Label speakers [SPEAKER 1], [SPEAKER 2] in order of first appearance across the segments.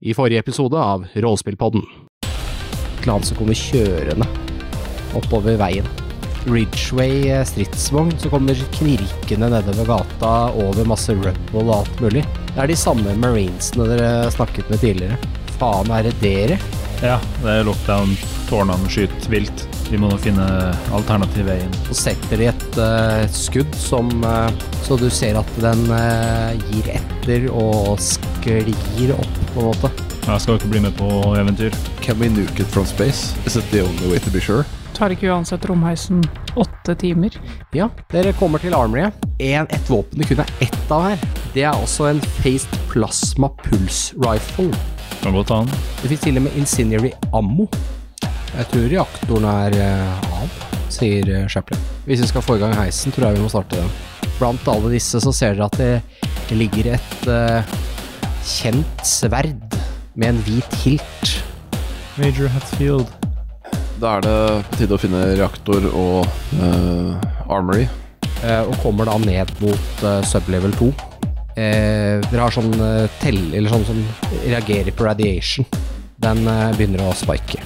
[SPEAKER 1] i forrige episode av Rollespillpodden.
[SPEAKER 2] klan som kommer kjørende oppover veien. Ridgeway eh, stridsvogn som kommer knirkende nedover gata over masse rubble og alt mulig. Det er de samme marinesene dere snakket med tidligere. Faen, er det dere?
[SPEAKER 3] Ja, det er lockdown. Tårnene skyter vilt. Vi må nå finne alternativ vei inn.
[SPEAKER 2] Så setter de et eh, skudd som eh, Så du ser at den eh, gir etter og sklir opp, på en måte.
[SPEAKER 3] Jeg skal ikke bli med på eventyr.
[SPEAKER 4] Can we nuke it from space? Is it the only way to be sure?
[SPEAKER 5] Tar ikke uansett romheisen åtte timer?
[SPEAKER 2] Ja, dere kommer til armoryet. En, et våpen det kun er ett av her, det er også en Faced Plasma Pulse Rifle.
[SPEAKER 3] Kan godt ta den.
[SPEAKER 2] Det finnes til og med Incendiary Ammo. Jeg tror reaktoren er eh, av, sier eh, Chaplin. Hvis vi skal få i gang heisen, tror jeg vi må starte den. Blant alle disse så ser dere at det ligger et eh, kjent sverd med en hvit hilt.
[SPEAKER 3] Major Hatfield.
[SPEAKER 4] Da er det på tide å finne reaktor og eh, armory.
[SPEAKER 2] eh, og kommer da ned mot eh, sublevel 2. Eh, dere har sånn eh, tell, eller sånn som reagerer på radiation. Den eh, begynner å spike.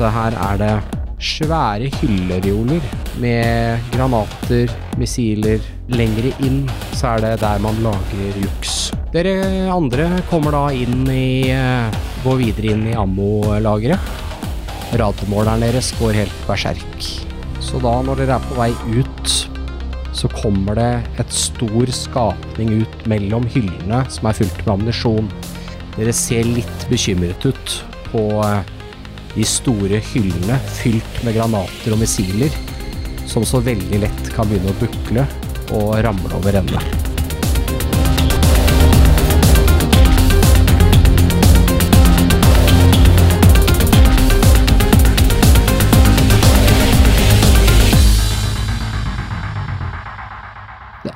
[SPEAKER 2] Så her er det svære hyllerioler med granater, missiler. Lengre inn så er det der man lager juks. Dere andre kommer da inn i eh, Går videre inn i ammolageret. Rademåleren deres går helt berserk. Så da, når dere er på vei ut så kommer det et stor skapning ut mellom hyllene som er fylt med ammunisjon. Dere ser litt bekymret ut på eh, de store hyllene fylt med granater og missiler, som så veldig lett kan begynne å bukle og ramle over ende.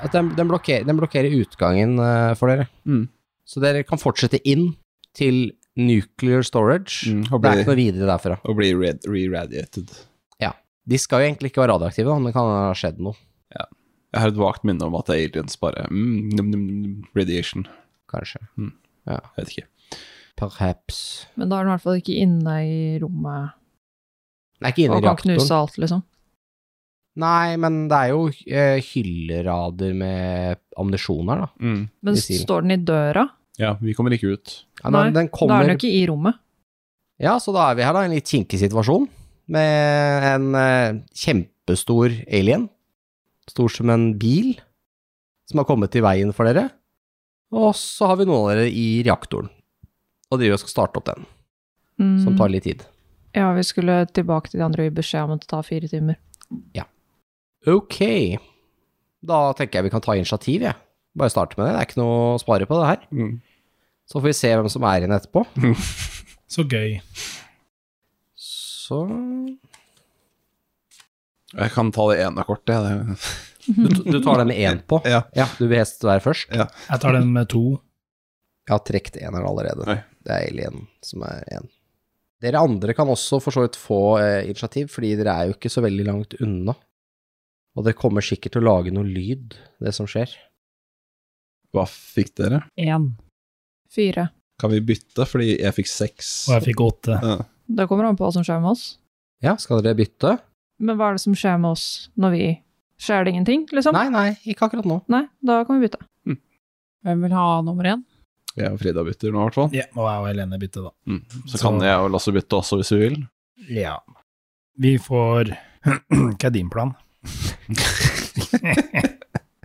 [SPEAKER 2] At Den, den, blokker, den blokkerer utgangen eh, for dere. Så dere kan fortsette inn til nuclear storage.
[SPEAKER 4] Mm, og
[SPEAKER 2] det er
[SPEAKER 4] blir-
[SPEAKER 2] ikke noe videre derfra.
[SPEAKER 4] Og blir re-radiated.
[SPEAKER 2] De skal jo egentlig ikke være radioaktive, da, men det kan ha skjedd noe.
[SPEAKER 4] Jeg har et vagt minne om at det er aliens bare mm, num, num, num, Radiation.
[SPEAKER 2] Kanskje.
[SPEAKER 4] Jeg vet ikke.
[SPEAKER 2] Perhaps.
[SPEAKER 5] Men da er den i hvert fall ikke inne i rommet
[SPEAKER 2] Det er ikke inne i
[SPEAKER 5] og kan
[SPEAKER 2] reaktoren.
[SPEAKER 5] knuse alt, liksom.
[SPEAKER 2] Nei, men det er jo eh, hyllerader med ammunisjon her, da.
[SPEAKER 4] Mm.
[SPEAKER 5] Men
[SPEAKER 2] Missil.
[SPEAKER 5] står den i døra?
[SPEAKER 4] Ja, vi kommer ikke ut.
[SPEAKER 2] Ja, men
[SPEAKER 5] Nei,
[SPEAKER 2] den
[SPEAKER 5] Da
[SPEAKER 2] kommer,
[SPEAKER 5] er den jo ikke i rommet.
[SPEAKER 2] Ja, så da er vi her, da, i en litt kinkig situasjon. Med en eh, kjempestor alien. Stor som en bil. Som har kommet i veien for dere. Og så har vi noen av dere i reaktoren. Og driver og skal starte opp den,
[SPEAKER 5] Mm.
[SPEAKER 2] som tar litt tid.
[SPEAKER 5] Ja, vi skulle tilbake til de andre og gi beskjed om at det tar fire timer.
[SPEAKER 2] Ok. Da tenker jeg vi kan ta initiativ, jeg. Bare starte med det. Det er ikke noe å spare på det her.
[SPEAKER 4] Mm.
[SPEAKER 2] Så får vi se hvem som er igjen etterpå.
[SPEAKER 3] Så gøy.
[SPEAKER 2] Så
[SPEAKER 4] Jeg kan ta det ene kortet. jeg. Det...
[SPEAKER 2] Du, du tar den med én på?
[SPEAKER 4] Ja.
[SPEAKER 2] Du vil helst være først?
[SPEAKER 3] Jeg tar den med to.
[SPEAKER 2] Jeg har trukket eneren allerede.
[SPEAKER 4] Oi.
[SPEAKER 2] Det er Alien som er én. Dere andre kan også for så vidt få eh, initiativ, fordi dere er jo ikke så veldig langt unna. Og det kommer sikkert til å lage noe lyd, det som skjer.
[SPEAKER 4] Hva fikk dere?
[SPEAKER 5] Én. Fire.
[SPEAKER 4] Kan vi bytte? Fordi jeg fikk seks.
[SPEAKER 3] Og jeg fikk åtte.
[SPEAKER 4] Ja.
[SPEAKER 5] Det kommer an på hva som skjer med oss.
[SPEAKER 2] Ja, skal dere bytte?
[SPEAKER 5] Men hva er det som skjer med oss når vi Skjer det ingenting, liksom?
[SPEAKER 2] Nei, nei, ikke akkurat nå.
[SPEAKER 5] Nei, da kan vi bytte.
[SPEAKER 6] Hm. Hvem vil ha nummer én?
[SPEAKER 4] Jeg og Frida bytter nå, i hvert fall.
[SPEAKER 3] Ja, og jeg og Helene bytter, da.
[SPEAKER 4] Mm. Så
[SPEAKER 3] Så-
[SPEAKER 4] kan jeg og Lasse bytte også, hvis vi vil.
[SPEAKER 3] Ja. Vi får Hva er din plan?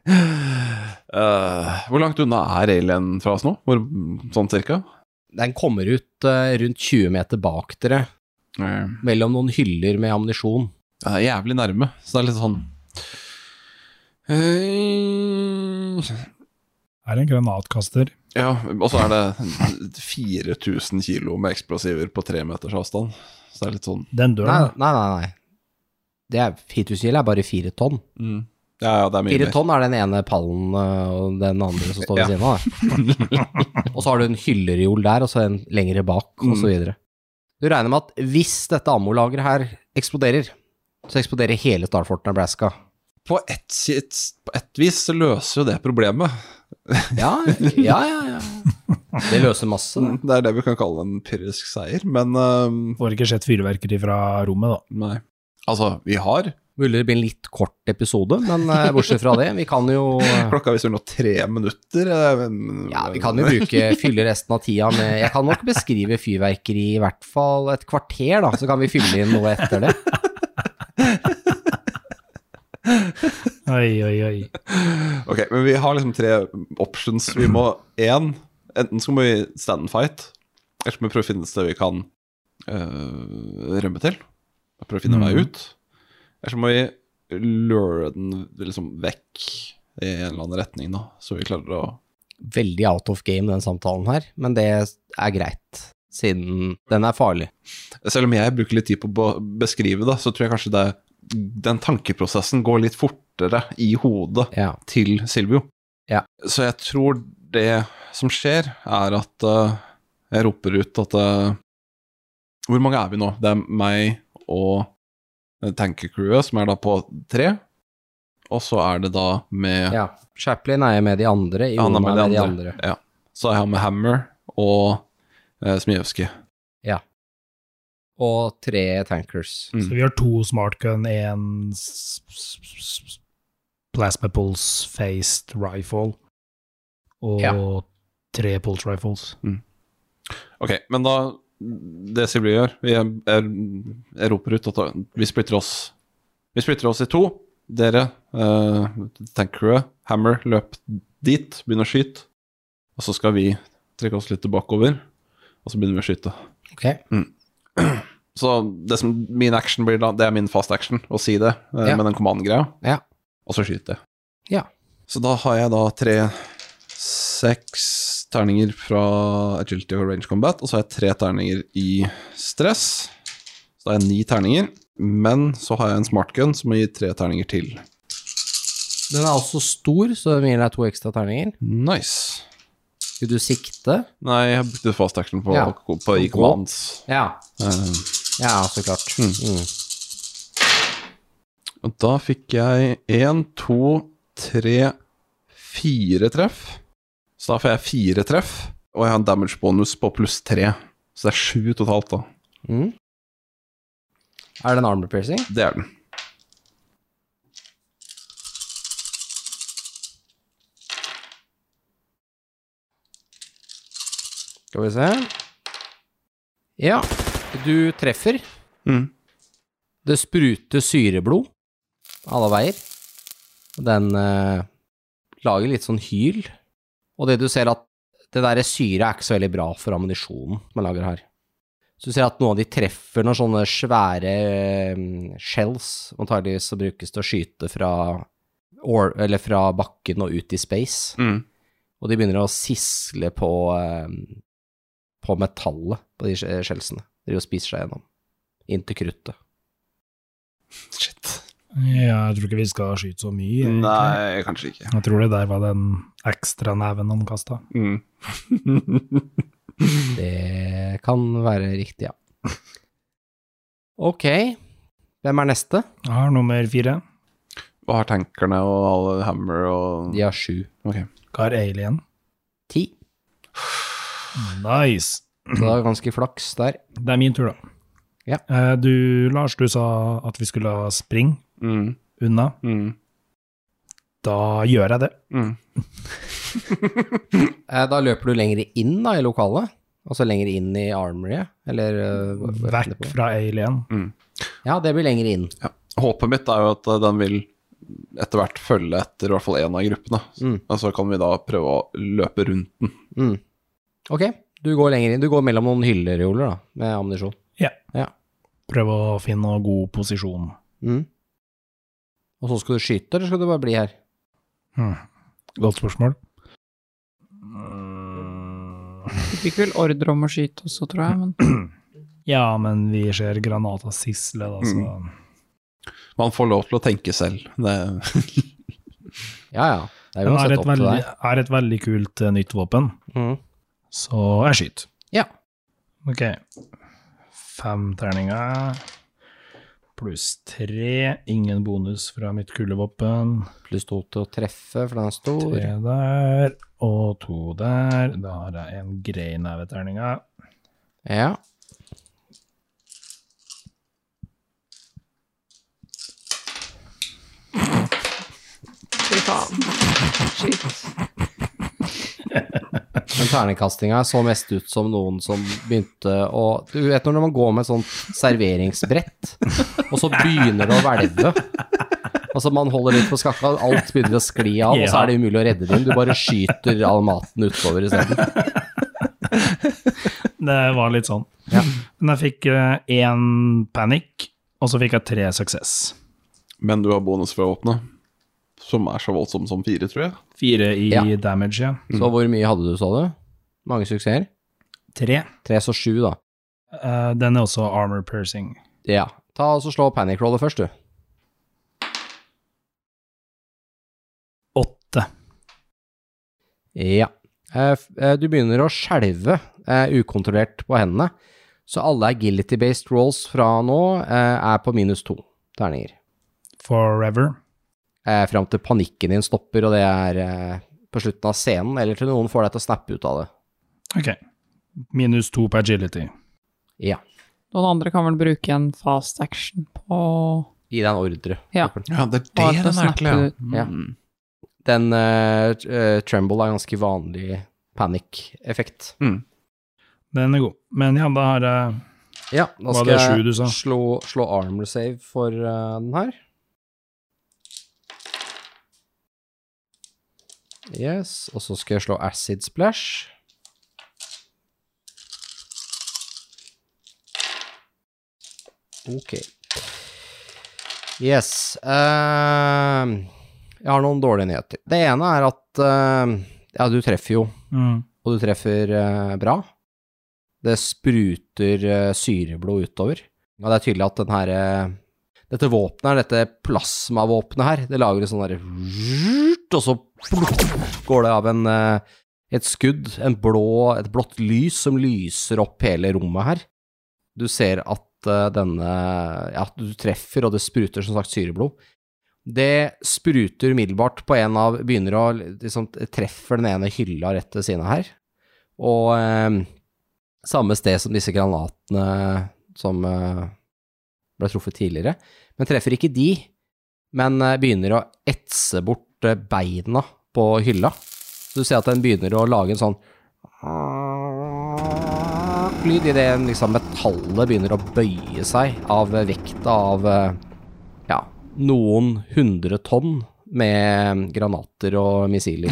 [SPEAKER 4] Eh, hvor langt unna er alien fra oss nå? Hvor, sånn cirka?
[SPEAKER 2] Den kommer ut eh, rundt 20 meter bak dere, Eh, mellom noen hyller med ammunisjon.
[SPEAKER 4] Det er jævlig nærme, så det er litt sånn eh,
[SPEAKER 3] Er det en granatkaster?
[SPEAKER 4] Ja, og så er det 4000 kilo med eksplosiver på tre meters avstand. Så det er litt sånn
[SPEAKER 3] Den
[SPEAKER 2] Nei,
[SPEAKER 3] dør.
[SPEAKER 2] nei,
[SPEAKER 3] da.
[SPEAKER 2] nei. nei. Det er, 4000 kilo er bare fire tonn.
[SPEAKER 4] mm. Ja, ja, det er mye
[SPEAKER 2] Fire
[SPEAKER 4] mer.
[SPEAKER 2] tonn er den ene pallen øh, og den andre som står ved
[SPEAKER 4] Ja.
[SPEAKER 2] siden av. da. og så har du en hyllereol der, og så en lengre bak, og
[SPEAKER 4] Mm.
[SPEAKER 2] så videre. Du regner med at hvis dette ammolageret her eksploderer, så eksploderer hele Starfort Nebraska.
[SPEAKER 4] På ett si- et, på et vis så løser jo det problemet.
[SPEAKER 2] Ja, ja, ja. ja. Det løser masse. det.
[SPEAKER 4] Det er det vi kan kalle en pyrrisk seier, men eh,
[SPEAKER 3] Får ikke sett fyrverkeri fra rommet, da.
[SPEAKER 4] nei. Altså, vi har.
[SPEAKER 2] Mulig det blir en litt kort episode, men eh, bortsett fra det, vi kan jo eh,
[SPEAKER 4] Klokka viser nå tre minutter. eh, men-
[SPEAKER 2] ja, vi kan jo bruke fylle resten av tida med Jeg kan nok beskrive fyrverkeri i hvert fall et kvarter, da, så kan vi fylle inn noe etter det.
[SPEAKER 3] Oi, oi, oi.
[SPEAKER 4] Ok, men vi har liksom tre options. Vi må én Enten så må vi stand and fight, eller så må vi prøve å finne et sted vi kan eh, rømme til. og Prøve å finne en vei
[SPEAKER 3] Mhm.
[SPEAKER 4] ut. Eller så må vi lure den liksom vekk i en eller annen retning, da, så vi klarer å
[SPEAKER 2] Veldig out of game, den samtalen her, men det er greit, siden den er farlig.
[SPEAKER 4] Selv om jeg bruker litt tid på å bo- beskrive det, så tror jeg kanskje det, den tankeprosessen går litt fortere i hodet
[SPEAKER 2] Ja.
[SPEAKER 4] til Silvio.
[SPEAKER 2] Ja.
[SPEAKER 4] Så jeg tror det som skjer, er at eh, jeg roper ut at eh, Hvor mange er vi nå? Det er meg og eh, tankercrewet, som er da på tre. Og så er det da med
[SPEAKER 2] ja. Chaplin er med de andre,
[SPEAKER 4] Han
[SPEAKER 2] Iona er med de andre.
[SPEAKER 4] Ja. Så er han med Hammer og uh, Smijevskij.
[SPEAKER 2] Og tre tankers.
[SPEAKER 3] Så vi har to smartgun, én s- s- s- s- plasma pulse-faced rifle og
[SPEAKER 2] Ja.
[SPEAKER 3] tre pulse rifles.
[SPEAKER 4] Ok, men da Det Silje gjør Vi er, er, jeg roper ut at vi splitter oss Vi splitter oss i to Dere, uh, tankere Hammer, løp dit Begynn å skyte Og så skal vi trekke oss litt bakover Og så begynner vi å skyte
[SPEAKER 2] Ok.
[SPEAKER 4] Mm. Så det som min action blir da Det er min fast action Å si det eh,
[SPEAKER 2] Ja.
[SPEAKER 4] Med den command-greia
[SPEAKER 2] Ja.
[SPEAKER 4] Og så skyter jeg
[SPEAKER 2] Ja.
[SPEAKER 4] Så da har jeg da tre seks terninger fra agility og range combat, og så har jeg tre terninger i stress. Så da har jeg ni terninger, men så har jeg en smartgun som må gi tre terninger til.
[SPEAKER 2] Den er også stor, så den gir deg to ekstra terninger.
[SPEAKER 4] Nice.
[SPEAKER 2] Skulle du sikte?
[SPEAKER 4] Nei, jeg brukte fast action på,
[SPEAKER 2] Ja.
[SPEAKER 4] på i commands.
[SPEAKER 2] Ja.
[SPEAKER 4] Eh, hmm.
[SPEAKER 2] Ja, så klart. Mm.
[SPEAKER 4] og da fikk jeg én, to, tre, fire treff. Så da får jeg fire treff, og jeg har en damage bonus på pluss tre. Så det er sju totalt, da.
[SPEAKER 2] Mm. Er det en armor piercing?
[SPEAKER 4] Det er den.
[SPEAKER 2] Skal vi se. Ja, du treffer.
[SPEAKER 4] Mm.
[SPEAKER 2] Det spruter syreblod alle veier. Den eh, lager litt sånn hyl. Og det du ser at det der syret er ikke så veldig bra for ammunisjonen man lager her. Så du ser at noen av de treffer noen sånne svære eh, shells, antageligvis som brukes til å skyte fra, or, eller fra bakken og ut i space.
[SPEAKER 4] Mm.
[SPEAKER 2] og de begynner å sisle på, eh, på metallet på de skje- skjelsene. De driver og spiser seg gjennom. Inn til kruttet.
[SPEAKER 4] Shit.
[SPEAKER 3] Ja, jeg tror ikke vi skal skyte så mye. egentlig.
[SPEAKER 4] Nei, kanskje ikke.
[SPEAKER 3] Jeg tror det der var den ekstra neven han kasta.
[SPEAKER 4] Mm.
[SPEAKER 2] Det kan være riktig, ja. Ok, hvem er neste?
[SPEAKER 3] Jeg har nummer fire.
[SPEAKER 4] Hva har tankerne og alle Hammer og
[SPEAKER 2] De har sju.
[SPEAKER 3] Hva er alien?
[SPEAKER 2] Ti.
[SPEAKER 3] Nice!
[SPEAKER 2] Så det er ganske flaks der.
[SPEAKER 3] Det er min tur, da.
[SPEAKER 2] Ja.
[SPEAKER 3] Eh, Du, Lars, du sa at vi skulle springe
[SPEAKER 4] Mm,
[SPEAKER 3] unna.
[SPEAKER 4] mm,
[SPEAKER 3] Da gjør jeg det.
[SPEAKER 4] mm.
[SPEAKER 2] Eh, Da løper du lenger inn da, i lokalet. Altså lenger inn i armoryet, eller eh, hva- hva heter
[SPEAKER 3] Vekk
[SPEAKER 2] det på?
[SPEAKER 3] fra alien.
[SPEAKER 2] Ja, det blir lenger inn.
[SPEAKER 4] Håpet mitt er jo at eh, den vil etter hvert følge etter i hvert fall én av gruppene.
[SPEAKER 2] Mm.
[SPEAKER 4] Og så kan vi da prøve å løpe rundt den.
[SPEAKER 2] Mm. Ok, du går lenger inn. Du går mellom noen hyllereoler da, med ammunisjon.
[SPEAKER 3] Prøve å finne noe god posisjon.
[SPEAKER 2] Mm. Og så skal du skyte, eller skal du bare bli her?
[SPEAKER 3] Hmm. Godt spørsmål. Eh,
[SPEAKER 6] Du fikk vel ordre om å skyte også, tror jeg. Men
[SPEAKER 3] Ja, men vi ser granata sisle, da, så
[SPEAKER 2] Mm.
[SPEAKER 4] Man får lov til å tenke selv. Det,
[SPEAKER 2] Ja, ja. Det er
[SPEAKER 3] Den er
[SPEAKER 2] uansett
[SPEAKER 3] et,
[SPEAKER 2] opp til
[SPEAKER 3] veldig,
[SPEAKER 2] deg.
[SPEAKER 3] er et veldig kult eh, nytt våpen,
[SPEAKER 2] Mm.
[SPEAKER 3] så jeg skyter.
[SPEAKER 2] Ja.
[SPEAKER 3] Ok. Fem terninger. pluss tre. Ingen bonus fra mitt kulevåpen.
[SPEAKER 2] Pluss to til å treffe, for den er stor.
[SPEAKER 3] Tre der, og to der. Da har jeg en grei neve terninga.
[SPEAKER 2] Ja.
[SPEAKER 5] Fy faen. Shit.
[SPEAKER 2] Men terningkastinga så mest ut som noen som begynte å Du vet når man går med et sånt serveringsbrett, og så begynner det å hvelve. Altså Man holder litt på skakka, alt begynner å skli av, og så er det umulig å redde det inn. Du bare skyter all maten utover isteden.
[SPEAKER 3] Det var litt sånn. Men jeg fikk eh, én panikk, og så fikk jeg tre suksess.
[SPEAKER 4] Men du har bonus fra våpenet, som er så voldsom som fire, tror jeg.
[SPEAKER 3] Fire i
[SPEAKER 2] Ja.
[SPEAKER 3] damage, ja.
[SPEAKER 2] Så hvor mye hadde du, sa du? Mange suksesser?
[SPEAKER 3] Tre.
[SPEAKER 2] Tre, så sju, da.
[SPEAKER 3] Eh, den er også armor piercing.
[SPEAKER 2] Ja. Ta og så Slå panic roller først, du.
[SPEAKER 3] Åtte.
[SPEAKER 2] Ja. Eh, f- eh, Du begynner å skjelve eh, ukontrollert på hendene, så alle agility-based rolls fra nå eh, er på minus to terninger.
[SPEAKER 3] Forever.
[SPEAKER 2] Eh, Fram til panikken din stopper, og det er eh, på slutten av scenen, eller til noen får deg til å snappe ut av det.
[SPEAKER 3] Ok. Minus to på agility.
[SPEAKER 2] Ja.
[SPEAKER 6] Noen andre kan vel bruke en fast action på
[SPEAKER 2] Gi deg en ordre.
[SPEAKER 6] Ja.
[SPEAKER 4] Ja, det
[SPEAKER 6] det Bare for å den er snappe til, ja. det
[SPEAKER 2] Ja. Den eh, t- eh, tremble er ganske vanlig panic-effekt.
[SPEAKER 3] Den er god. Men ja, da har jeg
[SPEAKER 2] Ja, da
[SPEAKER 3] Var
[SPEAKER 2] skal
[SPEAKER 3] det sju du
[SPEAKER 2] jeg
[SPEAKER 3] sa?
[SPEAKER 2] slå, slå armor save for eh, den her. Yes, og så skal jeg slå acid splash. Ok. Yes. ehm, jeg har noen dårlige nyheter. Det ene er at ehm, Ja, du treffer jo
[SPEAKER 3] mm.
[SPEAKER 2] og du treffer eh, bra. Det spruter eh, syreblod utover. Og det er tydelig at den her eh, Dette våpenet her, dette plasmavåpenet her, det lager en sånn derre Og så går det av en eh, et skudd, en blå, et blått lys som lyser opp hele rommet her. Du ser at eh, denne Ja, du treffer, og det spruter som sagt syreblod. Det spruter umiddelbart på en av Begynner å liksom treffer den ene hylla rett ved siden av her. Og eh, samme sted som disse granatene som eh, ble truffet tidligere. Men treffer ikke de, men eh, begynner å etse bort eh, beina på hylla. Så du ser at den begynner å lage en sånn lyd idet liksom metallet begynner å bøye seg av eh, vekta av eh, ja, noen hundre tonn med granater og missiler.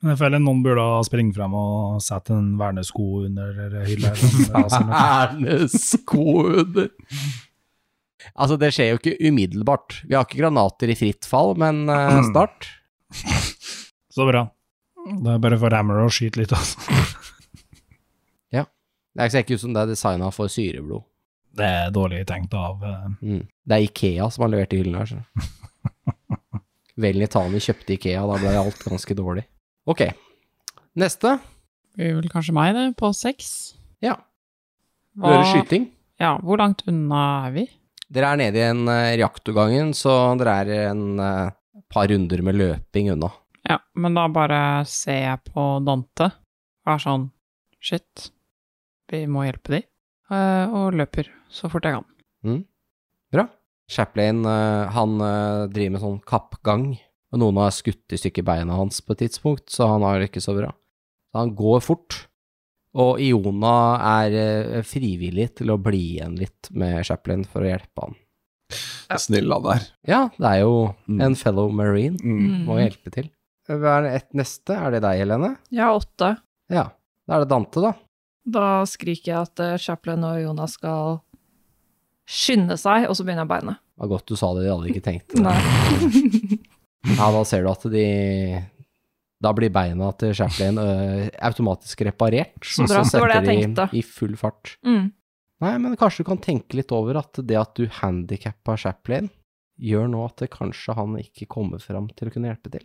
[SPEAKER 3] Men jeg føler noen burde ha springe frem og sette en vernesko under hylla. eller noe.
[SPEAKER 2] Ernesko under! Altså, det skjer jo ikke umiddelbart. Vi har ikke granater i fritt fall, men eh, snart.
[SPEAKER 3] Så bra. Da er det bare for hammer å skyte litt, altså.
[SPEAKER 2] Det ser ikke ut som det er designa for syreblod.
[SPEAKER 3] Det er dårlig tenkt av eh,
[SPEAKER 2] Mm. Det er Ikea som har levert i hyllene her. så. Vel Nitani kjøpte Ikea, da ble alt ganske dårlig. Ok. Neste.
[SPEAKER 6] Blir vel kanskje meg, det, på seks.
[SPEAKER 2] Ja, du hører skyting.
[SPEAKER 6] Ja, hvor langt unna er vi?
[SPEAKER 2] Dere er nede i en eh, reaktorgangen, så dere er en eh, par runder med løping unna.
[SPEAKER 6] Ja, men da bare ser jeg på Dante og er sånn Shit, vi må hjelpe de. Eh, Og løper så fort jeg kan.
[SPEAKER 2] Chaplin, eh, han eh, driver med sånn kappgang, og noen har skutt i stykker beina hans på et tidspunkt, så han har det ikke så bra. Så han går fort, og Iona er eh, frivillig til å bli igjen litt med Chaplin for å hjelpe han.
[SPEAKER 4] Snill han der.
[SPEAKER 2] Ja, det er jo
[SPEAKER 4] Mm.
[SPEAKER 2] en fellow marine, må hjelpe til. Hva er det et neste? Er det deg, Helene?
[SPEAKER 5] Jeg har åtte.
[SPEAKER 2] Ja. Da er det Dante, da.
[SPEAKER 5] Da skriker jeg at eh, Chaplin og Jonas skal skynde seg, og så begynner jeg beinet.
[SPEAKER 2] Det var godt du sa det, de hadde ikke tenkt det.
[SPEAKER 5] Nei.
[SPEAKER 2] Ja, da ser du at de Da blir beina til Chaplin ø, automatisk reparert.
[SPEAKER 5] Så bra, det var det jeg tenkte.
[SPEAKER 2] I, I full fart.
[SPEAKER 5] Mm.
[SPEAKER 2] Nei, men kanskje du kan tenke litt over at det at du handikappa Chaplin, gjør nå at det kanskje han ikke kommer fram til å kunne hjelpe til.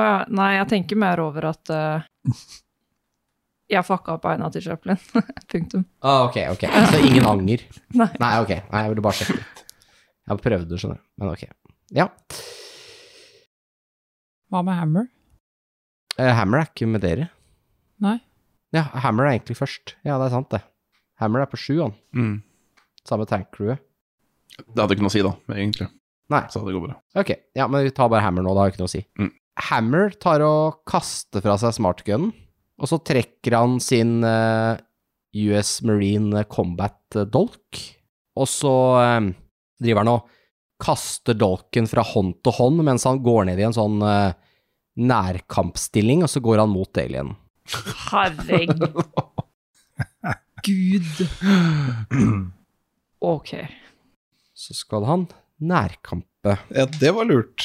[SPEAKER 5] Å ja, Nei, jeg tenker mer over at eh, Jeg fucka opp beina til Chaplin. Punktum.
[SPEAKER 2] Ah, ok, ok. Så ingen anger?
[SPEAKER 5] Nei.
[SPEAKER 2] Nei, ok. Nei, jeg ville bare sjekke litt. Jeg prøvde, skjønner du. Men ok. Ja.
[SPEAKER 6] Hva med Hammer?
[SPEAKER 2] Eh, Hammer er ikke med dere.
[SPEAKER 6] Nei.
[SPEAKER 2] Ja, Hammer er egentlig først. Ja, det er sant, det. Hammer er på sju, han.
[SPEAKER 4] Mm.
[SPEAKER 2] Samme tankcrewet.
[SPEAKER 4] Det hadde ikke noe å si, da, egentlig.
[SPEAKER 2] Nei.
[SPEAKER 4] Så det går bra.
[SPEAKER 2] Ok, ja, men vi tar bare Hammer nå, det har jo ikke noe å si.
[SPEAKER 4] Mm.
[SPEAKER 2] Hammer tar og kaster fra seg smartgunnen, og så trekker han sin eh, US Marine Combat eh, Dolk, og så eh, driver han og kaster dolken fra hånd til hånd, mens han går ned i en sånn eh, nærkampstilling, og så går han mot alienen.
[SPEAKER 5] Herregud. Ok.
[SPEAKER 2] Så skal han nærkampe
[SPEAKER 4] Ja, det var lurt.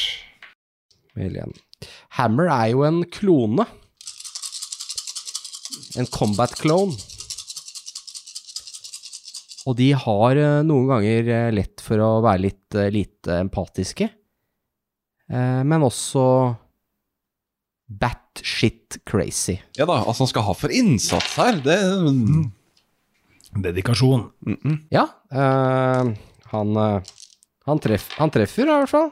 [SPEAKER 2] med alienen. Hammer er jo en klone. En combat clone. Og de har eh, noen ganger eh, lett for å være litt eh, lite empatiske. Eh, Men også batshit crazy.
[SPEAKER 4] Ja da, altså han skal ha for innsats her. Det mm
[SPEAKER 3] Dedikasjon.
[SPEAKER 4] -mm.
[SPEAKER 2] Ja, eh, han, eh, han, treff, han treffer i hvert fall.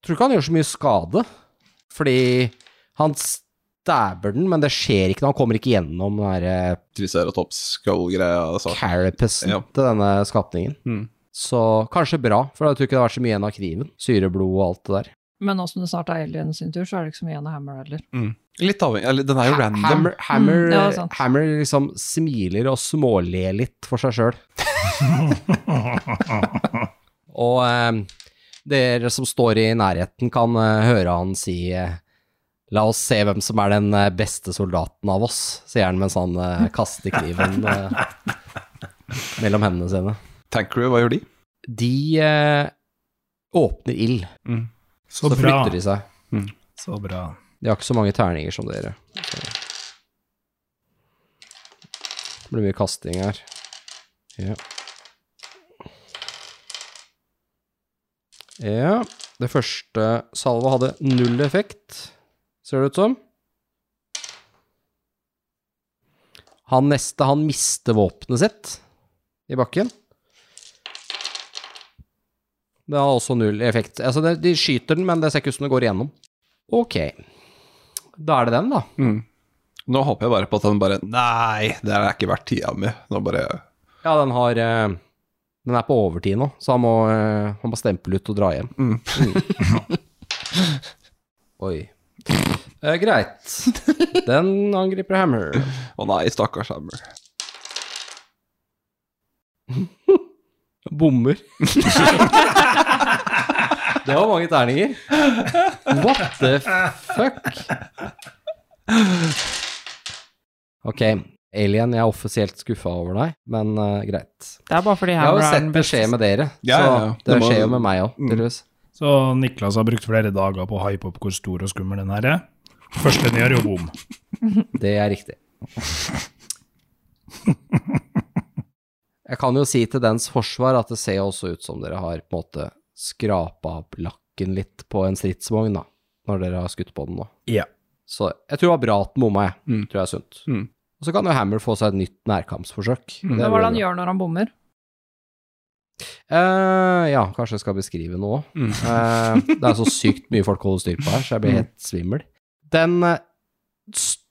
[SPEAKER 2] Tror ikke han gjør så mye skade, fordi han stabber den, men det skjer ikke, han kommer ikke gjennom den der eh,
[SPEAKER 4] Triceratops-skallgreia. altså.
[SPEAKER 2] carapassen
[SPEAKER 4] Ja.
[SPEAKER 2] til denne skapningen.
[SPEAKER 4] Mm.
[SPEAKER 2] Så kanskje bra, for jeg tror ikke det har vært så mye igjen av kniven. Syreblod og alt det der.
[SPEAKER 5] Men nå som det snart er Alien sin tur, så er det ikke så mye igjen av Hammer heller.
[SPEAKER 4] Litt avhengig Eller den er jo
[SPEAKER 2] Ha-
[SPEAKER 4] random.
[SPEAKER 2] Hammer, hammer,
[SPEAKER 5] Mm, ja, sant.
[SPEAKER 2] hammer liksom smiler og småler litt for seg sjøl. og eh, dere som står i nærheten, kan eh, høre han si eh, La oss se hvem som er den eh, beste soldaten av oss, sier han mens han eh, kaster kniven eh, mellom hendene sine.
[SPEAKER 4] Tank crew, hva gjør de?
[SPEAKER 2] De eh, åpner ild,
[SPEAKER 4] Mm.
[SPEAKER 2] så
[SPEAKER 3] Så bra.
[SPEAKER 2] flytter de seg.
[SPEAKER 3] Så bra.
[SPEAKER 2] De har ikke så mange terninger som dere. Så. Det blir mye kasting her. Ja. ja. Det første salva hadde null effekt, ser det ut som. Han neste, han mister våpenet sitt i bakken. Det har også null effekt. Altså, det, de skyter den, men det ser ikke ut som det går igjennom. Ok. Da er det den, da.
[SPEAKER 4] Mm. Nå håper jeg bare på at den bare Nei, det er ikke verdt tida mi. Nå bare
[SPEAKER 2] Ja, den har eh, Den er på overtid nå, så han må, eh, han må stemple ut og dra hjem.
[SPEAKER 4] Mm.
[SPEAKER 2] Oi. Eh, greit. Den angriper Hammer.
[SPEAKER 4] Å nei, stakkars Hammer.
[SPEAKER 2] Bommer. Det var mange terninger. What the fuck? Ok, Alien, jeg er offisielt skuffa over deg, men eh, greit.
[SPEAKER 6] Det er bare fordi
[SPEAKER 2] Jeg har
[SPEAKER 6] Hammer
[SPEAKER 2] jo
[SPEAKER 6] er den
[SPEAKER 2] sett det skje
[SPEAKER 6] beste.
[SPEAKER 2] med dere,
[SPEAKER 4] Ja, ja, ja.
[SPEAKER 2] så det
[SPEAKER 4] Det må-
[SPEAKER 2] skjer jo med meg òg,
[SPEAKER 4] Mm.
[SPEAKER 2] tydeligvis.
[SPEAKER 3] Så Niklas har brukt flere dager på å hype opp hvor stor og skummel den her er. Første den gjør, jo bom.
[SPEAKER 2] Det er riktig. Jeg kan jo si til dens forsvar at det ser jo også ut som dere har på en måte skrapa opp lakken litt på en stridsvogn, da, når dere har skutt på den nå.
[SPEAKER 3] Ja.
[SPEAKER 2] Så jeg tror det var bra at den bomma, jeg.
[SPEAKER 4] Mm.
[SPEAKER 2] Tror jeg er sunt.
[SPEAKER 4] Mm.
[SPEAKER 2] Og så kan jo Hammer få seg et nytt nærkampsforsøk. Det
[SPEAKER 4] Mm.
[SPEAKER 5] Men hva er det
[SPEAKER 2] blir
[SPEAKER 5] han
[SPEAKER 2] bra.
[SPEAKER 5] gjør når han bommer?
[SPEAKER 2] Eh, ja, kanskje jeg skal beskrive noe òg.
[SPEAKER 4] Mm.
[SPEAKER 2] Eh, det er så sykt mye folk holder styr på her, så jeg blir helt svimmel. Den eh, st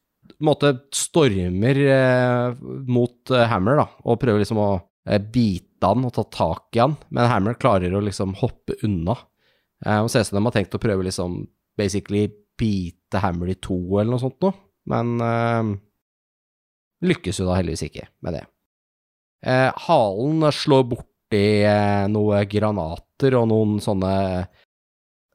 [SPEAKER 2] måte stormer eh, mot eh, Hammer, da, og prøver liksom å eh, bite han og ta tak i han, men Hammer klarer å liksom hoppe unna. Eh, og ser ut som de har tenkt å prøve liksom basically bite Hammer i to eller noe sånt noe, men eh, lykkes jo da heldigvis ikke med det. Eh, halen slår borti eh, noen granater og noen sånne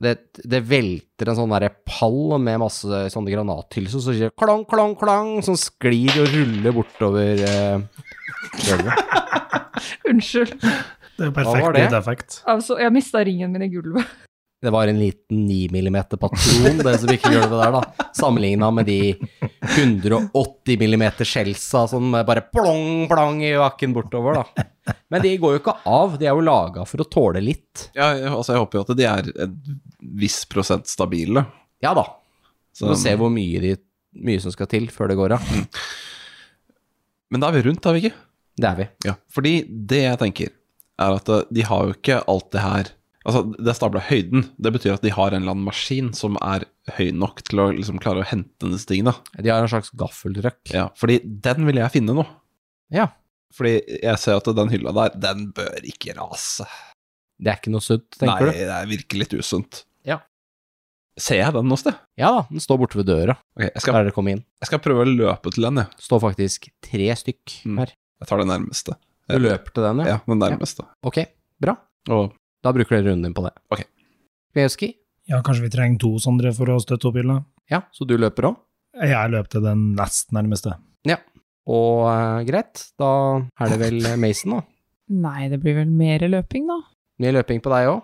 [SPEAKER 2] det, det velter en sånn derre pall med masse sånne granathylser, så sier det klang, klang, klang, som sklir og ruller bortover eh, gulvet.
[SPEAKER 5] Unnskyld.
[SPEAKER 3] Det er jo
[SPEAKER 2] Hva var
[SPEAKER 3] perfekt
[SPEAKER 2] det?
[SPEAKER 3] lydeffekt.
[SPEAKER 5] Altså, jeg mista ringen min i gulvet.
[SPEAKER 2] Det var en liten 9 mm patron, det som ikke gjør det der, da. Sammenligna med de 180 mm skjelsa som bare plong, plong i bakken bortover, da. Men de går jo ikke av, de er jo laga for å tåle litt.
[SPEAKER 4] Ja, jeg- altså, jeg håper jo at de er en viss prosent stabile.
[SPEAKER 2] Ja da,
[SPEAKER 4] Så,
[SPEAKER 2] Vi må se hvor mye de mye som skal til før det går av.
[SPEAKER 4] Men da er vi rundt, er vi ikke?
[SPEAKER 2] Det er vi.
[SPEAKER 4] Ja. Fordi det jeg tenker, er at eh, de har jo ikke alt det her Altså, det er stabla høyden. Det betyr at de har en eller annen maskin som er høy nok til å liksom klare å hente disse tingene.
[SPEAKER 2] De har en slags gaffeltrøkk.
[SPEAKER 4] Ja, fordi den vil jeg finne nå.
[SPEAKER 2] Ja.
[SPEAKER 4] Fordi jeg ser at den hylla der, den bør ikke rase.
[SPEAKER 2] Det er ikke noe sunt, tenker
[SPEAKER 4] Nei,
[SPEAKER 2] du?
[SPEAKER 4] det virker litt usunt.
[SPEAKER 2] Ja.
[SPEAKER 4] Ser jeg den noe sted?
[SPEAKER 2] Ja da, den står borte ved døra
[SPEAKER 4] Ok, jeg
[SPEAKER 2] der
[SPEAKER 4] skal,
[SPEAKER 2] dere kom inn.
[SPEAKER 4] jeg skal prøve å løpe til den, jeg.
[SPEAKER 2] Det står faktisk tre stykk
[SPEAKER 4] Mm.
[SPEAKER 2] her.
[SPEAKER 4] Jeg tar det nærmeste.
[SPEAKER 2] Du løper til den, ja?
[SPEAKER 4] Ja, den nærmeste.
[SPEAKER 2] Ok, bra.
[SPEAKER 4] Og
[SPEAKER 2] Da bruker dere runden din på det.
[SPEAKER 4] Ok.
[SPEAKER 2] Kveski?
[SPEAKER 3] Ja, kanskje vi trenger to Sondre for å støtte opp hylla?
[SPEAKER 2] Ja, så du løper òg?
[SPEAKER 3] Jeg løp til den nest nærmeste.
[SPEAKER 2] Og eh, greit, da er det vel Mason, da.
[SPEAKER 6] Nei, det blir vel mer løping, da.
[SPEAKER 2] Mye løping på deg òg.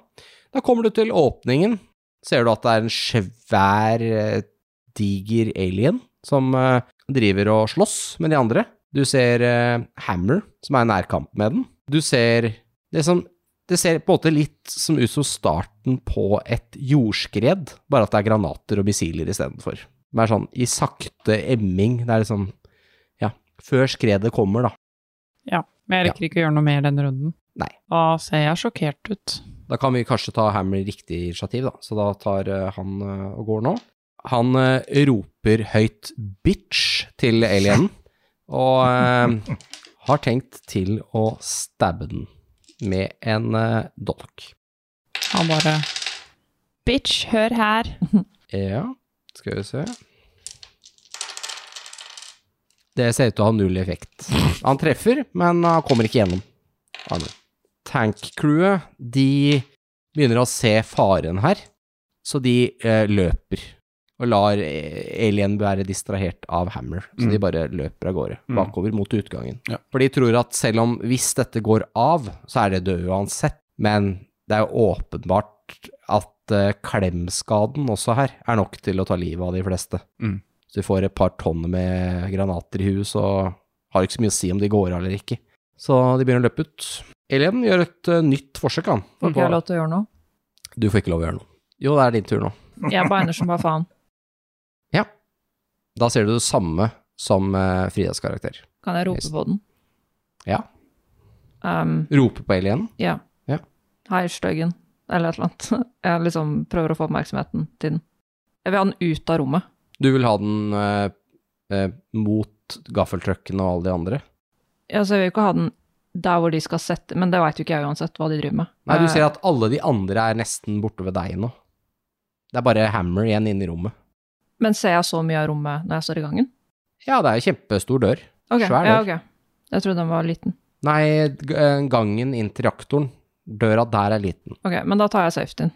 [SPEAKER 2] Da kommer du til åpningen. Ser du at det er en svær, eh, diger alien som eh, driver og slåss med de andre. Du ser eh, Hammer, som er i nærkamp med den. Du ser det som Det ser på en måte litt som ut som starten på et jordskred, bare at det er granater og missiler istedenfor. Det er sånn i sakte emming. Det er liksom Ja, før skredet kommer, da.
[SPEAKER 6] Men jeg rekker ikke å gjøre noe mer denne runden.
[SPEAKER 2] Nei.
[SPEAKER 6] Da ser jeg sjokkert ut.
[SPEAKER 2] Da kan vi kanskje ta Hammer riktig initiativ, da. Så da tar eh, han eh, og går nå. Han eh, roper høyt 'bitch' til alienen, og eh, har tenkt til å stabbe den med en uh, dolk.
[SPEAKER 6] Han bare Bitch, hør her!
[SPEAKER 2] Ja, skal vi se Det ser ut til å ha null effekt. Han treffer, men han kommer ikke gjennom. Han- Tank-crewet, de begynner å se faren her, så de eh, løper. Og lar eh, alien være distrahert av Hammer, så
[SPEAKER 4] Mm.
[SPEAKER 2] de bare løper av gårde.
[SPEAKER 4] Mm.
[SPEAKER 2] Bakover mot utgangen.
[SPEAKER 4] Ja.
[SPEAKER 2] For de tror at selv om hvis dette går av, så er det død uansett. Men det er jo åpenbart at eh, klemskaden også her er nok til å ta livet av de fleste.
[SPEAKER 4] Mm.
[SPEAKER 2] Så de får et par tonn med granater i hus, og har ikke så mye å si om de går av eller ikke. Så de begynner å løpe ut. Alien gjør et eh, nytt forsøk, han.
[SPEAKER 5] Får ikke jeg lov til å gjøre noe?
[SPEAKER 2] Du får ikke lov å gjøre noe. Jo, det er din tur nå.
[SPEAKER 5] Jeg beiner som bare faen.
[SPEAKER 2] Da ser du det samme som eh, Fridas karakter.
[SPEAKER 5] Kan jeg rope
[SPEAKER 2] Yes.
[SPEAKER 5] på den?
[SPEAKER 2] Ja.
[SPEAKER 5] Um,
[SPEAKER 2] Rope på alienen.
[SPEAKER 5] ja.
[SPEAKER 2] Ja.
[SPEAKER 5] Hei, styggen. Eller et eller annet. Jeg liksom prøver å få oppmerksomheten til den. Jeg vil ha den ut av rommet.
[SPEAKER 2] Du vil ha den eh, eh, mot gaffeltrucken og alle de andre.
[SPEAKER 5] Altså, jeg vil ikke ha den der hvor de skal sette Men det veit jo ikke jeg uansett hva de driver med.
[SPEAKER 2] Nei, du
[SPEAKER 5] Eh,
[SPEAKER 2] ser at alle de andre er nesten borte ved deg nå. Det er bare Hammer igjen inne i rommet.
[SPEAKER 5] Men ser jeg så mye av rommet når jeg står i gangen?
[SPEAKER 2] Ja, det er jo kjempestor dør.
[SPEAKER 5] Ok,
[SPEAKER 2] Svær
[SPEAKER 5] ja,
[SPEAKER 2] dør.
[SPEAKER 5] ok. Jeg trodde den var liten.
[SPEAKER 2] Nei, g- eh, gangen inn til reaktoren. Døra der er liten.
[SPEAKER 5] Ok, Men da tar jeg safetyen.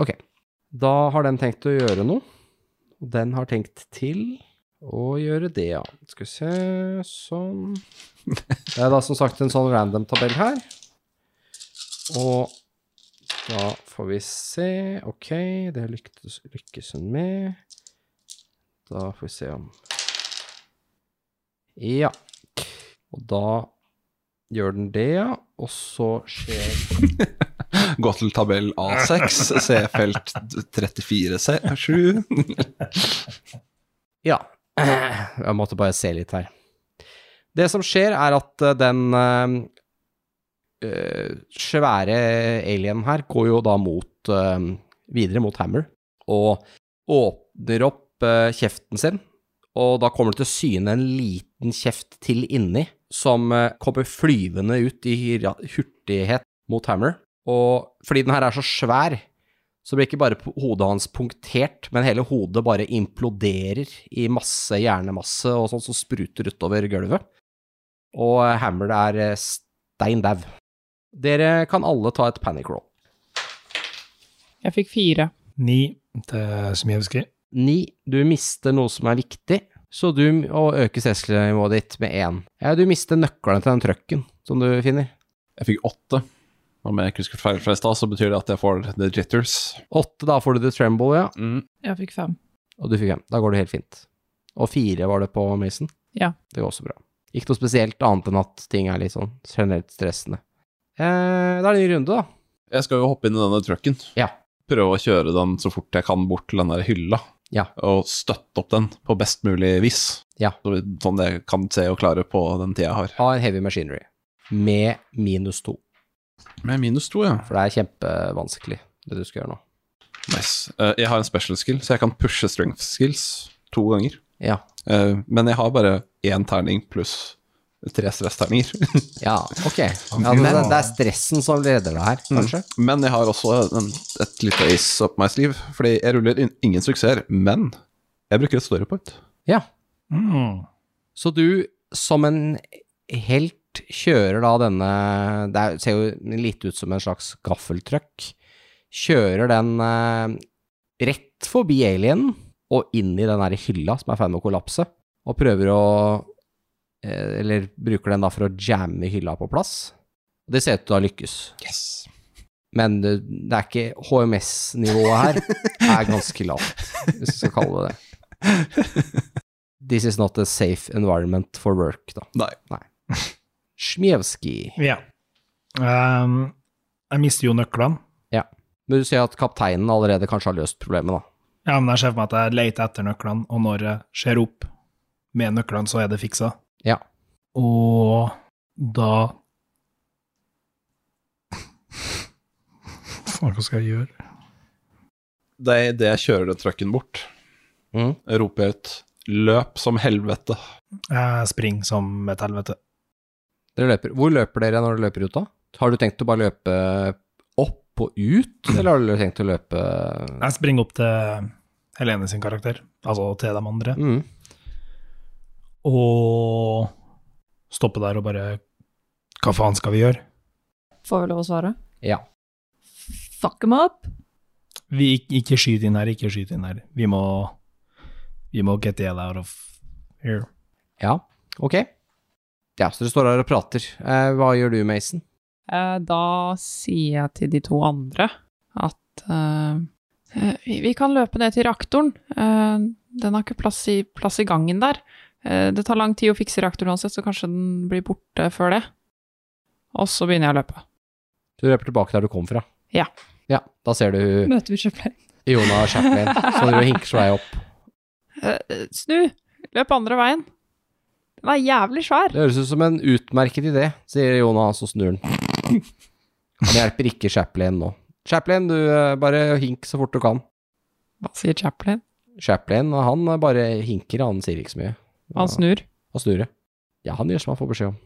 [SPEAKER 2] Ok. Da har den tenkt å gjøre noe. Og den har tenkt til å gjøre det, ja. Skal vi se Sånn. Det er da som sagt en sånn random tabell her. Og da får vi se Ok, det lyktes, lykkes hun med. Da får vi se om Ja. Og da gjør den det, ja. Og så skjer
[SPEAKER 4] gå til tabell A6, C-felt 34-7.
[SPEAKER 2] Ja. Jeg måtte bare se litt her. Det som skjer, er at eh, den eh, eh, svære alienen her går jo da mot eh, videre mot Hammer og åpner opp eh, kjeften sin, og da kommer det til syne en liten kjeft til inni, som eh, kommer flyvende ut i ra- hurtighet mot Hammer. Og fordi den her er så svær, så blir ikke bare po- hodet hans punktert, men hele hodet bare imploderer i masse hjernemasse og sånt som spruter utover gulvet. Og eh, Hammer er eh, stein dau. Dere kan alle ta et panic roll.
[SPEAKER 6] Jeg fikk fire.
[SPEAKER 3] Ni til Smijevskij.
[SPEAKER 2] Ni, du mister noe som er viktig, så du må øke stressnivået ditt med én. Ja, du mister nøklene til den trøkken som du finner.
[SPEAKER 4] Jeg fikk åtte. Om jeg ikke husker feil fra i stad, så betyr det at jeg får the jitters.
[SPEAKER 2] Åtte, da får du the tremble, ja.
[SPEAKER 5] Jeg fikk fem.
[SPEAKER 2] Og du fikk fem. Da går det helt fint. Og fire var det på Mason.
[SPEAKER 6] Ja.
[SPEAKER 2] Det går også bra. Ikke noe spesielt annet enn at ting er litt sånn generelt stressende. Eh, da er det en ny runde, da.
[SPEAKER 4] Jeg skal jo hoppe inn i denne trucken.
[SPEAKER 2] Ja.
[SPEAKER 4] Prøve å kjøre den så fort jeg kan bort til den der hylla.
[SPEAKER 2] Ja.
[SPEAKER 4] og støtte opp den på best mulig vis.
[SPEAKER 2] Ja.
[SPEAKER 4] Så vi- Sånn jeg kan se og klare på den tida jeg har.
[SPEAKER 2] Har heavy machinery med minus to,
[SPEAKER 4] Med minus to, ja.
[SPEAKER 2] for det er kjempevanskelig, det du skal gjøre nå.
[SPEAKER 4] Nice. Eh, jeg har en special skill, så jeg kan pushe strength skills to ganger.
[SPEAKER 2] Ja.
[SPEAKER 4] Eh, men jeg har bare én terning pluss tre stressterninger.
[SPEAKER 2] Ja, ok. Ja, det, det er stressen som leder deg her, kanskje?
[SPEAKER 4] Men jeg har også en, et lite ace up my sleeve, fordi jeg ruller in ingen suksesser, men jeg bruker et story point.
[SPEAKER 2] Ja.
[SPEAKER 3] Mm.
[SPEAKER 2] Så du, som en helt, kjører da denne Det er- ser jo litt ut som en slags gaffeltrøkk. Kjører den eh, rett forbi alienen og inn i den der hylla som er i ferd med å kollapse, og prøver å eh, Eller bruker den da for å jamme hylla på plass. Det ser ut til å ha lykkes,
[SPEAKER 4] Yes.
[SPEAKER 2] men det, det er ikke HMS-nivået her. er ganske lavt, hvis du skal kalle det det. This is not a safe environment for work, da.
[SPEAKER 4] Nei.
[SPEAKER 2] Smjevskij.
[SPEAKER 3] Ja. Ehm, jeg mister jo nøklene.
[SPEAKER 2] Men du ser at kapteinen allerede kanskje har løst problemet, da.
[SPEAKER 3] Ja, men jeg ser for meg at jeg leter etter nøklene, og når jeg ser opp med nøklene, så er det fiksa.
[SPEAKER 2] Ja.
[SPEAKER 3] Og da Faen, hva skal jeg gjøre?
[SPEAKER 4] Det er idet jeg kjører den trucken bort, Mm.
[SPEAKER 2] Mhm.
[SPEAKER 4] roper jeg ut 'løp som helvete'.
[SPEAKER 3] Jeg springer som et helvete.
[SPEAKER 2] Dere løper. Hvor løper dere når dere løper ut, da? Har du tenkt å bare løpe opp og ut, eller har du tenkt å løpe
[SPEAKER 3] Jeg springer opp til Helene sin karakter, altså til de andre,
[SPEAKER 2] mm.
[SPEAKER 3] og stopper der og bare Hva faen skal vi gjøre?
[SPEAKER 5] Får vi lov å svare?
[SPEAKER 2] Ja.
[SPEAKER 5] Fuck him up!
[SPEAKER 3] Vi ikke, ikke skyt inn her, ikke skyt inn her. Vi må Vi må get the hell out of here.
[SPEAKER 2] Ja, ok. Ja, så dere står her og prater. Eh, hva gjør du, Mason?
[SPEAKER 6] Eh, Da sier jeg til de to andre at eh, eh, vi vi kan løpe ned til reaktoren. Eh, den har ikke plass i, plass i gangen der. Eh, det tar lang tid å fikse reaktoren uansett, så kanskje den blir borte før det. Og så begynner jeg å løpe.
[SPEAKER 2] Du løper tilbake der du kom fra.
[SPEAKER 6] Ja.
[SPEAKER 2] Ja, Da ser du
[SPEAKER 5] Møter vi Chaplin?
[SPEAKER 2] Jonah Chaplin, som driver og hinker seg opp.
[SPEAKER 6] Eh, eh, snu! Løp andre veien. Den er jævlig svær.
[SPEAKER 2] Det høres ut som en utmerket idé, sier Jonas og snur den. Han hjelper ikke Chaplin nå. Chaplin, du eh, bare hink så fort du kan.
[SPEAKER 6] Hva sier Chaplin?
[SPEAKER 2] Chaplin, han eh, bare hinker, han sier ikke så mye.
[SPEAKER 6] Han snur.
[SPEAKER 2] Han snur, ja. Ja, han gjør som han får beskjed om.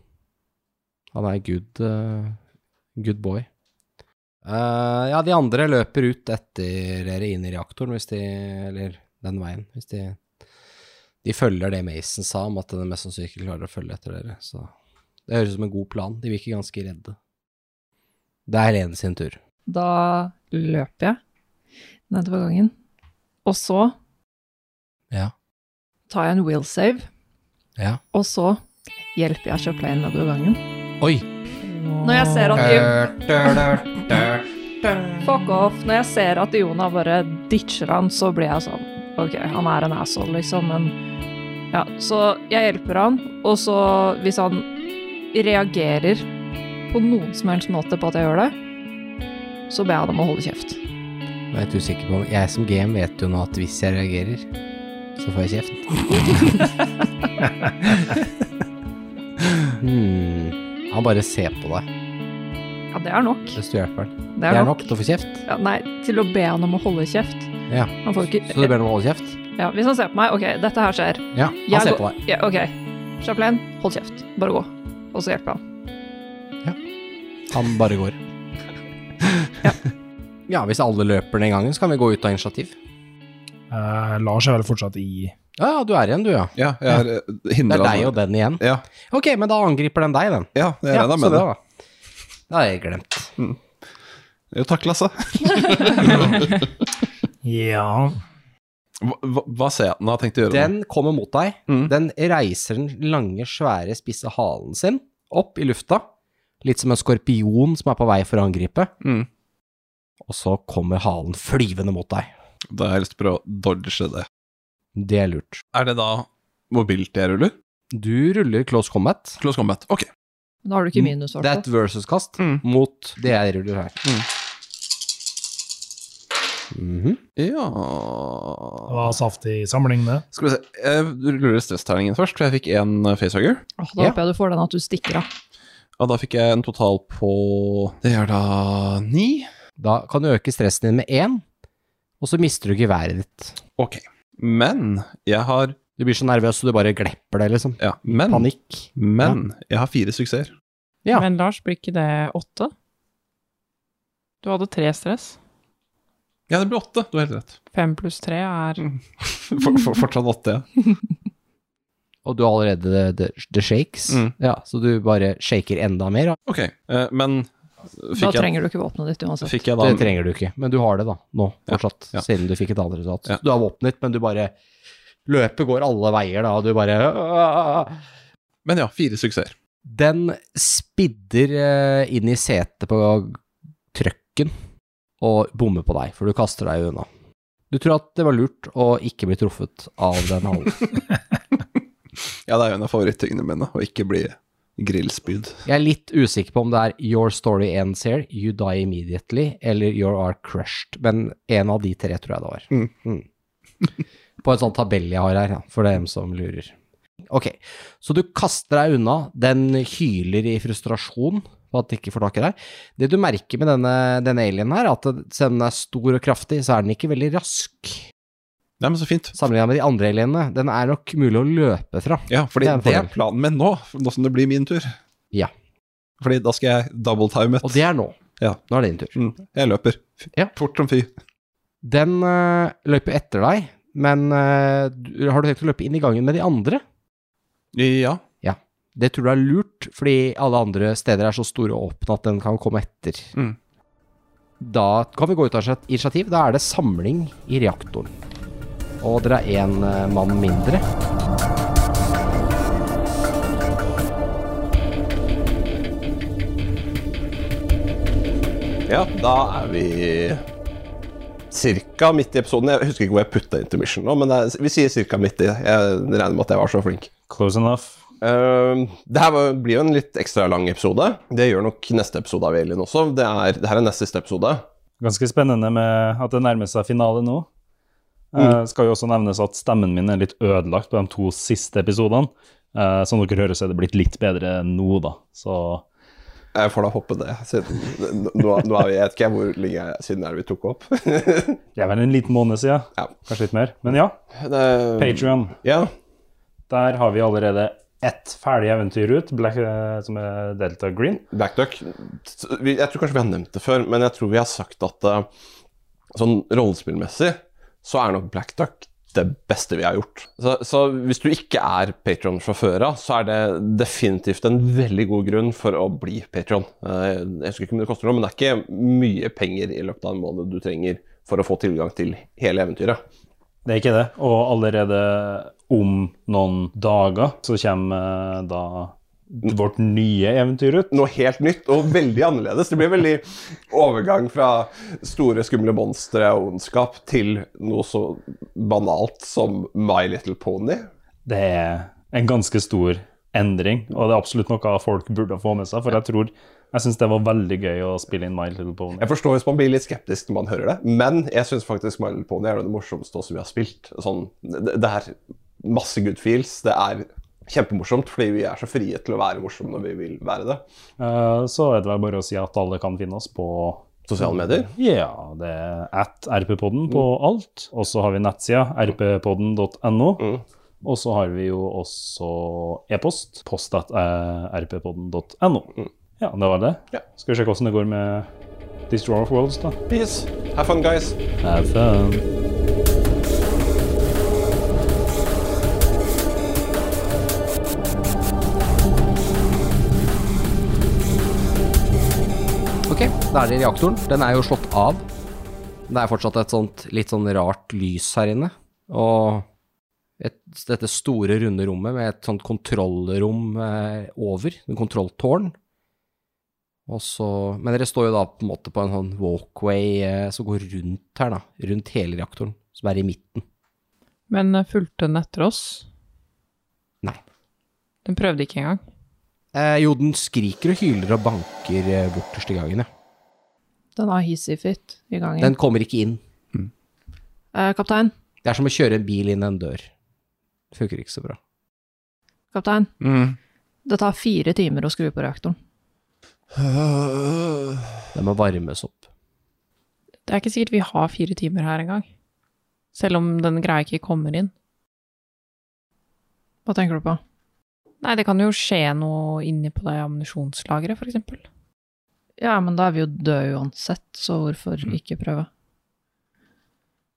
[SPEAKER 2] Han er good, eh, good boy. Eh, ja, de andre løper ut etter dere inn i reaktoren, hvis de Eller den veien, hvis de De følger det Mason sa om at den mest sannsynlig klarer å følge etter dere, så Det høres ut som en god plan. De virker ganske redde. Det er Helene sin tur.
[SPEAKER 5] Da løper jeg nedover gangen. Og så
[SPEAKER 2] Ja.
[SPEAKER 5] tar jeg en will save,
[SPEAKER 2] Ja.
[SPEAKER 5] og så hjelper jeg Chaplin nedover gangen.
[SPEAKER 2] Oi!
[SPEAKER 5] Når jeg ser at de, Fuck off. Når jeg ser at Jonah bare ditcher han, så blir jeg sånn Ok, han er en asshole, liksom, men Ja, så jeg hjelper han, og så, hvis han reagerer på noen som helst måte på at jeg gjør det, så ber jeg han om å holde kjeft.
[SPEAKER 2] Nå er jeg litt usikker på om Jeg som GM vet jo nå at hvis jeg reagerer, så får jeg kjeft. hmm. Han bare ser på deg
[SPEAKER 5] Ja, det er nok.
[SPEAKER 2] hvis du hjelper han.
[SPEAKER 5] Det er nok.
[SPEAKER 2] til å få kjeft.
[SPEAKER 5] Ja, nei, til å be han om å holde kjeft.
[SPEAKER 2] Ja.
[SPEAKER 5] Han får ikke
[SPEAKER 2] Så du ber ham om å holde kjeft?
[SPEAKER 5] ja, Hvis han ser på meg, ok, dette her skjer.
[SPEAKER 2] Ja, han
[SPEAKER 5] Jeg
[SPEAKER 2] ser
[SPEAKER 5] går-
[SPEAKER 2] på deg.
[SPEAKER 5] Ja, ok, Chaplin, hold kjeft. Bare gå. Og så hjelper han.
[SPEAKER 2] Han bare går. ja, hvis alle løper den gangen, så kan vi gå ut av initiativ.
[SPEAKER 3] Eh, Lars er vel fortsatt i
[SPEAKER 2] Ja, ja, du er igjen, du, ja.
[SPEAKER 4] Ja, jeg er eh,
[SPEAKER 2] Det
[SPEAKER 4] hindret
[SPEAKER 2] er deg og den igjen.
[SPEAKER 4] Ja,
[SPEAKER 2] Ok, men da angriper den deg, den.
[SPEAKER 4] ja jeg regna
[SPEAKER 2] så
[SPEAKER 4] med det.
[SPEAKER 2] bra, da. Det har jeg glemt.
[SPEAKER 4] Jo, takk, Lasse.
[SPEAKER 3] Ja.
[SPEAKER 4] Hva, hva- hva ser jeg den har tenkt å gjøre?
[SPEAKER 2] Den kommer mot deg.
[SPEAKER 4] Mm.
[SPEAKER 2] Den reiser den lange, svære, spisse halen sin opp i lufta. Litt som en skorpion som er på vei for å angripe.
[SPEAKER 4] Mm.
[SPEAKER 2] Og så kommer halen flyvende mot deg.
[SPEAKER 4] Da har jeg lyst til å prøve å dodge det.
[SPEAKER 2] Det er lurt.
[SPEAKER 4] Er det da mobilt jeg ruller?
[SPEAKER 2] Du ruller close combat.
[SPEAKER 4] Close combat. Ok.
[SPEAKER 5] Nå har du ikke minus, i
[SPEAKER 2] Det er
[SPEAKER 5] hvert
[SPEAKER 2] et
[SPEAKER 5] fall.
[SPEAKER 2] versus-kast
[SPEAKER 4] Mm.
[SPEAKER 2] mot det jeg ruller her. Mhm.
[SPEAKER 4] Ja
[SPEAKER 3] Det var saftig samling, det.
[SPEAKER 4] Skal vi se. Jeg ruller stressterningen først, for jeg fikk én facehugger.
[SPEAKER 5] Åh, da
[SPEAKER 2] Ja.
[SPEAKER 5] håper jeg du får den at du stikker av.
[SPEAKER 4] Og da fikk jeg en total på Det er da ni.
[SPEAKER 2] Da kan du øke stressen din med én, og så mister du geværet ditt.
[SPEAKER 4] Ok. Men jeg har
[SPEAKER 2] Du blir så nervøs så du bare glepper det, liksom.
[SPEAKER 4] Ja, men,
[SPEAKER 2] Panikk.
[SPEAKER 4] men jeg har fire suksesser.
[SPEAKER 2] Ja.
[SPEAKER 6] Men Lars, blir ikke det åtte? Du hadde tre stress.
[SPEAKER 4] Ja, det blir åtte. Du har helt rett.
[SPEAKER 6] Fem pluss tre er
[SPEAKER 4] For, for, fortsatt åtte, ja.
[SPEAKER 2] Og du har allerede the, the shakes.
[SPEAKER 4] Mm.
[SPEAKER 2] Ja, så du bare shaker enda mer. da.
[SPEAKER 4] Ok, eh, men
[SPEAKER 5] Da
[SPEAKER 4] fikk jeg,
[SPEAKER 5] trenger du ikke våpenet ditt uansett.
[SPEAKER 4] fikk jeg da
[SPEAKER 2] Det trenger du ikke, men du har det da, nå
[SPEAKER 4] Ja,
[SPEAKER 2] fortsatt,
[SPEAKER 4] ja.
[SPEAKER 2] siden du fikk et annet resultat.
[SPEAKER 4] Ja.
[SPEAKER 2] Du har våpenet, men du bare Løpet går alle veier, da, og du bare
[SPEAKER 4] Men ja, fire suksesser.
[SPEAKER 2] Den spidder eh, inn i setet på trøkken og bommer på deg, for du kaster deg unna. Du tror at det var lurt å ikke bli truffet av den halen.
[SPEAKER 4] Ja, det er jo en av favorittingene mine, å ikke bli grillspyd.
[SPEAKER 2] Jeg er litt usikker på om det er Your story ends here, You die immediately, eller You are crushed, men en av de tre tror jeg det var.
[SPEAKER 4] Mm.
[SPEAKER 2] på en sånn tabell jeg har her, ja, for dem som lurer. Ok, så du kaster deg unna, den hyler i frustrasjon på at de ikke får tak i deg. Det du merker med denne, denne alien her, er at selv om den er stor og kraftig, så er den ikke veldig rask.
[SPEAKER 4] Nei, men så fint.
[SPEAKER 2] Sammenlignet med de andre alienene, den er nok mulig å løpe fra.
[SPEAKER 4] Ja, fordi
[SPEAKER 2] Det er en
[SPEAKER 4] det er
[SPEAKER 2] fordel.
[SPEAKER 4] planen min nå, nå som det blir min tur.
[SPEAKER 2] Ja.
[SPEAKER 4] Fordi da skal jeg double time
[SPEAKER 2] Og
[SPEAKER 4] it.
[SPEAKER 2] det er nå.
[SPEAKER 4] Ja.
[SPEAKER 2] Nå er det din tur.
[SPEAKER 4] Mm, jeg løper. F-
[SPEAKER 2] Ja.
[SPEAKER 4] Fort som fy.
[SPEAKER 2] Den uh, løper etter deg, men eh, du- har du tenkt å løpe inn i gangen med de andre?
[SPEAKER 4] Ja.
[SPEAKER 2] Det tror du er lurt, fordi alle andre steder er så store og åpne at den kan komme etter.
[SPEAKER 4] Mm.
[SPEAKER 2] Da kan vi gå ut av initiat- initiativ. Da er det samling i reaktoren. Og dere er én eh, mann mindre.
[SPEAKER 4] Ja, da er vi cirka midt i episoden. Jeg husker ikke hvor jeg putta intermission nå, men det er- vi sier cirka midt i. Jeg regner med at jeg var så flink.
[SPEAKER 7] Close enough.
[SPEAKER 4] Uh, det her var- blir jo en litt ekstra lang episode. Det gjør nok neste episode av Alien også. Det, er, det her er nest siste episode.
[SPEAKER 7] Ganske spennende med at det nærmer seg finale nå. Eh, skal jo også nevnes at stemmen min er litt ødelagt på de to siste episodene. Eh, som dere hører, så er det blitt litt bedre nå, da. Så
[SPEAKER 4] Jeg får da hoppe det. Siden, nå, nå er vi, jeg vet ikke hvor lenge jeg- siden er det vi tok opp.
[SPEAKER 7] det er vel en liten måned siden.
[SPEAKER 4] Ja.
[SPEAKER 7] Kanskje litt mer. Men ja,
[SPEAKER 4] det,
[SPEAKER 7] Patrion.
[SPEAKER 4] ja.
[SPEAKER 7] Der har vi allerede ett ferdig eventyr ut, Black, eh, som er Delta Green.
[SPEAKER 4] Black Duck s- vi- Jeg tror kanskje vi har nevnt det før, men jeg tror vi har sagt at eh, sånn rollespillmessig så er nok Black Duck det beste vi har gjort. Så, så hvis du ikke er Patron fra før av, så er det definitivt en veldig god grunn for å bli Patron. Jeg husker ikke om det koster noe, men det er ikke mye penger i løpet av en måned du trenger for å få tilgang til hele eventyret.
[SPEAKER 7] Det er ikke det. Og allerede om noen dager så kommer eh, da vårt nye eventyr ut.
[SPEAKER 4] noe helt nytt og veldig annerledes. Det blir veldig overgang fra store, skumle monstre og ondskap til noe så banalt som My Little Pony.
[SPEAKER 7] Det er en ganske stor endring, og det er absolutt noe folk burde få med seg. For jeg tror jeg syns det var veldig gøy å spille inn My Little Pony.
[SPEAKER 4] Jeg forstår hvis man blir litt skeptisk når man hører det, men jeg syns faktisk My Little Pony er det morsomste også vi har spilt. Sånn, det, det er masse good feels. Det er kjempemorsomt, fordi vi er så frie til å være morsomme når vi vil være det.
[SPEAKER 7] Eh, Så er det vel bare å si at alle kan finne oss på
[SPEAKER 4] Sosiale medier.
[SPEAKER 7] ja, det er at RP-podden på alt. Og så har vi nettsida rppodden.no.
[SPEAKER 4] Mm.
[SPEAKER 7] Og så har vi jo også e-post. eh, post.rppodden.no. Ja, det var det.
[SPEAKER 4] Ja.
[SPEAKER 7] Skal vi sjekke åssen det går med Destroyer of Worlds, da.
[SPEAKER 4] Peace. Have fun, guys.
[SPEAKER 7] Have fun.
[SPEAKER 2] Ok, da er det reaktoren. Den er jo slått av. Det er fortsatt et sånt litt sånn rart lys her inne. Og et, dette store, runde rommet med et sånt kontrollrom eh, over, en kontrolltårn. Og så, men dere står jo da på en måte på en sånn walkway eh, som går rundt her, da. Rundt hele reaktoren, som er i midten.
[SPEAKER 6] Men eh, fulgte den etter oss?
[SPEAKER 2] Nei.
[SPEAKER 6] Den prøvde ikke engang.
[SPEAKER 2] Eh, jo, den skriker og hyler og banker eh, borterst i gangen, ja.
[SPEAKER 5] Den har hissifit i gangen.
[SPEAKER 2] Den kommer ikke inn.
[SPEAKER 5] Eh, kaptein,
[SPEAKER 2] Det er som å kjøre en bil inn en dør. Det funker ikke så bra.
[SPEAKER 5] kaptein.
[SPEAKER 8] Mm.
[SPEAKER 5] Det tar fire timer å skru på reaktoren.
[SPEAKER 2] Det må varmes opp.
[SPEAKER 6] Det er ikke sikkert vi har fire timer her engang. Selv om den greia ikke kommer inn.
[SPEAKER 5] Hva tenker du på?
[SPEAKER 6] Nei, det kan jo skje noe inni på det ammunisjonslageret, for eksempel.
[SPEAKER 5] Ja, men da er vi jo døde uansett, så hvorfor ikke prøve?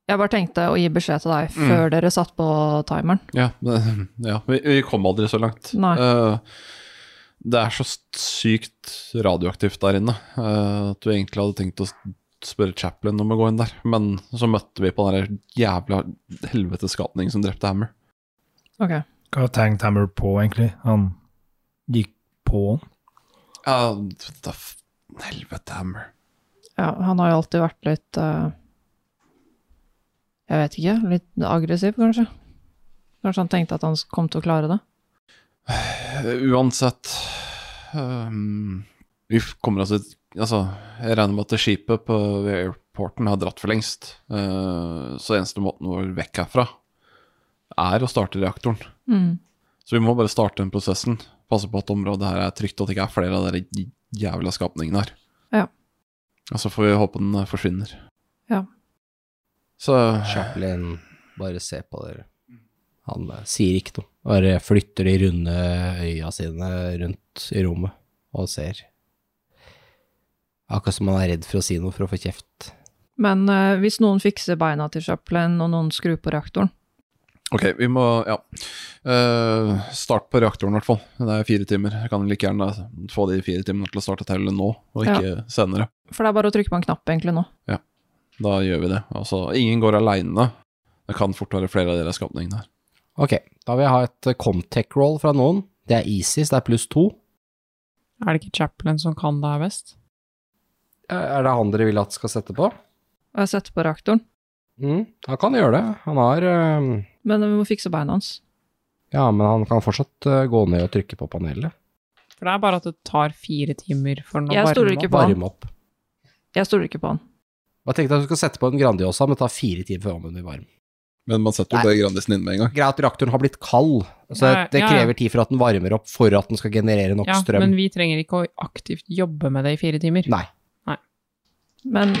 [SPEAKER 5] Jeg bare tenkte å gi beskjed til deg før dere satt på timeren.
[SPEAKER 8] Ja, det, ja vi, vi kom aldri så langt.
[SPEAKER 5] Nei.
[SPEAKER 8] Eh, det er så st- sykt radioaktivt der inne eh, at vi egentlig hadde tenkt å s- spørre Chaplin om å gå inn der, men så møtte vi på den der jævla helveteskapning som drepte Hammer.
[SPEAKER 5] Ok.
[SPEAKER 3] Hva tenkte Hammer på, egentlig? Han gikk på han.
[SPEAKER 8] Ja, da f- helvete Hammer.
[SPEAKER 5] Ja, han har jo alltid vært litt eh, Jeg vet ikke, litt aggressiv, kanskje? Kanskje han tenkte at han kom til å klare det?
[SPEAKER 8] Eh, Uansett ehm, Vi kommer oss ut Altså, jeg regner med at det skipet på ved airporten har dratt for lengst. Eh, så eneste måten å være vekk herfra er å starte reaktoren.
[SPEAKER 5] Mm.
[SPEAKER 8] Så vi må bare starte den prosessen. Passe på at området her er trygt, og at det ikke er flere av de j- jævla skapningene her.
[SPEAKER 5] Ja.
[SPEAKER 8] Og så får vi håpe den eh, forsvinner.
[SPEAKER 5] Ja.
[SPEAKER 8] Så
[SPEAKER 2] Chaplin, bare se på dere. Han eh, sier ikke noe. Bare flytter de runde øya sine rundt i rommet og ser. Akkurat som han er redd for å si noe for å få kjeft.
[SPEAKER 5] Men eh, hvis noen fikser beina til Chaplin, og noen skrur på reaktoren
[SPEAKER 8] Ok, vi må Ja. Eh, start på reaktoren, i hvert fall. Det er fire timer. Jeg kan like gjerne altså, få de fire timene til å starte tellet nå, og ikke senere.
[SPEAKER 5] For det er bare å trykke på en knapp egentlig nå.
[SPEAKER 8] Da gjør vi det. Altså, ingen går aleine. Det kan fort være flere av de skapningene her.
[SPEAKER 2] Ok, da vil jeg ha et eh, Comtech-roll fra noen. Det er Isis, det er pluss to.
[SPEAKER 6] Er det ikke Chaplin som kan det her best?
[SPEAKER 2] Eh, Er det han dere vil at skal sette på?
[SPEAKER 5] Og jeg setter på reaktoren.
[SPEAKER 2] Mm, han kan gjøre det. Han har eh,
[SPEAKER 5] Men vi må fikse beina hans.
[SPEAKER 2] Ja, men han kan fortsatt eh, gå ned og trykke på panelet.
[SPEAKER 6] For det er bare at det tar fire timer for den å
[SPEAKER 5] Jeg
[SPEAKER 6] varme
[SPEAKER 5] stoler ikke
[SPEAKER 6] opp.
[SPEAKER 5] på han.
[SPEAKER 2] Varme opp.
[SPEAKER 5] Jeg stoler ikke på han.
[SPEAKER 2] Jeg tenkte at du skal sette på en Grandiosa, men det tar fire timer før ovnen blir varm.
[SPEAKER 8] Men man setter jo det Grandisen inn med en gang.
[SPEAKER 2] Greit at reaktoren har blitt kald, så
[SPEAKER 6] Ja,
[SPEAKER 2] det
[SPEAKER 6] ja, ja.
[SPEAKER 2] krever tid for at den varmer opp for at den skal generere nok
[SPEAKER 6] Ja,
[SPEAKER 2] strøm.
[SPEAKER 6] men vi trenger ikke å aktivt jobbe med det i fire timer.
[SPEAKER 2] Nei.
[SPEAKER 5] Men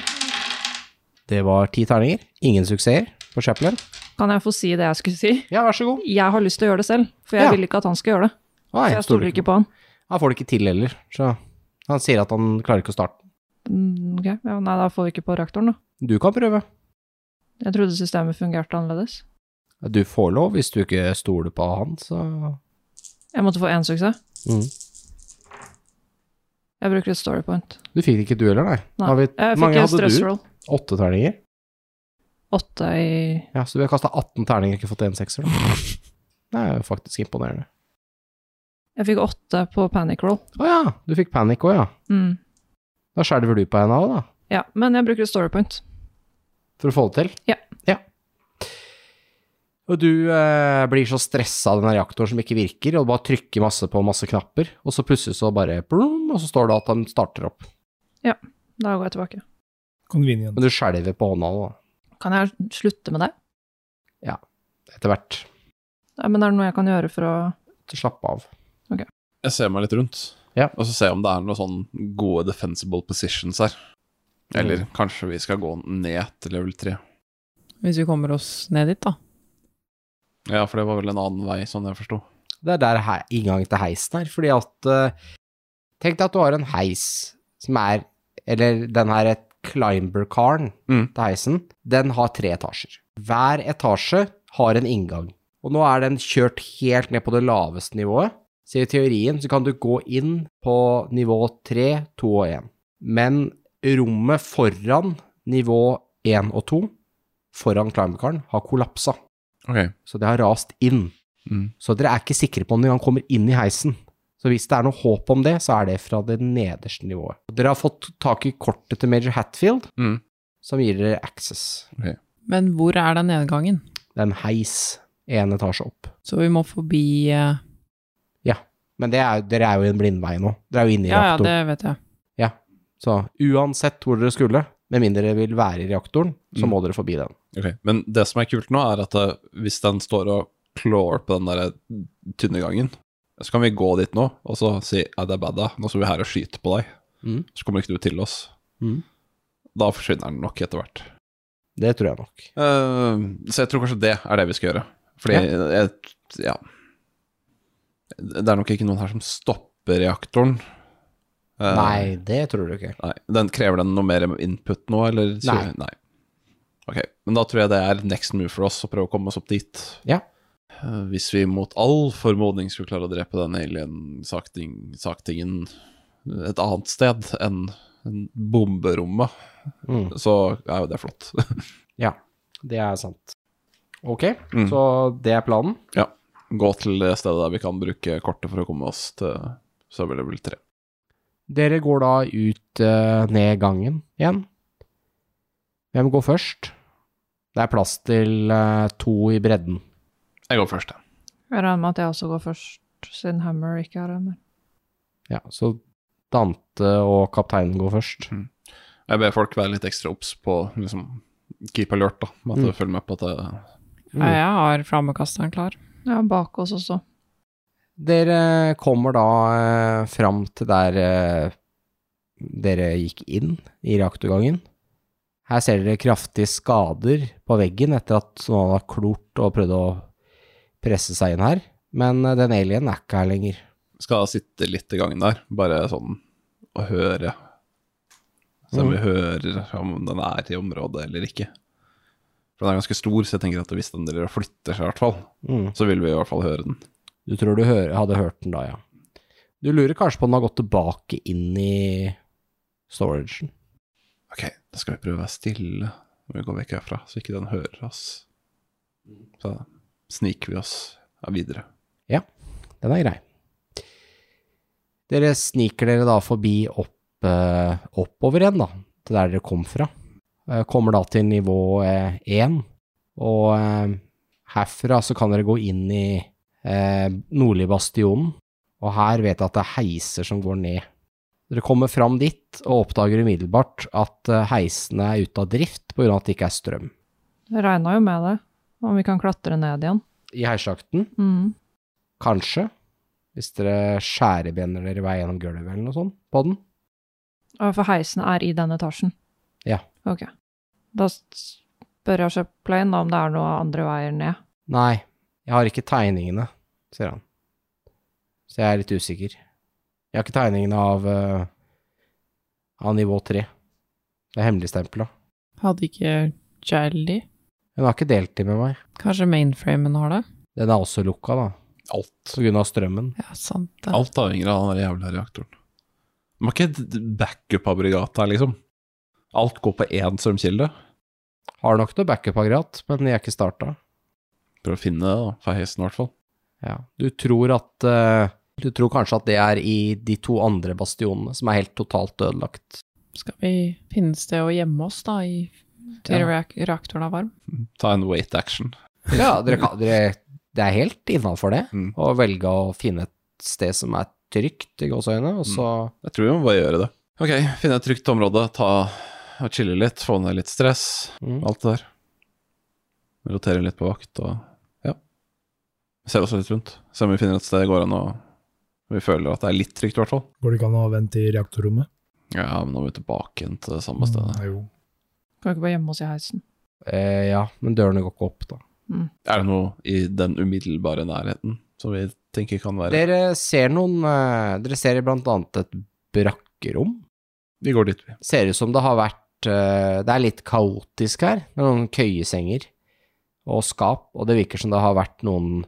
[SPEAKER 2] Det var ti terninger. Ingen suksesser på Chaplin.
[SPEAKER 5] kan jeg få si det jeg skulle si?
[SPEAKER 2] Ja, vær så god.
[SPEAKER 5] Jeg har lyst til å gjøre det selv, for jeg
[SPEAKER 2] Ja.
[SPEAKER 5] vil ikke at han skal gjøre det.
[SPEAKER 2] Nei,
[SPEAKER 5] Så jeg stoler ikke på han.
[SPEAKER 2] Han får det ikke til heller, så han sier at han klarer ikke å starte.
[SPEAKER 5] Mm, ok, ja, Nei, da får vi ikke på reaktoren, da.
[SPEAKER 2] Du kan prøve.
[SPEAKER 5] Jeg trodde systemet fungerte annerledes.
[SPEAKER 2] Du får lov hvis du ikke stoler på han, så
[SPEAKER 5] Jeg måtte få én suksess.
[SPEAKER 2] mm.
[SPEAKER 5] Jeg bruker et storypoint.
[SPEAKER 2] Du fikk det ikke du heller, nei.
[SPEAKER 5] Nei,
[SPEAKER 2] Har vi,
[SPEAKER 5] Jeg fikk
[SPEAKER 2] mange
[SPEAKER 5] en
[SPEAKER 2] hadde
[SPEAKER 5] stress
[SPEAKER 2] du?
[SPEAKER 5] roll.
[SPEAKER 2] Åtte terninger?
[SPEAKER 5] Åtte i
[SPEAKER 2] Ja, så vi har kasta 18 terninger og ikke fått en sekser, da. Det er jo faktisk imponerende.
[SPEAKER 5] Jeg fikk åtte på panic roll.
[SPEAKER 2] Å ja, du fikk panikk òg, ja.
[SPEAKER 5] Mm.
[SPEAKER 2] Da skjelver du på en av, da.
[SPEAKER 5] Ja, men jeg bruker et storypoint.
[SPEAKER 2] For å få det til?
[SPEAKER 5] Ja.
[SPEAKER 2] Og du eh, blir så stressa av den her reaktoren som ikke virker, og du bare trykker masse på masse knapper, og så plutselig så bare brum, og så står det at den starter opp.
[SPEAKER 5] Da går jeg tilbake.
[SPEAKER 3] Convenient.
[SPEAKER 2] Men du skjelver på hånda da,
[SPEAKER 5] Kan jeg slutte med det?
[SPEAKER 2] etter hvert.
[SPEAKER 5] Ja, men er det noe jeg kan gjøre for å
[SPEAKER 2] Så Slapp av.
[SPEAKER 8] Jeg ser meg litt rundt,
[SPEAKER 2] Ja.
[SPEAKER 8] og så ser jeg om det er noen sånn gode defensible positions her. Eller kanskje vi skal gå ned til level 3.
[SPEAKER 6] Hvis vi kommer oss ned dit, da.
[SPEAKER 8] Ja, for det var vel en annen vei, sånn jeg forsto.
[SPEAKER 2] Det er der he- inngangen til heisen er, fordi at eh, Tenk deg at du har en heis som er Eller den her climber-karen
[SPEAKER 8] Mm.
[SPEAKER 2] til heisen, den har tre etasjer. Hver etasje har en inngang. Og nå er den kjørt helt ned på det laveste nivået. Så i teorien så kan du gå inn på nivå 3, 2 og 1. Men rommet foran nivå 1 og 2, foran climber-karen, har kollapsa.
[SPEAKER 8] Ok.
[SPEAKER 2] Så det har rast inn.
[SPEAKER 8] Mm.
[SPEAKER 2] Så dere er ikke sikre på når han kommer inn i heisen. Så hvis det er noe håp om det, så er det fra det nederste nivået. Dere har fått tak i kortet til Major Hatfield,
[SPEAKER 8] Mm.
[SPEAKER 2] som gir dere access.
[SPEAKER 6] Men hvor er den nedgangen?
[SPEAKER 2] Det er en heis en etasje opp.
[SPEAKER 6] Så vi må forbi eh,
[SPEAKER 2] Men det er, dere er jo i en blindvei nå. Dere er jo inne i
[SPEAKER 6] Ja, ja,
[SPEAKER 2] reaktoren.
[SPEAKER 6] det vet jeg.
[SPEAKER 2] Så uansett hvor dere skulle, med mindre dere vil være i reaktoren, så
[SPEAKER 8] Mm.
[SPEAKER 2] må dere forbi den.
[SPEAKER 8] Ok, Men det som er kult nå, er at eh, hvis den står og klår på den der eh, tynne gangen, så kan vi gå dit nå og så si «Ei, det er badda, nå står vi her og skyter på deg.
[SPEAKER 2] Mm.
[SPEAKER 8] Så kommer ikke du til oss.
[SPEAKER 2] Mm.
[SPEAKER 8] Da forsvinner den nok etter hvert.
[SPEAKER 2] Det tror jeg nok.
[SPEAKER 8] Eh, så jeg tror kanskje det er det vi skal gjøre. Fordi jeg, ja. Det er nok ikke noen her som stopper reaktoren. Eh,
[SPEAKER 2] Nei, det tror du ikke.
[SPEAKER 8] Nei. Den krever den noe mer input nå, eller?
[SPEAKER 2] Nei.
[SPEAKER 8] Nei. Ok, men da tror jeg det er next move for oss å prøve å komme oss opp dit.
[SPEAKER 2] Ja.
[SPEAKER 8] Eh, Hvis vi mot all formodning skulle klare å drepe den alien-saktingen et annet sted enn enn bomberommet,
[SPEAKER 2] Mm.
[SPEAKER 8] så er jo det flott.
[SPEAKER 2] Ja, det er sant. Ok,
[SPEAKER 8] Mm.
[SPEAKER 2] så det er planen.
[SPEAKER 8] Gå til det stedet der vi kan bruke kortet for å komme oss til server level 3.
[SPEAKER 2] Dere går da ut eh, ned gangen igjen. Hvem går først? Det er plass til eh, to i bredden.
[SPEAKER 8] Jeg går først, jeg.
[SPEAKER 5] Jeg regner med at jeg også går først, siden Hammer ikke er her. men-
[SPEAKER 2] Ja, så Dante og kapteinen går først.
[SPEAKER 8] Jeg ber folk være litt ekstra obs på liksom, keep alert, da. At
[SPEAKER 2] Mm.
[SPEAKER 8] de følger med på at det
[SPEAKER 2] Mm.
[SPEAKER 6] Ja, jeg har flammekasteren klar.
[SPEAKER 5] Ja, bak oss også.
[SPEAKER 2] Dere kommer da eh, fram til der eh, dere gikk inn i reaktorgangen. Her ser dere kraftige skader på veggen etter at noen har klort og prøvd å presse seg inn her. Men eh, den alienen er ikke her lenger.
[SPEAKER 8] skal sitte litt i gangen der, bare sånn og høre. Så vi hører om den er i området eller ikke. For den er ganske stor, så jeg tenker at hvis den driver og flytter seg, i hvert fall,
[SPEAKER 2] Mm.
[SPEAKER 8] så vil vi i hvert fall høre den.
[SPEAKER 2] Du tror du hører, hadde hørt den da, ja. Du lurer kanskje på om den har gått tilbake inn i storagen.
[SPEAKER 8] Ok, da skal vi prøve å være stille når vi går vekk herfra, så ikke den hører oss. Så sniker vi oss ja, videre.
[SPEAKER 2] Den er grei. Dere sniker dere da forbi opp, eh, oppover igjen, da, til der dere kom fra. Eh, kommer da til nivå eh, 1, og eh, herfra så kan dere gå inn i eh, Nordligbastionen, og her vet jeg at det er heiser som går ned. Dere kommer fram dit og oppdager umiddelbart at eh, heisene er ute av drift på grunn av at det ikke er strøm.
[SPEAKER 5] Jeg regna jo med det, om vi kan klatre ned igjen.
[SPEAKER 2] I heisjakten,
[SPEAKER 5] Mm.
[SPEAKER 2] kanskje, hvis dere skjærebener dere i vei gjennom gulvet eller noe sånt på den.
[SPEAKER 5] Ja, For heisen er i den etasjen?
[SPEAKER 2] Ja.
[SPEAKER 5] Ok. Da s- spør jeg Shepplane da om det er noe andre veier ned.
[SPEAKER 2] Nei, jeg har ikke tegningene, sier han. Så jeg er litt usikker. Jeg har ikke tegningene av, eh, av nivå 3. Det er hemmeligstempla.
[SPEAKER 6] Hadde ikke Jelly
[SPEAKER 2] Hun har ikke delt de med meg.
[SPEAKER 6] Kanskje mainframen har det?
[SPEAKER 2] Den er også lukka, da,
[SPEAKER 8] Alt.
[SPEAKER 2] på grunn av strømmen.
[SPEAKER 6] Ja, sant det.
[SPEAKER 8] Alt avhenger av den der jævla reaktoren. Man må ikke d- d- backup-aggregat her, liksom. Alt går på én strømkilde.
[SPEAKER 2] Har nok noe backup-aggregat, men de er ikke starta.
[SPEAKER 8] Prøv å finne det, da, for heisen i hvert fall.
[SPEAKER 2] Ja. Du tror at eh, Du tror kanskje at det er i de to andre bastionene, som er helt totalt ødelagt.
[SPEAKER 6] Skal vi finne et sted å gjemme oss, da, i, til
[SPEAKER 2] Ja.
[SPEAKER 6] reak reaktoren er varm?
[SPEAKER 8] Ta en wait action.
[SPEAKER 2] Ja, dere kan, dere, det er helt innafor det
[SPEAKER 8] Mm.
[SPEAKER 2] å velge å finne et sted som er trygt, i gåseøyne, og så
[SPEAKER 8] Jeg tror vi må bare gjøre det. Ok, finne et trygt område, ta og chille litt, få ned litt stress,
[SPEAKER 2] Mm.
[SPEAKER 8] alt det der. Rotere litt på vakt og ja. Se oss litt rundt. Se om vi finner et sted det går an å Vi føler at det er litt trygt, i hvert fall.
[SPEAKER 3] Går det ikke an å vente i reaktorrommet?
[SPEAKER 8] Ja, men nå er vi tilbake igjen til det samme stedet.
[SPEAKER 3] Mm, jo.
[SPEAKER 5] Kan vi ikke bare gjemme oss i heisen?
[SPEAKER 2] eh, Ja, men dørene går ikke opp, da.
[SPEAKER 8] Er det noe i den umiddelbare nærheten som vi tenker kan være
[SPEAKER 2] Dere ser noen eh, Dere ser blant annet et brakkerom.
[SPEAKER 8] Vi går dit, vi.
[SPEAKER 2] Ser ut som det har vært eh, Det er litt kaotisk her. Det er noen køyesenger og skap, og det virker som det har vært noen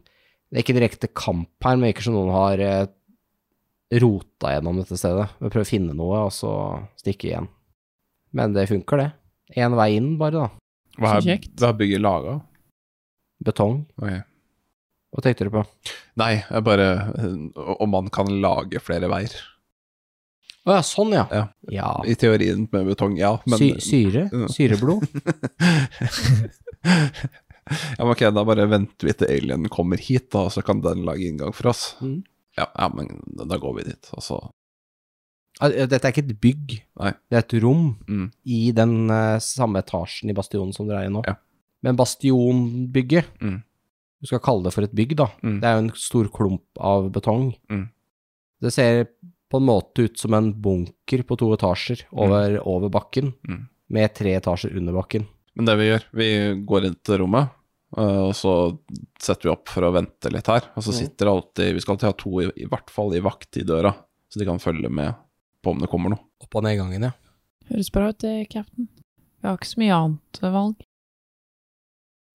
[SPEAKER 2] Det er ikke direkte kamp her, men det virker som noen har eh, rota gjennom dette stedet. Prøve å finne noe, og så stikke igjen. Men det funker, det. Én vei inn, bare, da.
[SPEAKER 8] Hva
[SPEAKER 6] Så
[SPEAKER 8] er,
[SPEAKER 6] kjekt.
[SPEAKER 8] hva er bygget laga?
[SPEAKER 2] Betong.
[SPEAKER 8] Ok.
[SPEAKER 2] Hva tenkte du på?
[SPEAKER 8] Nei, jeg bare eh, Om man kan lage flere veier.
[SPEAKER 2] Å ja, sånn, ja.
[SPEAKER 8] Ja.
[SPEAKER 2] ja.
[SPEAKER 8] I teorien med betong, ja, men
[SPEAKER 2] Sy syre?
[SPEAKER 8] Ja.
[SPEAKER 2] Syreblod?
[SPEAKER 8] ja, men ok, da bare venter vi til alienen kommer hit, da, så kan den lage inngang for oss.
[SPEAKER 2] Mm.
[SPEAKER 8] Ja, ja, men da går vi dit, og så
[SPEAKER 2] Ja, Dette er ikke et bygg,
[SPEAKER 8] Nei.
[SPEAKER 2] det er et rom
[SPEAKER 8] Mm.
[SPEAKER 2] i den eh, samme etasjen i bastionen som dere er i nå.
[SPEAKER 8] Ja.
[SPEAKER 2] Men bastionbygget
[SPEAKER 8] Mm.
[SPEAKER 2] Du skal kalle det for et bygg, da.
[SPEAKER 8] Mm.
[SPEAKER 2] Det er jo en stor klump av betong.
[SPEAKER 8] Mm.
[SPEAKER 2] Det ser på en måte ut som en bunker på to etasjer over, over bakken,
[SPEAKER 8] Mm.
[SPEAKER 2] med tre etasjer under bakken.
[SPEAKER 8] Men det vi gjør, vi går inn til rommet, øh, og så setter vi opp for å vente litt her. Og
[SPEAKER 2] Mm.
[SPEAKER 8] så sitter alltid Vi skal alltid ha to, i, i hvert fall i vakt i døra, så de kan følge med på om det kommer noe.
[SPEAKER 2] Opp og ned gangen, ja.
[SPEAKER 6] Høres bra ut, det, cap'n. Vi har ikke så mye annet valg.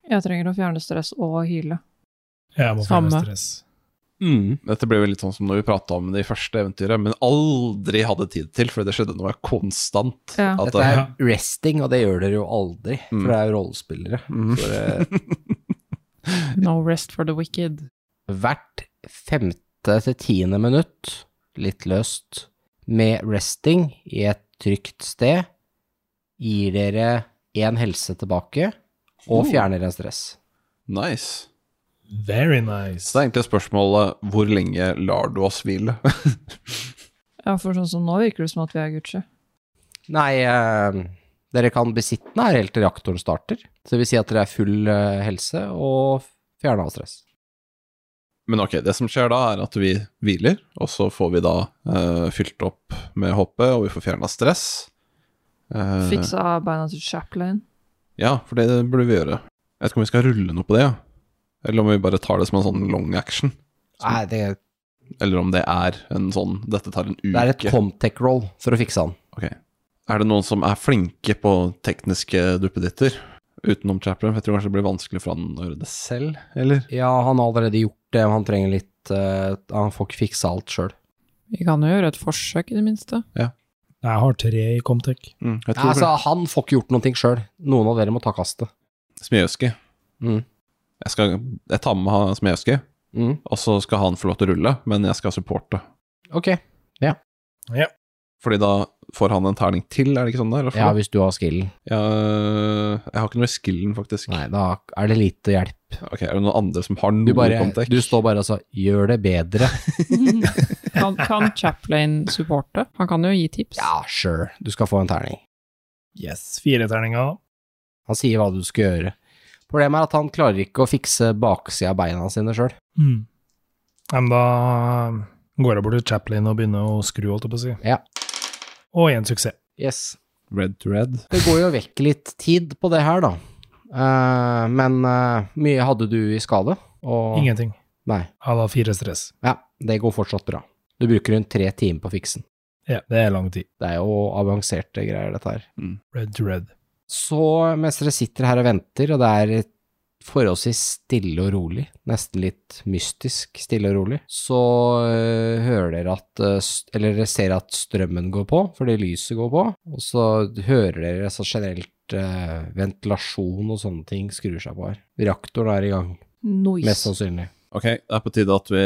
[SPEAKER 5] Jeg trenger å fjerne stress og hyle.
[SPEAKER 3] Jeg må
[SPEAKER 6] Samme.
[SPEAKER 3] fjerne stress.
[SPEAKER 2] Mm.
[SPEAKER 8] Dette ble jo litt sånn som når vi prata om det i første eventyret, men aldri hadde tid til, for det skjedde noe konstant.
[SPEAKER 5] Ja.
[SPEAKER 8] At
[SPEAKER 2] Dette
[SPEAKER 8] det,
[SPEAKER 2] er resting, og det gjør dere jo aldri,
[SPEAKER 8] Mm.
[SPEAKER 2] for det er jo rollespillere.
[SPEAKER 8] Mm.
[SPEAKER 2] Så det,
[SPEAKER 6] No rest for the wicked.
[SPEAKER 2] hvert femte til tiende minutt, litt løst, med resting i et trygt sted, gir dere én helse tilbake og fjerner en stress.
[SPEAKER 8] Nice.
[SPEAKER 3] Very
[SPEAKER 8] Så
[SPEAKER 3] nice.
[SPEAKER 8] det er egentlig spørsmålet hvor lenge lar du oss hvile?
[SPEAKER 5] ja, for sånn som nå virker det som at vi er Gucci.
[SPEAKER 2] Nei, eh, dere kan besitte den her helt til reaktoren starter. Så det vil si at dere er full eh, helse og fjerna av stress.
[SPEAKER 8] Men ok, det som skjer da er at vi hviler, og så får vi da eh, fylt opp med hoppet, og vi får fjerna stress. Eh,
[SPEAKER 5] Fiksa beina til Chaplin.
[SPEAKER 8] Ja, for det burde vi gjøre. Jeg vet ikke om vi skal rulle noe på det, ja. Eller om vi bare tar det som en sånn long action.
[SPEAKER 2] Nei, det,
[SPEAKER 8] Eller om det er en sånn Dette tar en uke.
[SPEAKER 2] det er et Comtech-roll for å fikse han.
[SPEAKER 8] Ok. Er det noen som er flinke på tekniske duppeditter? Utenom Chaplin, for jeg tror kanskje det blir vanskelig for han å gjøre det selv, eller?
[SPEAKER 2] Ja, han har allerede gjort det, men han trenger litt eh, Han får ikke fiksa alt sjøl.
[SPEAKER 6] Vi kan jo gjøre et forsøk, i det minste.
[SPEAKER 3] Jeg har tre i Comtech.
[SPEAKER 8] Mm, jeg tror
[SPEAKER 2] Altså, han får ikke gjort noen ting sjøl. Noen av dere må ta kastet.
[SPEAKER 8] Smijewski.
[SPEAKER 2] Mm.
[SPEAKER 8] Jeg, skal, jeg tar med han Smijewski,
[SPEAKER 2] Mm.
[SPEAKER 8] og så skal han få lov til å rulle, men jeg skal supporte.
[SPEAKER 2] Ok.
[SPEAKER 8] Fordi da får han en terning til, er det ikke sånn der?
[SPEAKER 2] Ja, hvis du har skillen.
[SPEAKER 8] Ja, jeg har ikke noe i skillen, faktisk.
[SPEAKER 2] Nei, da er det lite hjelp.
[SPEAKER 8] Ok, Er det noen andre som har
[SPEAKER 2] Du,
[SPEAKER 8] noe
[SPEAKER 2] bare,
[SPEAKER 8] kontekst?
[SPEAKER 2] du står bare og sier 'gjør det bedre'.
[SPEAKER 6] Kan, kan Chaplain supporte? Han kan jo gi tips.
[SPEAKER 2] Ja, sure, du skal få en terning.
[SPEAKER 3] Yes, fire terninger.
[SPEAKER 2] Han sier hva du skal gjøre. Problemet er at han klarer ikke å fikse baksida av beina sine sjøl.
[SPEAKER 3] Mm. Men da går jeg bort til Chaplin og begynner å skru, holdt jeg på å si.
[SPEAKER 2] Ja.
[SPEAKER 3] Og en suksess.
[SPEAKER 2] Yes.
[SPEAKER 8] Red to red.
[SPEAKER 2] Det går jo vekk litt tid på det her, da. Eh, men eh, mye hadde du i skade? Og
[SPEAKER 3] Ingenting.
[SPEAKER 2] Nei.
[SPEAKER 3] Jeg har fire stress.
[SPEAKER 2] Ja, det går fortsatt bra. Du bruker rundt tre timer på fiksen.
[SPEAKER 3] Ja, det er lang tid.
[SPEAKER 2] Det er jo avanserte greier, dette her.
[SPEAKER 3] Red to red.
[SPEAKER 2] Så mens dere sitter her og venter, og det er forholdsvis stille og rolig, nesten litt mystisk stille og rolig, så øh, hører dere at øh, s- Eller dere ser at strømmen går på, fordi lyset går på, og så hører dere så generelt øh, ventilasjon og sånne ting skrur seg på her. Reaktoren er i gang, mest
[SPEAKER 5] Noise.
[SPEAKER 2] sannsynlig.
[SPEAKER 8] Ok, det er på tide at vi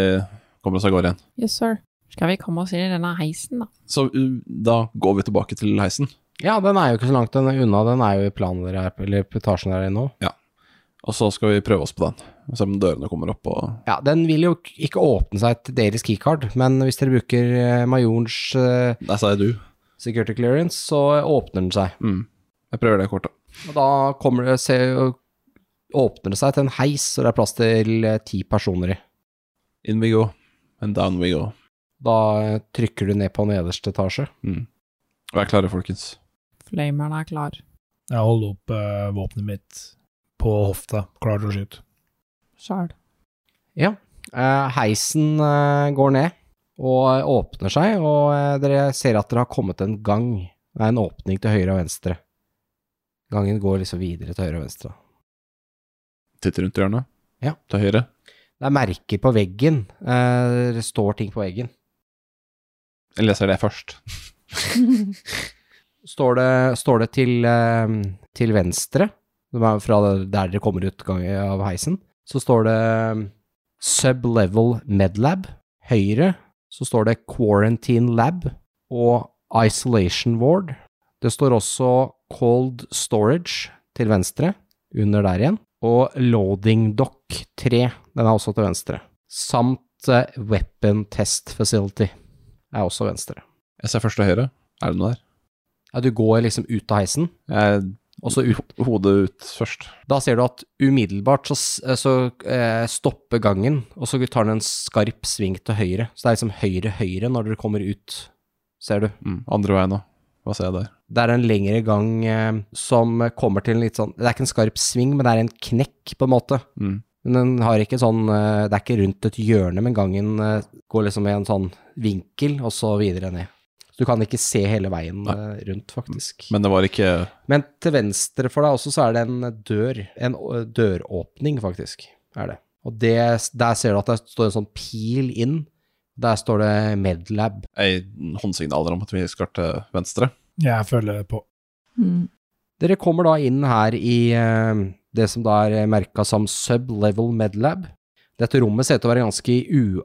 [SPEAKER 8] kommer oss av gårde igjen.
[SPEAKER 6] Yes, sir. Skal vi komme oss inn i denne heisen, da?
[SPEAKER 8] Så uh, da går vi tilbake til heisen,
[SPEAKER 2] Ja, den er jo ikke så langt den er unna, den er jo i planen dere er, eller på etasjen dere er i nå.
[SPEAKER 8] og så skal vi prøve oss på den. Se om dørene kommer opp og
[SPEAKER 2] Ja, den vil jo k- ikke åpne seg til deres keycard, men hvis dere bruker øh, majorens øh,
[SPEAKER 8] Der sa jeg du.
[SPEAKER 2] security clearance, så åpner den seg.
[SPEAKER 8] Mm. Jeg prøver det kortet.
[SPEAKER 2] Og da kommer det, se, åpner det seg til en heis, og det er plass til eh, ti personer i.
[SPEAKER 8] In we go, and down we go.
[SPEAKER 2] Da eh, trykker du ned på nederste etasje.
[SPEAKER 8] Mm. Vær klare, folkens.
[SPEAKER 6] Flameren er klar.
[SPEAKER 3] Jeg holder opp eh, våpenet mitt på hofta, klar til å skyte.
[SPEAKER 6] Sjæl.
[SPEAKER 2] Eh, Heisen eh, går ned og eh, åpner seg, og eh, dere ser at dere har kommet til en gang. Det er en åpning til høyre og venstre. Gangen går liksom videre til høyre og venstre.
[SPEAKER 8] Titter rundt hjørnet.
[SPEAKER 2] Ja.
[SPEAKER 8] Til høyre.
[SPEAKER 2] Det er merker på veggen. eh, Det står ting på veggen.
[SPEAKER 8] Jeg leser det først.
[SPEAKER 2] står det, står det til, eh, til venstre, som er fra der dere kommer ut gang- av heisen, så står det eh, Sublevel Medlab. Høyre så står det Quarantine Lab og Isolation Ward. Det står også Cold Storage til venstre, under der igjen, og Loading Dock 3, den er også til venstre, samt eh, Weapon Test Facility er også venstre.
[SPEAKER 8] Jeg ser først til høyre. Er det noe der?
[SPEAKER 2] Ja, du går liksom ut av heisen,
[SPEAKER 8] Jeg
[SPEAKER 2] Og så ut
[SPEAKER 8] Hodet ut først.
[SPEAKER 2] Da ser du at umiddelbart så, s- så eh, stopper gangen, og så tar den en skarp sving til høyre. Så det er liksom høyre-høyre når dere kommer ut, ser du.
[SPEAKER 8] Mm. Andre veien òg. Hva ser jeg der?
[SPEAKER 2] Det er en lengre gang eh, som kommer til en litt sånn Det er ikke en skarp sving, men det er en knekk, på en måte.
[SPEAKER 8] Mm.
[SPEAKER 2] Men den har ikke sånn eh, Det er ikke rundt et hjørne, men gangen eh, går liksom i en sånn vinkel, og så videre ned. Så du kan ikke se hele veien eh, rundt, faktisk.
[SPEAKER 8] Men det var ikke
[SPEAKER 2] Men til venstre for deg også så er det en dør, en å- døråpning faktisk, er det. Og det, der ser du at det står en sånn pil inn. Der står det Medlab.
[SPEAKER 8] ei håndsignal om at vi skal til venstre.
[SPEAKER 3] Jeg følger på.
[SPEAKER 5] Mm.
[SPEAKER 2] Dere kommer da inn her i eh, det som da er merka som Sublevel Medlab. Dette rommet ser ut til å være ganske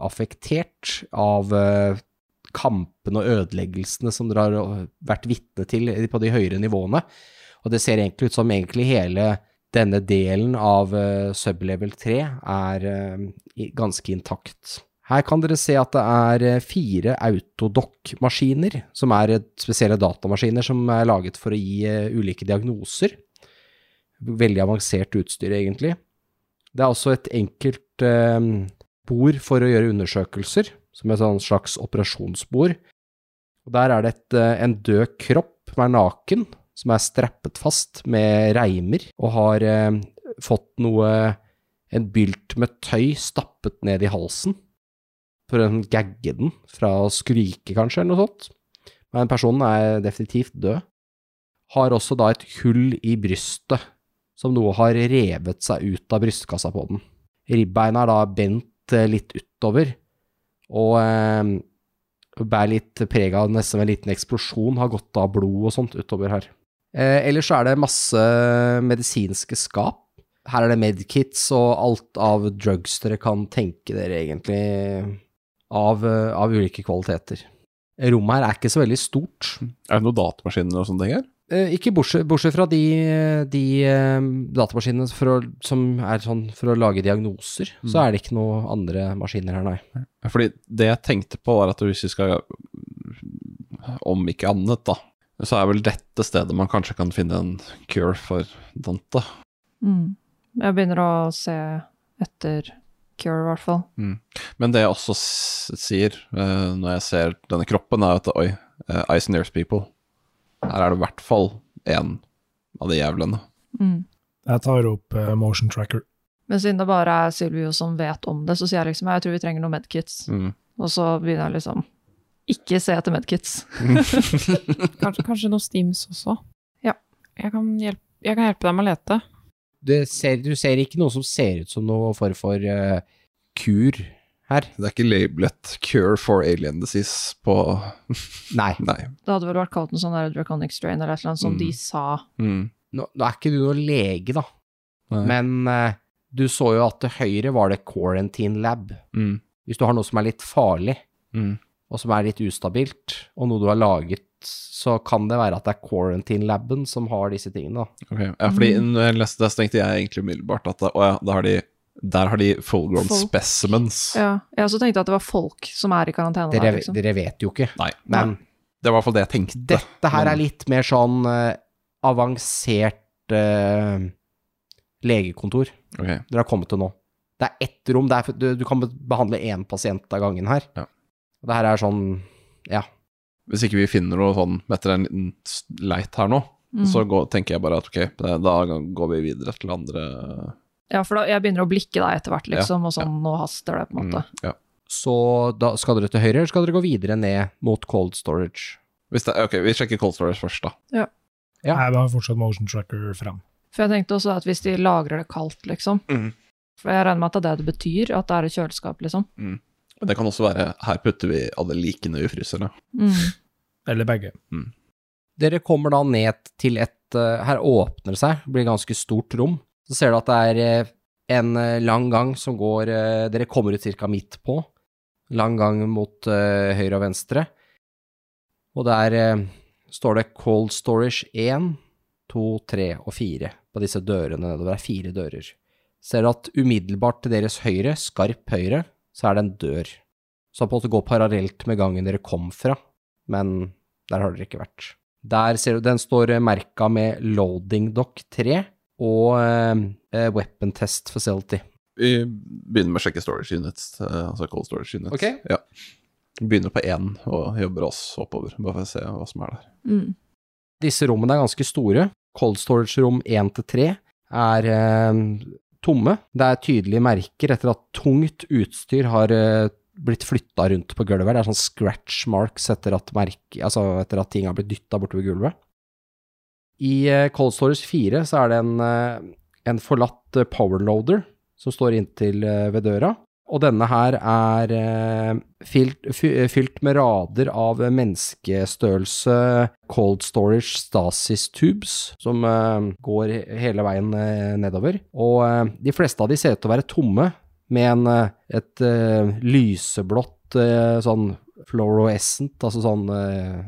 [SPEAKER 2] uaffektert av eh, kampene og ødeleggelsene som dere har eh, vært vitne til på de høyere nivåene. Og det ser egentlig ut som egentlig hele denne delen av eh, sublevel 3 er eh, i- ganske intakt. Her kan dere se at det er eh, fire autodoc-maskiner, som er eh, spesielle datamaskiner som er laget for å gi eh, ulike diagnoser. Veldig avansert utstyr, egentlig. Det er også et enkelt eh, bord for å gjøre undersøkelser, som et sånn slags operasjonsbord. Og der er det et, eh, en død kropp som er naken, som er strappet fast med reimer, og har eh, fått noe En bylt med tøy stappet ned i halsen for å sånn gagge den fra å skrike, kanskje, eller noe sånt. Men personen er definitivt død. Har også da et hull i brystet, som nå har revet seg ut av brystkassa på den. Ribbeina er da bent eh, litt utover, og eh, bærer litt preg av nesten en liten eksplosjon, har gått av blod og sånt utover her. Eh, ellers så er det masse medisinske skap. Her er det medkits og alt av drugs dere kan tenke dere, egentlig, av, eh, av ulike kvaliteter. Rommet her er ikke så veldig stort.
[SPEAKER 8] Er det noen datamaskiner og sånne ting her?
[SPEAKER 2] Eh, ikke bortsett, bortsett fra de, de eh, datamaskinene for å, som er sånn for å lage diagnoser, så er det ikke noen andre maskiner her, nei.
[SPEAKER 8] Fordi det jeg tenkte på, var at hvis vi skal Om ikke annet, da, så er vel dette stedet man kanskje kan finne en cure for Dante.
[SPEAKER 5] Mm. Jeg begynner å se etter Cure, i hvert fall.
[SPEAKER 8] Men det jeg også s- sier eh, når jeg ser denne kroppen, er at oi, uh, eyes and ears people. Her er det i hvert fall én av de jævlene.
[SPEAKER 5] Mm.
[SPEAKER 3] Jeg tar opp eh, motion tracker.
[SPEAKER 5] Men siden det bare er Silvio som vet om det, så sier jeg liksom jeg tror vi trenger noen medkits.
[SPEAKER 8] Mm.
[SPEAKER 5] Og så begynner jeg liksom ikke se etter medkits.
[SPEAKER 6] Kanskje, kanskje noen stims også.
[SPEAKER 5] Ja.
[SPEAKER 6] Jeg kan, hjelpe, jeg kan hjelpe deg med å lete.
[SPEAKER 2] Det ser, du ser ikke noe som ser ut som noe form for eh, kur her.
[SPEAKER 8] Det er ikke labelet 'cure for alien disease' på
[SPEAKER 2] Nei,
[SPEAKER 8] Nei.
[SPEAKER 5] Det hadde vel vært kalt en sånn der draconic strain eller et eller annet som
[SPEAKER 8] Mm.
[SPEAKER 5] de sa.
[SPEAKER 8] Mm.
[SPEAKER 2] nå, nå er ikke du noen lege, da,
[SPEAKER 8] Nei.
[SPEAKER 2] men eh, du så jo at til høyre var det quarantine lab.
[SPEAKER 8] Mm.
[SPEAKER 2] Hvis du har noe som er litt farlig,
[SPEAKER 8] Mm.
[SPEAKER 2] og som er litt ustabilt, og noe du har laget, så kan det være at det er quarantine laben som har disse tingene, da.
[SPEAKER 8] Ok, ja, fordi
[SPEAKER 5] Mm.
[SPEAKER 8] når jeg leste det, så tenkte jeg egentlig umiddelbart at å, ja, da har de, der har de full-grown
[SPEAKER 5] Folk.
[SPEAKER 8] specimens.
[SPEAKER 5] Ja. Jeg også tenkte at det var folk som er i karantene
[SPEAKER 2] Dere,
[SPEAKER 5] der, liksom.
[SPEAKER 2] dere vet jo ikke.
[SPEAKER 8] Nei,
[SPEAKER 2] Men
[SPEAKER 8] det var i hvert fall det jeg tenkte.
[SPEAKER 2] dette her er litt mer sånn eh, avansert eh, legekontor
[SPEAKER 8] Ok,
[SPEAKER 2] dere har kommet til nå. Det er ett rom, det er, du, du kan behandle én pasient av gangen her.
[SPEAKER 8] Ja.
[SPEAKER 2] Og det her er sånn, ja.
[SPEAKER 8] Hvis ikke vi finner noe sånn etter en liten s- leit her nå,
[SPEAKER 5] Mm.
[SPEAKER 8] så går, tenker jeg bare at ok, det- da går vi videre til andre
[SPEAKER 5] Ja, for da, jeg begynner å blikke deg etter hvert, liksom, og sånn, nå haster det, på en måte.
[SPEAKER 8] Mm, ja.
[SPEAKER 2] Så da skal dere til høyre, eller skal dere gå videre ned mot cold storage?
[SPEAKER 8] Hvis det, ok, vi sjekker cold storage først, da.
[SPEAKER 2] Ja.
[SPEAKER 3] Jeg har fortsatt motion tracker fram.
[SPEAKER 5] For jeg tenkte også at hvis de lagrer det kaldt, liksom
[SPEAKER 8] Mhm.
[SPEAKER 5] For jeg regner med at det er det det betyr, at det er et kjøleskap, liksom.
[SPEAKER 8] Det kan også være her putter vi alle likene i fryserne.
[SPEAKER 5] Mm.
[SPEAKER 3] Eller begge.
[SPEAKER 2] Dere kommer da ned til et eh, Her åpner det seg, blir et ganske stort rom. Så ser du at det er eh, en eh, lang gang som går eh, Dere kommer ut ca. midt på. Lang gang mot eh, høyre og venstre. Og der eh, står det Cold Storage 1, 2, 3 og 4 på disse dørene nedover. Det er fire dører. Ser du at umiddelbart til deres høyre, skarp høyre, så er det en dør. Som på en måte går parallelt med gangen dere kom fra, men der har dere ikke vært. Der ser du, den står eh, merka med loading dock 3 og eh, eh, weapon test facility.
[SPEAKER 4] Vi begynner med å sjekke storage units, eh, altså cold storage units.
[SPEAKER 2] Ok.
[SPEAKER 4] Ja. Begynner på én og jobber oss oppover, bare for å se hva som er der.
[SPEAKER 5] Mm.
[SPEAKER 2] Disse rommene er ganske store. Cold storage rom 1 til 3 er eh, tomme. Det er tydelige merker etter at tungt utstyr har eh, blitt flytta rundt på gulvet. Det er sånn scratch marks etter at, merk, altså etter at ting har blitt dytta bortover gulvet. I eh, Cold Storage 4 så er det en, eh, en forlatt eh, powerloader som står inntil eh, ved døra. Og denne her er eh, fylt, fy- eh, fylt med rader av eh, menneskestørrelse cold storage stasis tubes, som eh, går he- hele veien eh, nedover. Og eh, de fleste av de ser ut til å være tomme, med en, eh, et eh, lyseblått eh, sånn fluorescent, altså sånn eh,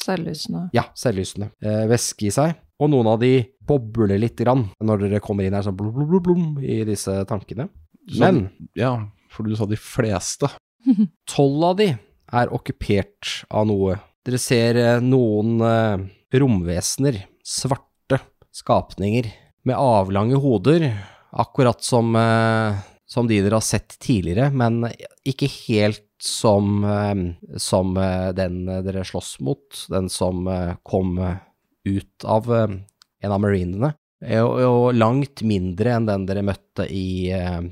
[SPEAKER 5] Selvlysende.
[SPEAKER 2] ja, selvlysende eh, væske i seg. Og noen av de bobler litt grann når dere kommer inn her sånn blum, blum, blum, blum i disse tankene.
[SPEAKER 4] Så-
[SPEAKER 2] Men
[SPEAKER 4] Ja, for du sa de fleste.
[SPEAKER 2] Tolv av de er okkupert av noe. Dere ser eh, noen eh, romvesener, svarte skapninger, med avlange hoder, akkurat som, eh, som de dere har sett tidligere, men ikke helt som, eh, som eh, den dere slåss mot, den som eh, kom eh, ut av eh, en av marinene, eh, og, og langt mindre enn den dere møtte i eh,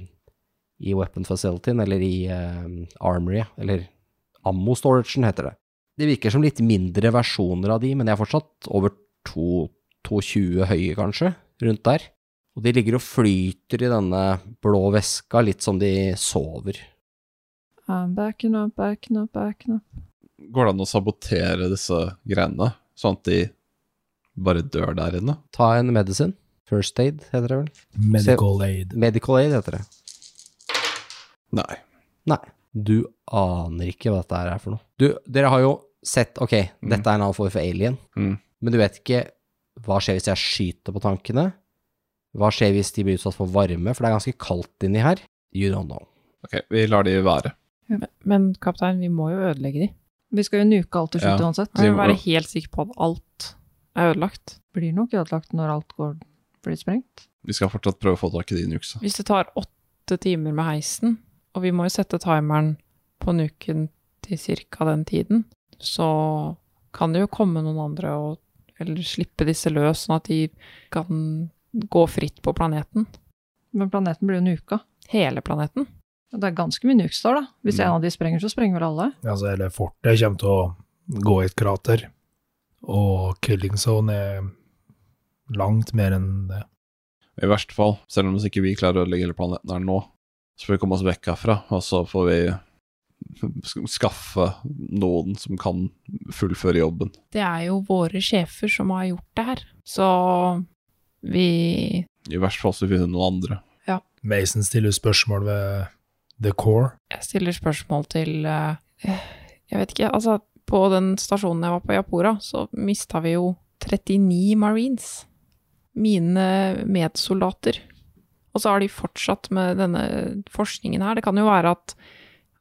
[SPEAKER 2] i weapon facilityen, eller i eh, armory, eller ammo storagen heter det. De virker som litt mindre versjoner av de, men de er fortsatt over 2 220 høye, kanskje, rundt der. Og de ligger og flyter i denne blå veska, litt som de sover.
[SPEAKER 5] I'm backing up, backing up, backing up.
[SPEAKER 4] Går det an å sabotere disse greiene, sånn at de bare dør der inne?
[SPEAKER 2] Ta en medisin. First aid, heter det vel.
[SPEAKER 3] Medical aid.
[SPEAKER 2] Medical aid, heter det.
[SPEAKER 4] Nei.
[SPEAKER 2] Nei, du aner ikke hva dette her er for noe. Du, dere har jo sett, ok,
[SPEAKER 4] Mm.
[SPEAKER 2] dette er en annen form for alien,
[SPEAKER 4] Mm.
[SPEAKER 2] men du vet ikke hva skjer hvis jeg skyter på tankene? Hva skjer hvis de blir utsatt for varme, for det er ganske kaldt inni her? You don't know.
[SPEAKER 4] Ok, vi lar de være.
[SPEAKER 6] Men, men kaptein, vi må jo ødelegge de.
[SPEAKER 5] Vi skal jo nuke alt til
[SPEAKER 4] Ja.
[SPEAKER 5] slutt uansett.
[SPEAKER 6] Vi
[SPEAKER 4] Vi
[SPEAKER 6] må
[SPEAKER 4] må-
[SPEAKER 6] være helt sikre på at alt er ødelagt.
[SPEAKER 5] Blir nok ødelagt når alt går, blir sprengt.
[SPEAKER 4] Vi skal fortsatt prøve å få tak i de nuksa.
[SPEAKER 6] Hvis det tar åtte timer med heisen, og vi må jo sette timeren på nuken til cirka den tiden, så kan det jo komme noen andre og eller slippe disse løs, sånn at de kan gå fritt på planeten.
[SPEAKER 5] Men planeten blir jo nuka.
[SPEAKER 6] Hele planeten.
[SPEAKER 5] Og Det er ganske mye nukes der, da. Hvis
[SPEAKER 4] Mm.
[SPEAKER 5] en av de sprenger, så sprenger vel alle.
[SPEAKER 3] Altså, hele fortet kommer til å gå i et krater, og Killing Zone er langt mer enn det.
[SPEAKER 4] I verste fall, selv om hvis ikke vi klarer å ødelegge hele planeten her nå, så får vi komme oss vekk herfra, og så får vi sk- skaffe noen som kan fullføre jobben.
[SPEAKER 6] Det er jo våre sjefer som har gjort det her, så vi
[SPEAKER 4] I verste fall så finner vi noen andre.
[SPEAKER 3] Mason stiller spørsmål ved The Core.
[SPEAKER 6] Jeg stiller spørsmål til eh, Jeg vet ikke, altså på den stasjonen jeg var på i Apora, så mista vi jo 39 marines. Mine medsoldater. Og så har de fortsatt med denne forskningen her. Det kan jo være at,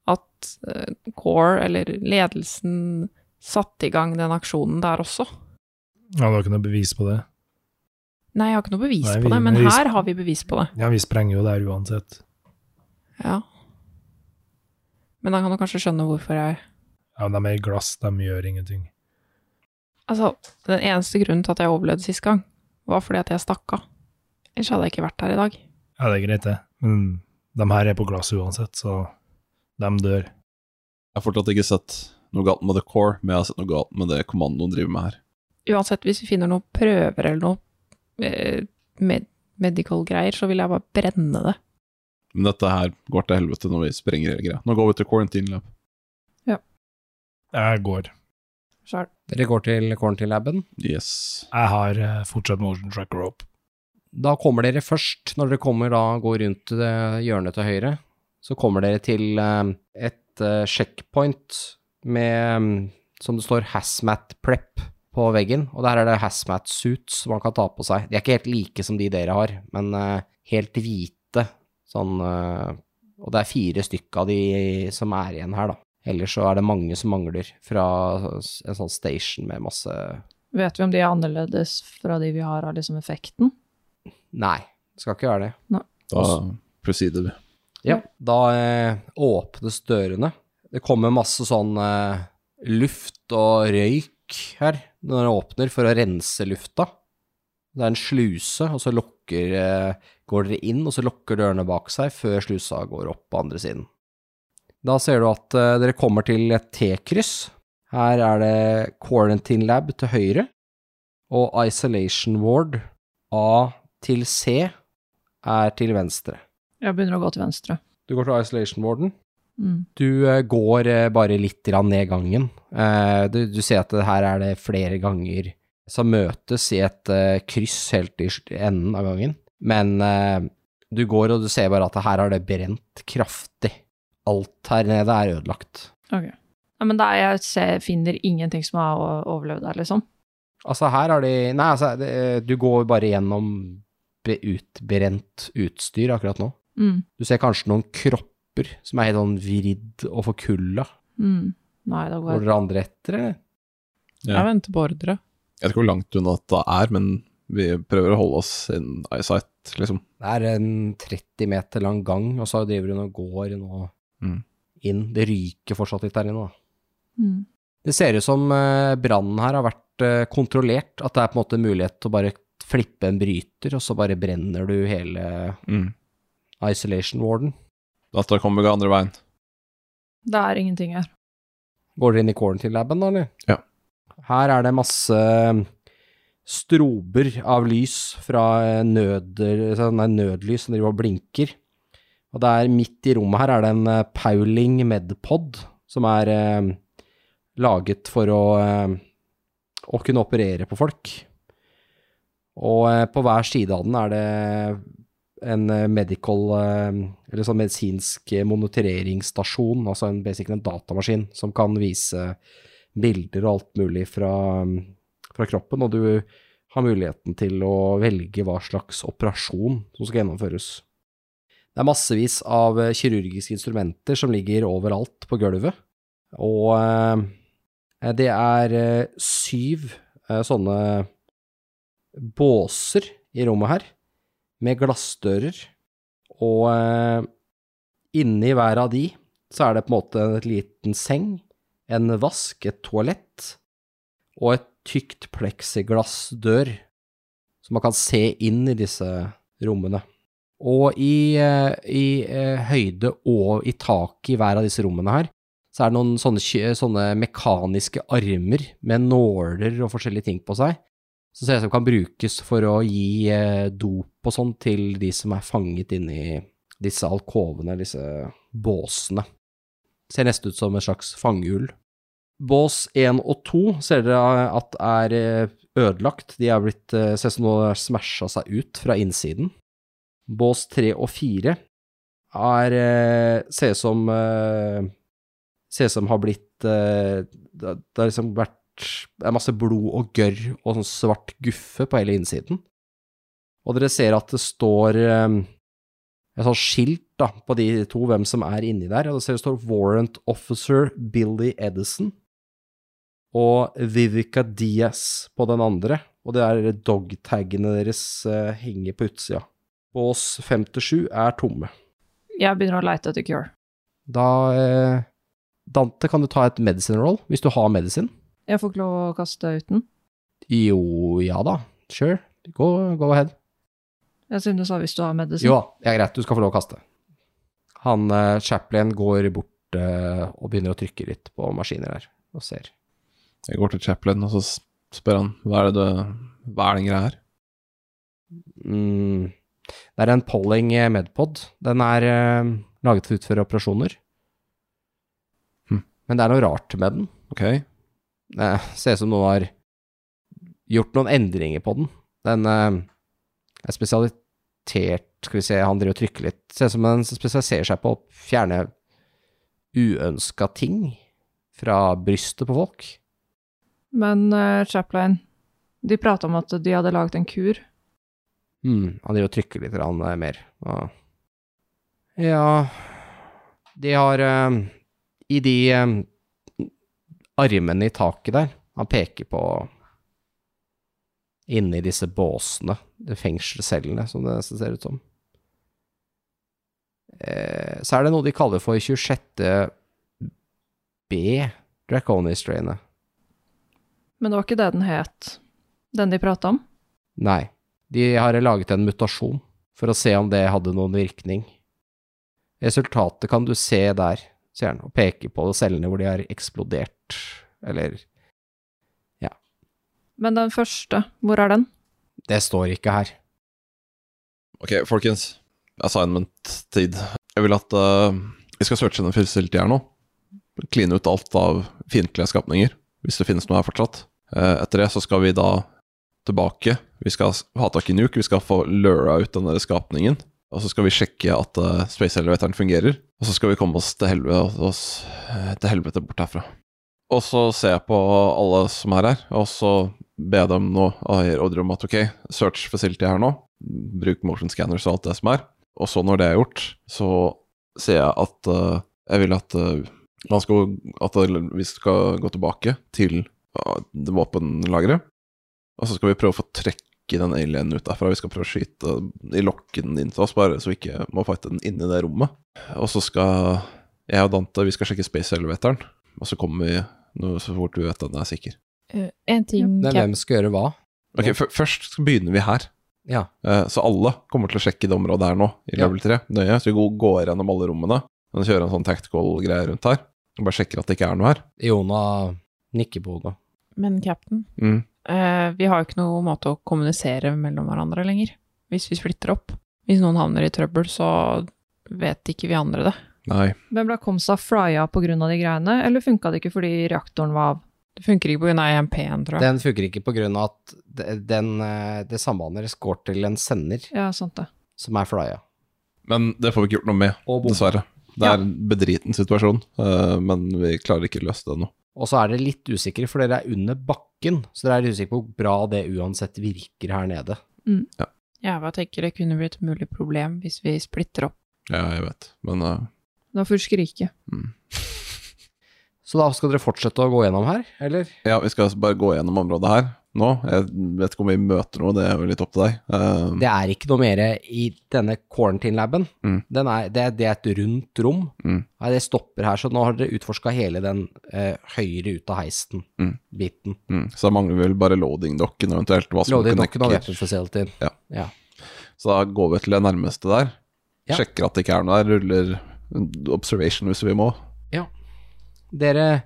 [SPEAKER 6] at eh, Core, eller ledelsen, satte i gang den aksjonen der også.
[SPEAKER 3] Ja, det var ikke noe bevis på det.
[SPEAKER 6] Nei, jeg har ikke noe bevis
[SPEAKER 3] Nei, vi-
[SPEAKER 6] på det, men
[SPEAKER 3] vi-
[SPEAKER 6] her har vi bevis på det.
[SPEAKER 3] Ja, vi sprenger jo der uansett.
[SPEAKER 6] Ja. Men da kan du kanskje skjønne hvorfor jeg
[SPEAKER 3] Ja, men de er i glass, de gjør ingenting.
[SPEAKER 6] Altså, den eneste grunnen til at jeg overlevde sist gang, var fordi at jeg stakk av. Ellers hadde jeg ikke vært her i dag.
[SPEAKER 3] Ja, det er greit, det. Men de her er på glass uansett, så de dør.
[SPEAKER 4] Jeg har fortsatt ikke sett noe galt med The Core, men jeg har sett noe galt med det kommandoen driver med her.
[SPEAKER 6] Uansett, hvis vi finner noen prøver eller noe eh, med medical-greier, så vil jeg bare brenne det.
[SPEAKER 4] Men dette her går til helvete når vi sprenger hele greia. Nå går vi til quarantine lab.
[SPEAKER 3] Jeg går.
[SPEAKER 5] Sjøl.
[SPEAKER 2] Dere går til Quarantine-laben.
[SPEAKER 4] Yes.
[SPEAKER 3] Jeg har eh, fortsatt motion tracker opp.
[SPEAKER 2] Da kommer dere først, når dere kommer da, går rundt eh, hjørnet til høyre, så kommer dere til eh, et eh, checkpoint med, mm, som det står, hazmat prep på veggen, og der er det hazmat suits man kan ta på seg. De er ikke helt like som de dere har, men eh, helt hvite, sånn, eh, og det er fire stykk av de som er igjen her da. Ellers så er det mange som mangler fra s- en sånn station med masse
[SPEAKER 5] Vet vi om de er annerledes fra de vi har av liksom effekten?
[SPEAKER 2] Nei, det skal ikke være det.
[SPEAKER 4] Da proceeder vi.
[SPEAKER 2] Ja, da eh, åpnes dørene. Det kommer masse sånn eh, luft og røyk her når det åpner, for å rense lufta. Det er en sluse, og så lukker, eh, går dere inn, og så lukker dørene bak seg før slusa går opp på andre siden. Da ser du at eh, dere kommer til et T-kryss. Her er det Quarantine Lab til høyre, og Isolation Ward A til C er til venstre.
[SPEAKER 5] Jeg begynner å gå til venstre.
[SPEAKER 2] Du går til isolation warden.
[SPEAKER 5] Mm.
[SPEAKER 2] Du eh, går eh, bare litt grann ned gangen. Eh, du, du ser at det her er det flere ganger som møtes i et eh, kryss helt i sl- enden av gangen. Men eh, du går og du ser bare at det her har det brent kraftig. Alt her nede er ødelagt.
[SPEAKER 5] Ja, men da jeg ser, finner ingenting som har o- overlevd der, liksom.
[SPEAKER 2] Altså, her har de Nei, altså, det, du går bare gjennom be- utbrent utstyr akkurat nå.
[SPEAKER 5] Mm.
[SPEAKER 2] Du ser kanskje noen kropper som er helt sånn vridd og forkulla.
[SPEAKER 5] Mm. Nei, da går
[SPEAKER 2] Går
[SPEAKER 5] jeg
[SPEAKER 2] dere andre etter, eller?
[SPEAKER 4] Ja.
[SPEAKER 6] Jeg venter på ordre.
[SPEAKER 4] Jeg vet ikke hvor langt unna det er, men vi prøver å holde oss in eyesight, liksom.
[SPEAKER 2] Det er en 30 meter lang gang, og så driver hun og går nå
[SPEAKER 4] Mm.
[SPEAKER 2] inn. Det ryker fortsatt litt der inne, da.
[SPEAKER 5] mm.
[SPEAKER 2] Det ser ut som eh, brannen her har vært eh, kontrollert, at det er på en måte mulighet til å bare flippe en bryter, og så bare brenner du hele isolation warden.
[SPEAKER 4] Data kommer gå andre veien.
[SPEAKER 5] Det er ingenting her.
[SPEAKER 2] Går dere inn i quarantine-laben da, eller?
[SPEAKER 4] Ja.
[SPEAKER 2] Her er det masse eh, strober av lys fra eh, nøder, sånn der nødlys som driver og blinker. Og det er midt i rommet her er det en eh, Pauling Medpod som er eh, laget for å, eh, å kunne operere på folk. Og eh, på hver side av den er det en eh, medical eh, Eller sånn medisinsk monitoreringsstasjon, altså en, basically en datamaskin som kan vise bilder og alt mulig fra, mm, fra kroppen, og du har muligheten til å velge hva slags operasjon som skal gjennomføres. Det er massevis av eh, kirurgiske instrumenter som ligger overalt på gulvet, og eh, det er eh, syv eh, sånne båser i rommet her med glassdører, og eh, inni hver av de så er det på en måte en liten seng, en vask, et toalett og et tykt pleksiglassdør, så man kan se inn i disse rommene. Og i, eh, i eh, høyde og i taket i hver av disse rommene her, så er det noen sånne, kj- sånne mekaniske armer med nåler og forskjellige ting på seg, som ser ut som kan brukes for å gi eh, dop og sånn til de som er fanget inni disse alkovene, disse båsene. Ser nesten ut som en slags fangehull. Bås 1 og 2 ser dere at er eh, ødelagt. De er blitt, eh, ser ut som noe har smasha seg ut fra innsiden. Bås 3 og 4 er eh, Ser ut som eh, Ser ut som har blitt eh, Det det har liksom vært det er masse blod og gørr og sånn svart guffe på hele innsiden. Og dere ser at det står eh, et sånt skilt da, på de to, hvem som er inni der. Og det ser det står Warrant Officer Billy Edison og Vivica Diaz på den andre. Og det er dogtagene deres eh, henger på utsida. Bås 57 er tomme.
[SPEAKER 5] Jeg begynner å leite etter cure.
[SPEAKER 2] Da eh, Dante, kan du ta et medicine roll, hvis du har medisin?
[SPEAKER 5] Jeg får ikke lov å kaste uten.
[SPEAKER 2] Jo, ja da. Sure. Go, go ahead.
[SPEAKER 5] Jeg synes du sa hvis du har medisin.
[SPEAKER 2] Jo da, det er greit, du skal få lov å kaste. Han eh, Chaplin går bort eh, og begynner å trykke litt på maskiner her, og ser.
[SPEAKER 4] Jeg går til Chaplin, og så s- spør han hva er det det, hva er den greia her?
[SPEAKER 2] Mm. Det er en Polling eh, Medpod. Den er eh, laget for å utføre operasjoner.
[SPEAKER 4] Hm.
[SPEAKER 2] Men det er noe rart med den.
[SPEAKER 4] Ok,
[SPEAKER 2] Det ser ut som noen har gjort noen endringer på den. Den eh, er spesialitert Skal vi se, han driver og trykker litt. Ser ut som den spesialiserer seg på å fjerne uønska ting fra brystet på folk.
[SPEAKER 5] Men eh, Chaplin, de prata om at de hadde laget en kur.
[SPEAKER 2] Mm, han driver og trykker litt grann, eh, mer. Og... Ja De har eh, I de eh, armene i taket der, han peker på inni disse båsene, de fengselscellene, som det nesten ser ut som. Eh, så er det noe de kaller for 26. B, Draconis-trainet.
[SPEAKER 5] Men det var ikke det den het, den de prata om?
[SPEAKER 2] Nei. De har laget en mutasjon for å se om det hadde noen virkning. Resultatet kan du se der, sier han, og peker på cellene hvor de har eksplodert, eller
[SPEAKER 5] Men den første, hvor er den?
[SPEAKER 2] Det står ikke her.
[SPEAKER 4] Ok, folkens. Assignment-tid. Jeg vil at eh, vi skal searche den fysiske her nå. Kline ut alt av fiendtlige skapninger, hvis det finnes noe her fortsatt. Eh, etter det så skal vi da tilbake. Vi skal s- ha tak i Nuke, vi skal få lura ut den der skapningen. Og så skal vi sjekke at eh, space elevatoren fungerer. Og så skal vi komme oss til helvete, oss, eh, til helvete bort herfra. Og så ser jeg på alle som er her, og så ber jeg dem nå og gir ordre om at ok, search facility her nå. Bruk motion scanners og alt det som er. Og så når det er gjort, så ser jeg at eh, jeg vil at eh, man skal, at det- vi skal gå tilbake til eh, det våpenlageret. Og så skal vi prøve å få trekke den alienen ut derfra. Vi skal prøve å skyte i lokken inn til oss, bare så vi ikke må fighte den inne i det rommet. Og så skal jeg og Dante vi skal sjekke space elevatoren, og så kommer vi nå så fort vi vet at den er sikker.
[SPEAKER 9] Eh, En
[SPEAKER 6] Mm,
[SPEAKER 9] ting
[SPEAKER 2] Men
[SPEAKER 9] Cap-
[SPEAKER 2] hvem skal gjøre hva?
[SPEAKER 4] Ok, f Først så begynner vi her.
[SPEAKER 2] Ja.
[SPEAKER 4] Eh, Så alle kommer til å sjekke det området her nå, i
[SPEAKER 2] Ja.
[SPEAKER 4] level 3, nøye. Så vi går- går gjennom alle rommene. Men kjører en sånn tactical-greie rundt her. Og bare sjekker at det ikke er noe her.
[SPEAKER 2] Iona nikker på hodet.
[SPEAKER 6] Men cap'n,
[SPEAKER 4] Mm.
[SPEAKER 6] eh, vi har jo ikke noen måte å kommunisere mellom hverandre lenger. Hvis vi splitter opp. Hvis noen havner i trøbbel, så vet ikke vi andre det.
[SPEAKER 4] Nei.
[SPEAKER 5] Men ble Komsa frya pga. de greiene, eller funka det ikke fordi reaktoren var av?
[SPEAKER 6] Det funker ikke pga. EMP-en, E tror jeg.
[SPEAKER 2] Den funker ikke på grunn av at det- den, eh, det sambandet deres går til en sender
[SPEAKER 5] Ja, sant det.
[SPEAKER 2] som er flya.
[SPEAKER 4] Men det får vi ikke gjort noe med, dessverre. Det er en bedriten situasjon, eh, men vi klarer ikke å løse det nå.
[SPEAKER 2] Og så er dere litt usikre, for dere er under bakken, så dere er usikre på hvor bra det uansett virker her nede.
[SPEAKER 6] Jeg bare tenker det kunne bli et mulig problem hvis vi splitter opp.
[SPEAKER 4] Ja, jeg vet, men eh,
[SPEAKER 5] Det var fullt skrike.
[SPEAKER 4] mm.
[SPEAKER 2] Så da skal dere fortsette å gå gjennom her, eller?
[SPEAKER 4] Ja, vi skal bare gå gjennom området her nå. Jeg vet ikke om vi møter noe, det er jo litt opp til deg. Eh,
[SPEAKER 2] Det er ikke noe mer i denne quarantine-laben.
[SPEAKER 4] Mm.
[SPEAKER 2] Den er- Det, er- det er et rundt rom.
[SPEAKER 4] Mm.
[SPEAKER 2] Nei, det stopper her, så nå har dere utforska hele den eh, høyre ut av
[SPEAKER 4] Mm.
[SPEAKER 2] heisten-biten.
[SPEAKER 4] mm. Så da mangler vi vel bare loading-dokken, eventuelt. Hva som
[SPEAKER 2] Loading-dokken og
[SPEAKER 4] knekker.
[SPEAKER 2] weapon-facilityen.
[SPEAKER 4] Så da går vi til det nærmeste der.
[SPEAKER 2] Ja.
[SPEAKER 4] Sjekker at det ikke er noe der. Ruller observation hvis vi må.
[SPEAKER 2] Dere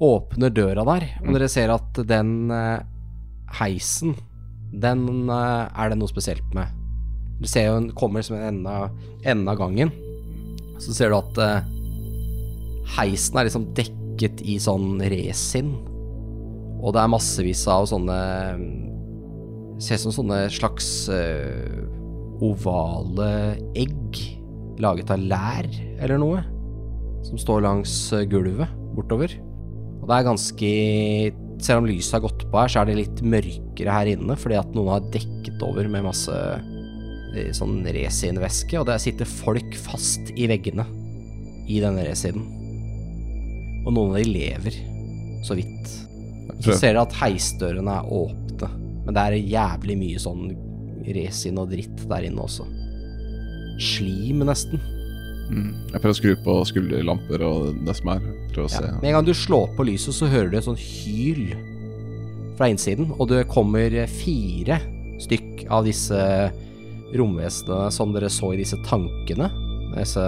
[SPEAKER 2] åpner døra der, og dere ser at den eh, heisen, den eh, er det noe spesielt med. Du ser jo den kommer som en ende av- enden av gangen. Så ser du at eh, heisen er liksom dekket i sånn resin. Og det er massevis av sånne mm, Ser ut som sånne slags eh, ovale egg laget av lær eller noe. Som står langs eh, gulvet bortover. Og det er ganske Selv om lyset har gått på her, så er det litt mørkere her inne fordi at noen har dekket over med masse eh, sånn resinvæske, og der sitter folk fast i veggene i denne resinen. Og noen av de lever, så vidt. Så
[SPEAKER 4] Prøv.
[SPEAKER 2] ser dere at heisdørene er åpne, men det er jævlig mye sånn resin og dritt der inne også. Slim, nesten.
[SPEAKER 4] Mm. Jeg prøver å skru på skulderlamper og det som er. Prøv å
[SPEAKER 2] Ja.
[SPEAKER 4] se.
[SPEAKER 2] Med en gang du slår på lyset, så hører du et sånn hyl fra innsiden, og det kommer fire stykk av disse romvesenene som dere så i disse tankene, disse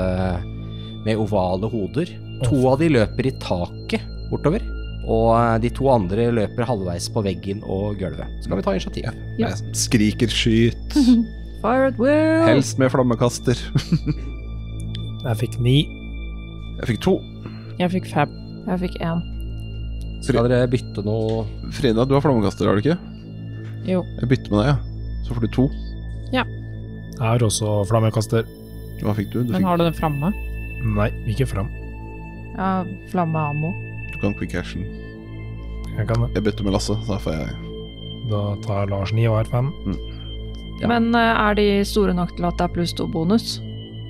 [SPEAKER 2] med ovale hoder. To av de løper i taket bortover, og eh, de to andre løper halvveis på veggen og gulvet. Så kan vi ta initiativ.
[SPEAKER 5] Ja.
[SPEAKER 4] Jeg skriker 'skyt',
[SPEAKER 5] Fire at will!
[SPEAKER 4] helst med flammekaster.
[SPEAKER 3] Jeg fikk ni.
[SPEAKER 4] Jeg fikk to.
[SPEAKER 6] Jeg fikk fab.
[SPEAKER 5] Jeg fikk én.
[SPEAKER 2] Skal dere bytte noe
[SPEAKER 4] Frida, du har flammekaster, har du ikke?
[SPEAKER 6] Jo.
[SPEAKER 4] Jeg bytter med deg, ja. så får du to.
[SPEAKER 3] Jeg har også flammekaster.
[SPEAKER 4] Hva fikk du? Du,
[SPEAKER 6] Men
[SPEAKER 4] fikk,
[SPEAKER 6] har du den framme?
[SPEAKER 3] Nei, ikke fram.
[SPEAKER 5] Ja, flammeammo.
[SPEAKER 4] du kan quick action.
[SPEAKER 3] Jeg kan det.
[SPEAKER 4] Jeg bytter med Lasse, så da får jeg
[SPEAKER 3] Da tar Lars ni og har fem.
[SPEAKER 2] Ja.
[SPEAKER 5] Men eh, er de store nok til at det er pluss to bonus?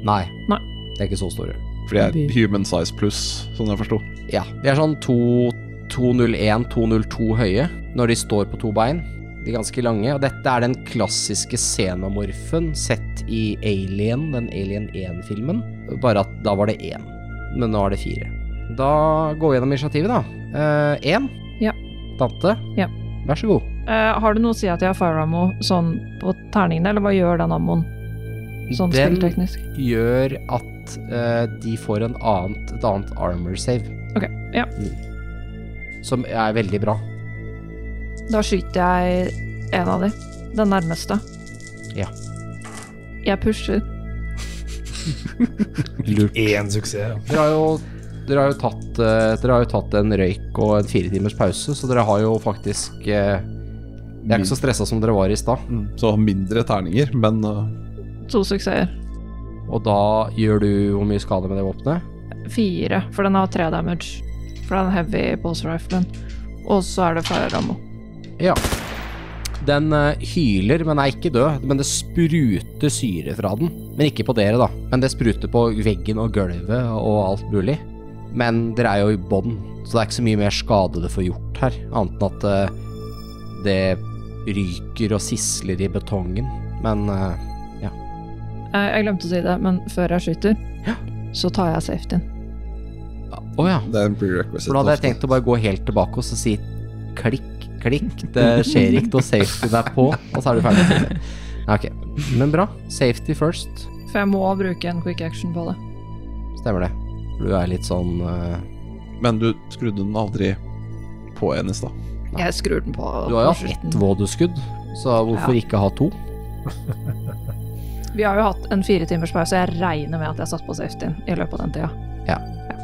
[SPEAKER 2] Nei.
[SPEAKER 5] Nei.
[SPEAKER 2] Det er ikke så store.
[SPEAKER 4] For de er human size pluss, sånn jeg forsto.
[SPEAKER 2] Ja, de er sånn 201-202 høye når de står på to bein. De er ganske lange, og dette er den klassiske xenomorfen sett i Alien, den Alien 1-filmen. Bare at da var det én, men nå er det fire. Da går vi gjennom initiativet, da. Én.
[SPEAKER 5] Ja.
[SPEAKER 2] Tante.
[SPEAKER 5] Ja.
[SPEAKER 2] Vær så god.
[SPEAKER 5] Eh, har det noe å si at jeg har fireammo sånn på terningene, eller hva gjør den ammoen sånn
[SPEAKER 2] Den
[SPEAKER 5] spillteknisk?
[SPEAKER 2] gjør at eh, de får en annet, et annet armor save, Mm.
[SPEAKER 5] Ok, ja.
[SPEAKER 2] som er veldig bra.
[SPEAKER 5] Da skyter jeg en av de. Den nærmeste.
[SPEAKER 2] Ja.
[SPEAKER 5] Jeg pusher.
[SPEAKER 3] Én suksess. ja.
[SPEAKER 2] Dere har jo, dere har jo, tatt, eh, dere har jo tatt en røyk og en fire timers pause, så dere har jo faktisk eh, Jeg er ikke så stressa som dere var i stad.
[SPEAKER 4] Så mindre terninger, men uh,
[SPEAKER 5] To suksesser.
[SPEAKER 2] Og da gjør du hvor mye skade med det våpenet?
[SPEAKER 5] Fire, for den har tre damage. For den heavy pulse riflen. Og så er det fireammo.
[SPEAKER 2] Ja. Den eh, hyler, men er ikke død. Men det spruter syre fra den. Men ikke på dere, da. Men det spruter på veggen og gulvet og alt mulig. Men dere er jo i bånn, så det er ikke så mye mer skade det får gjort her. Annet enn at eh, det ryker og sisler i betongen. Men eh,
[SPEAKER 5] Eh, Jeg glemte å si det, men før jeg skyter,
[SPEAKER 2] Ja.
[SPEAKER 5] så tar jeg safetyen.
[SPEAKER 2] Å ja.
[SPEAKER 4] det er en prerequisite.
[SPEAKER 2] For da hadde jeg
[SPEAKER 4] ofte.
[SPEAKER 2] tenkt å bare gå helt tilbake og så si klikk, klikk. Det skjer ikke noe safety der på, og så er du ferdig. Ja, Ok, men bra. Safety first.
[SPEAKER 5] For jeg må bruke en quick action på det.
[SPEAKER 2] Stemmer det. For Du er litt sånn eh,
[SPEAKER 4] Men du skrudde den aldri på en i stad.
[SPEAKER 5] Jeg skrur den på.
[SPEAKER 2] Du har jo
[SPEAKER 5] på
[SPEAKER 2] hatt
[SPEAKER 5] slutten.
[SPEAKER 2] ett vådeskudd, så hvorfor ikke ha to?
[SPEAKER 5] Vi har jo hatt en fire timers pause, jeg regner med at jeg satt på safetyen i løpet av den tida.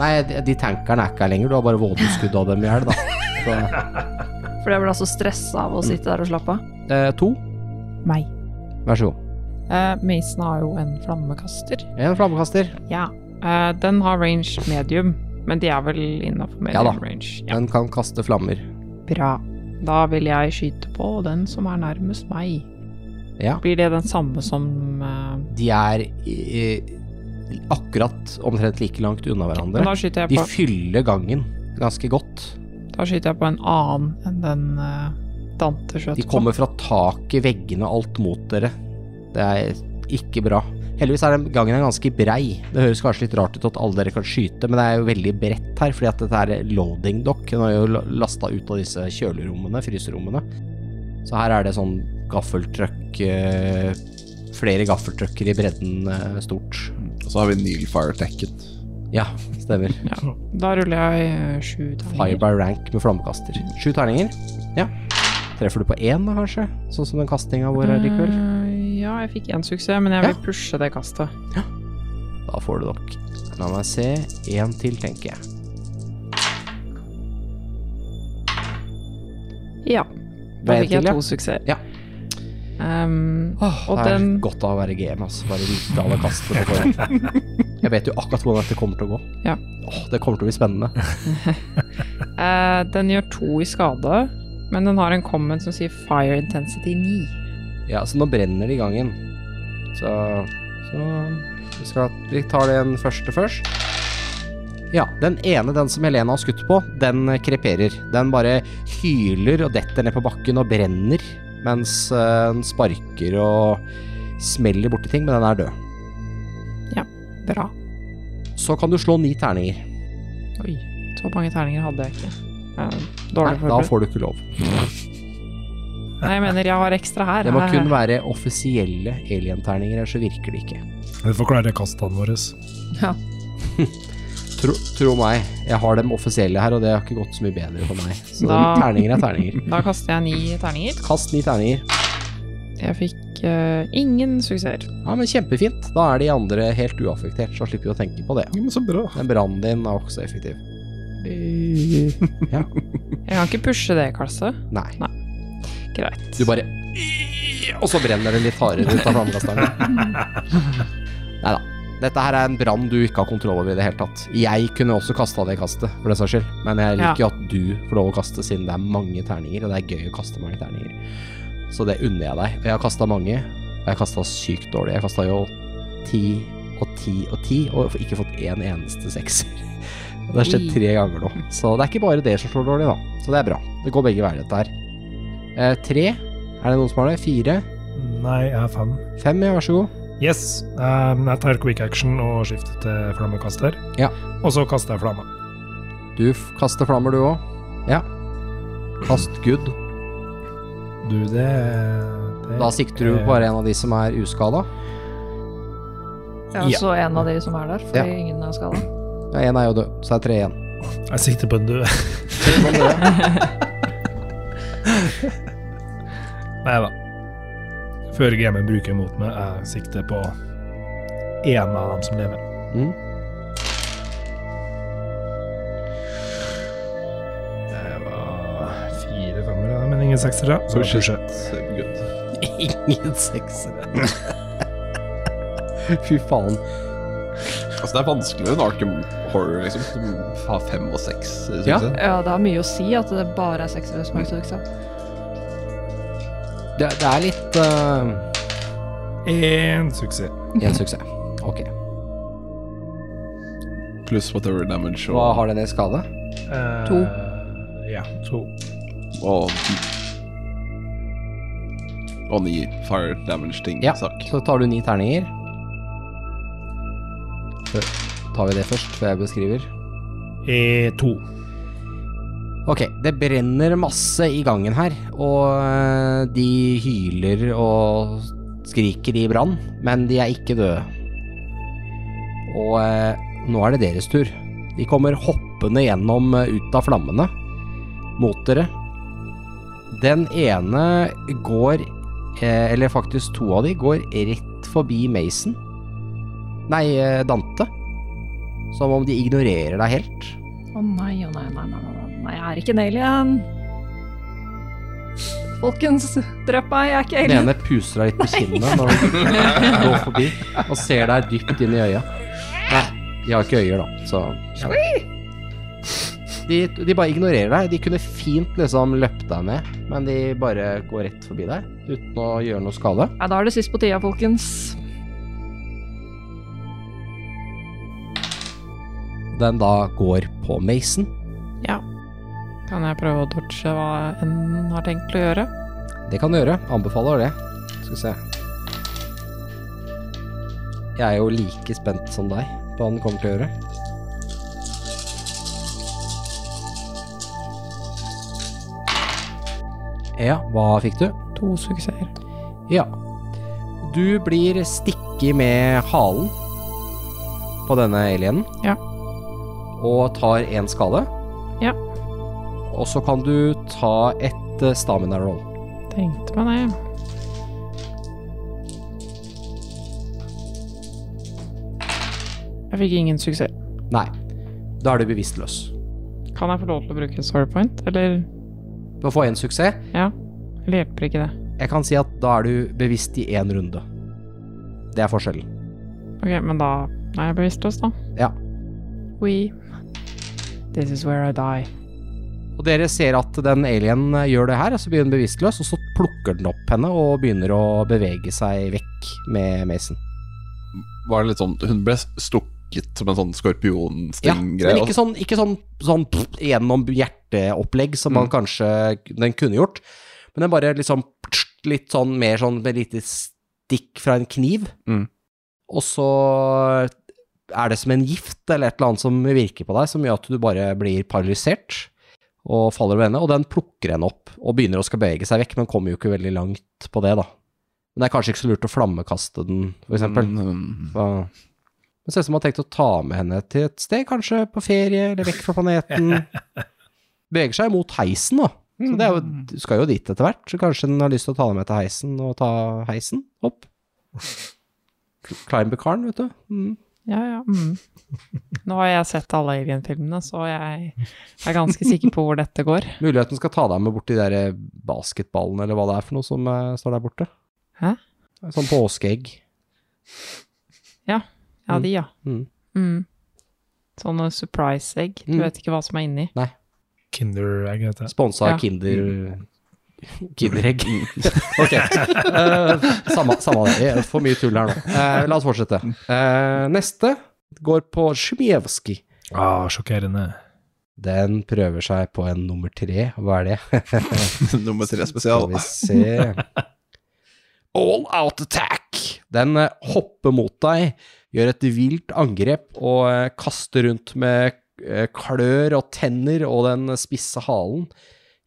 [SPEAKER 2] Nei, de, de tankerne er ikke her lenger. Du har bare vådeskudd av dem i hjel, da. Så,
[SPEAKER 5] For jeg ble altså stressa
[SPEAKER 2] Mm.
[SPEAKER 5] av å sitte der og slappe av.
[SPEAKER 2] eh, to.
[SPEAKER 6] Meg.
[SPEAKER 2] Vær så god.
[SPEAKER 6] Eh, Mason har jo en flammekaster.
[SPEAKER 2] En flammekaster.
[SPEAKER 6] Ja. Eh, den har range medium, men de er vel innafor medium
[SPEAKER 2] Ja da.
[SPEAKER 6] range. Ja.
[SPEAKER 2] Den kan kaste flammer.
[SPEAKER 6] Bra. Da vil jeg skyte på den som er nærmest meg.
[SPEAKER 2] Ja.
[SPEAKER 6] Blir det den samme som eh,
[SPEAKER 2] De er eh, akkurat omtrent like langt unna
[SPEAKER 6] Men da
[SPEAKER 2] hverandre.
[SPEAKER 6] skyter, jeg
[SPEAKER 2] De
[SPEAKER 6] på,
[SPEAKER 2] fyller gangen ganske godt.
[SPEAKER 6] da skyter jeg på en annen enn den eh, Dante skjøt
[SPEAKER 2] De kommer fra taket, veggene og alt mot dere. Det er ikke bra. Heldigvis er den gangen er ganske brei. Det høres kanskje litt rart ut at alle dere kan skyte, men det er jo veldig bredt her, fordi at dette er loading dock. Den er jo la- lasta ut av disse kjølerommene, fryserommene. Så her er det sånn gaffeltrøkk eh, Flere gaffeltrøkker i bredden eh, stort.
[SPEAKER 4] Og så har vi Neil Firetechet.
[SPEAKER 2] Ja, stemmer.
[SPEAKER 6] på. Da ruller jeg eh, sju
[SPEAKER 2] High
[SPEAKER 6] terninger.
[SPEAKER 2] by rank med flammekaster. Sju terninger. Ja. Treffer du på én, da, kanskje? Sånn som den kastinga vår er i kveld?
[SPEAKER 6] Eh, ja, jeg fikk én suksess, men jeg vil
[SPEAKER 2] Ja.
[SPEAKER 6] pushe det kastet.
[SPEAKER 2] Da får du nok. La meg se. Én til, tenker jeg.
[SPEAKER 6] Ja. Da
[SPEAKER 2] Med en
[SPEAKER 6] fikk jeg
[SPEAKER 2] til, ja.
[SPEAKER 6] to suksesser.
[SPEAKER 2] Ja.
[SPEAKER 6] Ehm,
[SPEAKER 2] Åh,
[SPEAKER 6] Og
[SPEAKER 2] det er
[SPEAKER 6] den-
[SPEAKER 2] godt av å være GM, altså. Bare vite alle kastene på forhånd. Jeg vet jo akkurat hvordan dette kommer til å gå.
[SPEAKER 6] Ja.
[SPEAKER 2] Åh, det kommer til å bli spennende.
[SPEAKER 6] eh, den gjør to i skade, men den har en comment som sier fire intensity 9.
[SPEAKER 2] Ja, så nå brenner det i gangen. Så Så vi, skal, vi tar den første først. Ja, den ene, den som Helena har skutt på, den kreperer. Den bare hyler og detter ned på bakken og brenner, mens eh, den sparker og smeller borti ting, men den er død.
[SPEAKER 6] Bra.
[SPEAKER 2] Så kan du slå ni terninger.
[SPEAKER 6] Oi. Så mange terninger hadde jeg ikke. Eh,
[SPEAKER 2] Nei,
[SPEAKER 6] dårlig
[SPEAKER 2] da
[SPEAKER 6] forberedt.
[SPEAKER 2] får du ikke lov.
[SPEAKER 6] Nei, jeg mener jeg har ekstra her.
[SPEAKER 2] Det må
[SPEAKER 6] Eh,
[SPEAKER 2] kun være offisielle alien-terninger, ellers så virker det ikke.
[SPEAKER 3] Det forklarer kastene våre.
[SPEAKER 2] Tro, tro meg, jeg har dem offisielle her, og det har ikke gått så mye bedre for meg. Så
[SPEAKER 6] Da-
[SPEAKER 2] terninger er terninger.
[SPEAKER 6] Da kaster jeg ni terninger.
[SPEAKER 2] Kast ni terninger.
[SPEAKER 6] Jeg fikk eh, ingen suksesser.
[SPEAKER 2] Ja, men kjempefint. Da er de andre helt uaffektert, så slipper vi å tenke på det.
[SPEAKER 3] Ja, men så bra.
[SPEAKER 2] Den brannen din er også effektiv. Ja.
[SPEAKER 6] Jeg kan ikke pushe det kastet.
[SPEAKER 2] Nei.
[SPEAKER 6] Greit.
[SPEAKER 2] Du bare Og så brenner det litt hardere ut av flammekasteren. Nei da. Dette her er en brann du ikke har kontroll over i det hele tatt. Jeg kunne også kasta det kastet, for den saks skyld, men jeg liker jo at du får lov å kaste siden det er mange terninger, og det er gøy å kaste mange terninger. Så det unner jeg deg. Og Jeg har kasta mange, og jeg har kasta sykt dårlig. Jeg kasta jo ti, og 10 og 10, og ikke fått én eneste sekser. Det har skjedd tre ganger nå. Så det er ikke bare det som slår dårlig, da. Så det er bra. Det går begge veier, dette her. Eh, tre. Er det noen som har det? Fire?
[SPEAKER 3] Nei, jeg er fem.
[SPEAKER 2] Fem, ja, vær så god.
[SPEAKER 3] Yes. ehm, jeg tar quick action og skifter til flammekaster.
[SPEAKER 2] Ja.
[SPEAKER 3] Og så kaster jeg flamme.
[SPEAKER 2] Du f- kaster flammer, du òg. Ja. Kast good.
[SPEAKER 3] Du, det, det
[SPEAKER 2] Da sikter du på bare en av de som er uskada.
[SPEAKER 5] Ja,
[SPEAKER 3] Ja.
[SPEAKER 5] Så en av de som er der, fordi
[SPEAKER 2] Ja.
[SPEAKER 5] ingen er skada.
[SPEAKER 2] Ja, én er jo død, så det er tre igjen.
[SPEAKER 3] Jeg sikter på en død. Nei da. Før gamet bruker mot meg, jeg sikter på én av dem som lever.
[SPEAKER 2] Mm.
[SPEAKER 3] Det var fire femmere, da, men ingen seksere. Så
[SPEAKER 4] Oh,
[SPEAKER 3] det
[SPEAKER 4] shit.
[SPEAKER 3] pusher.
[SPEAKER 4] Good.
[SPEAKER 2] Ingen seksere. Fy faen.
[SPEAKER 4] Altså, det er vanskeligere enn Arkham Horror, liksom. Du har fem og seks, synes
[SPEAKER 2] Ja.
[SPEAKER 4] jeg.
[SPEAKER 5] Ja, det har mye å si at det bare er seksere som er suksess.
[SPEAKER 2] Det, det er litt eh,
[SPEAKER 3] Én suksess.
[SPEAKER 2] En suksess. Ok.
[SPEAKER 4] Pluss whatever damage
[SPEAKER 2] Hva
[SPEAKER 4] og,
[SPEAKER 2] har den i skade?
[SPEAKER 3] Eh,
[SPEAKER 6] To.
[SPEAKER 3] Ja, to.
[SPEAKER 4] og Og ni fire damage-ting.
[SPEAKER 2] Ja,
[SPEAKER 4] Sak.
[SPEAKER 2] så tar du ni terninger. Så tar vi det først, før jeg beskriver.
[SPEAKER 3] Eh, to.
[SPEAKER 2] Ok, det brenner masse i gangen her, og eh, de hyler og skriker i brann, men de er ikke døde. Og eh, nå er det deres tur. De kommer hoppende gjennom eh, ut av flammene mot dere. Den ene går, eh, eller faktisk to av de, går rett forbi Mason. Nei, eh, Dante. Som om de ignorerer deg helt.
[SPEAKER 5] Å nei, å nei, nei, nei, nei, nei, jeg er ikke en alien. Folkens, drep meg, jeg er ikke
[SPEAKER 2] Den
[SPEAKER 5] alien.
[SPEAKER 2] ene puser deg litt på kinnet når du går forbi, og ser deg dypt inn i øya. Nei, de har ikke øyer, da, så de, de bare ignorerer deg. De kunne fint liksom løpt deg ned, men de bare går rett forbi deg uten å gjøre noe skade.
[SPEAKER 5] Ja, da er det sist på tida, folkens.
[SPEAKER 2] Den da går på Mason.
[SPEAKER 6] Kan jeg prøve å dodge hva en har tenkt å gjøre?
[SPEAKER 2] Det kan du gjøre. Anbefaler det. Skal vi se. Jeg er jo like spent som deg på hva den kommer til å gjøre. Ja, hva fikk du?
[SPEAKER 6] To suksesser.
[SPEAKER 2] Ja. Du blir stikket med halen på denne alienen.
[SPEAKER 6] Ja.
[SPEAKER 2] Og tar én skade.
[SPEAKER 6] Ja.
[SPEAKER 2] Og så kan du ta et eh, stamina roll.
[SPEAKER 6] Tenkte meg det. Jeg fikk ingen suksess.
[SPEAKER 2] Nei. Da er du bevisstløs.
[SPEAKER 6] Kan jeg få lov til å bruke sore point, eller,
[SPEAKER 2] Du får én suksess.
[SPEAKER 6] eller hjelper ikke det?
[SPEAKER 2] Jeg kan si at da er du bevisst i én runde. Det er forskjellen.
[SPEAKER 6] Ok, men da er jeg bevisstløs, da.
[SPEAKER 2] Ja.
[SPEAKER 6] We This is where I die.
[SPEAKER 2] Og dere ser at den alien eh, gjør det her, og så blir hun bevisstløs, og så plukker den opp henne og begynner å bevege seg vekk med Mason.
[SPEAKER 4] Var det litt sånn Hun ble stukket som en sånn
[SPEAKER 2] Ja,
[SPEAKER 4] skorpionsting-greie.
[SPEAKER 2] men ikke sånn, ikke sånn, sånn pff, gjennom hjerteopplegg som man kanskje den kunne gjort, men den bare liksom pst, litt sånn mer sånn med lite stikk fra en kniv,
[SPEAKER 4] Mm.
[SPEAKER 2] og så er det som en gift eller et eller annet som virker på deg, som gjør at du bare blir paralysert og faller over ende, og den plukker henne opp og begynner å skal bevege seg vekk, men kommer jo ikke veldig langt på det da. Men det er kanskje ikke så lurt å flammekaste den, for eksempel.
[SPEAKER 4] Mm,
[SPEAKER 2] Så det ser ut som han har tenkt å ta med henne til et sted, kanskje på ferie eller vekk fra planeten. Beveger seg mot heisen, da. Så det er jo, du skal jo dit etter hvert, så kanskje den har lyst til å ta deg med til heisen og ta heisen opp. Climber-karen, vet du. Mm.
[SPEAKER 6] Ja, ja. Mm. Nå har jeg sett alle Alien-filmene, så jeg er ganske sikker på hvor dette går.
[SPEAKER 2] Muligheten skal ta deg med bort de der basketballene eller hva det er for noe som eh, står der borte.
[SPEAKER 6] Hæ?
[SPEAKER 2] Sånn påskeegg.
[SPEAKER 6] Ja, de, ja.
[SPEAKER 2] Mm.
[SPEAKER 6] Mm. Sånne surprise-egg. Du
[SPEAKER 2] Mm.
[SPEAKER 6] vet ikke hva som er inni.
[SPEAKER 3] Kinderegg heter det.
[SPEAKER 2] Sponsa
[SPEAKER 6] Ja.
[SPEAKER 2] Kinder Kinderegg. ok. Eh, samme, samme det. Jeg- For mye tull her nå. Eh, la oss fortsette. Eh, neste går på Sjmijevskij.
[SPEAKER 3] Ah, sjokkerende.
[SPEAKER 2] Den prøver seg på en nummer tre. Hva er det?
[SPEAKER 4] Nummer tre spesial.
[SPEAKER 2] Skal vi se All out attack! Den eh, hopper mot deg, gjør et vilt angrep og eh, kaster rundt med eh, klør og tenner og den spisse halen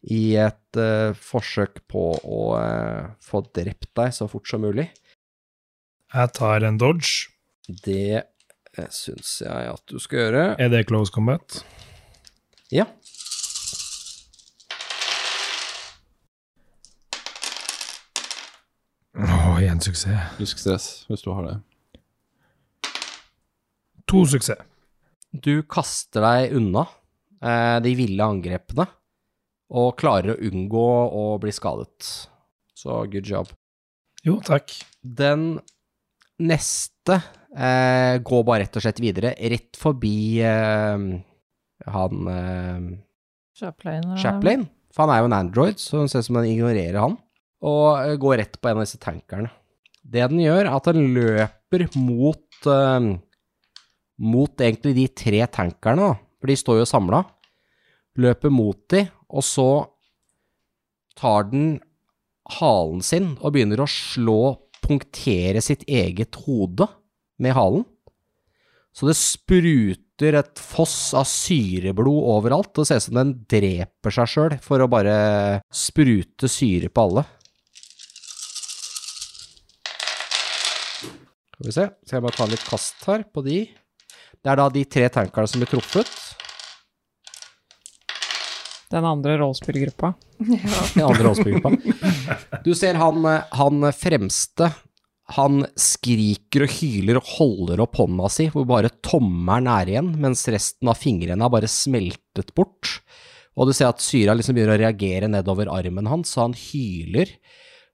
[SPEAKER 2] i et eh, forsøk på å eh, få drept deg så fort som mulig.
[SPEAKER 3] Jeg tar en dodge.
[SPEAKER 2] Det eh, syns jeg at du skal gjøre.
[SPEAKER 3] Er det close combat?
[SPEAKER 2] Ja.
[SPEAKER 3] Åh, én suksess.
[SPEAKER 4] Husk stress hvis du har det.
[SPEAKER 3] To suksess.
[SPEAKER 2] Du kaster deg unna eh, de ville angrepene, og klarer å unngå å bli skadet. Så good job.
[SPEAKER 3] Jo, takk.
[SPEAKER 2] Den neste eh, går bare rett og slett videre, rett forbi eh, han eh,
[SPEAKER 5] Chaplain.
[SPEAKER 2] Chaplain. For han er jo en android, så det ser ut som den ignorerer han. Og eh, går rett på en av disse tankerne. Det den gjør, er at den løper mot eh, Mot egentlig de tre tankerne, da. For de står jo samla. Løper mot de, og så tar den halen sin og begynner å slå, punktere sitt eget hode med halen. Så det spruter et foss av syreblod overalt. Det ser ut som den dreper seg sjøl for å bare sprute syre på alle. Skal vi se. Skal jeg bare ta litt kast her på de. Det er da de tre tankerne som blir truffet.
[SPEAKER 6] Den andre rollespillgruppa.
[SPEAKER 2] Den andre rollespillgruppa. Du ser han, eh, han fremste. Han skriker og hyler og holder opp hånda si, hvor bare tommelen er igjen, mens resten av fingrene har bare smeltet bort. Og du ser at syra liksom begynner å reagere nedover armen hans, så han hyler.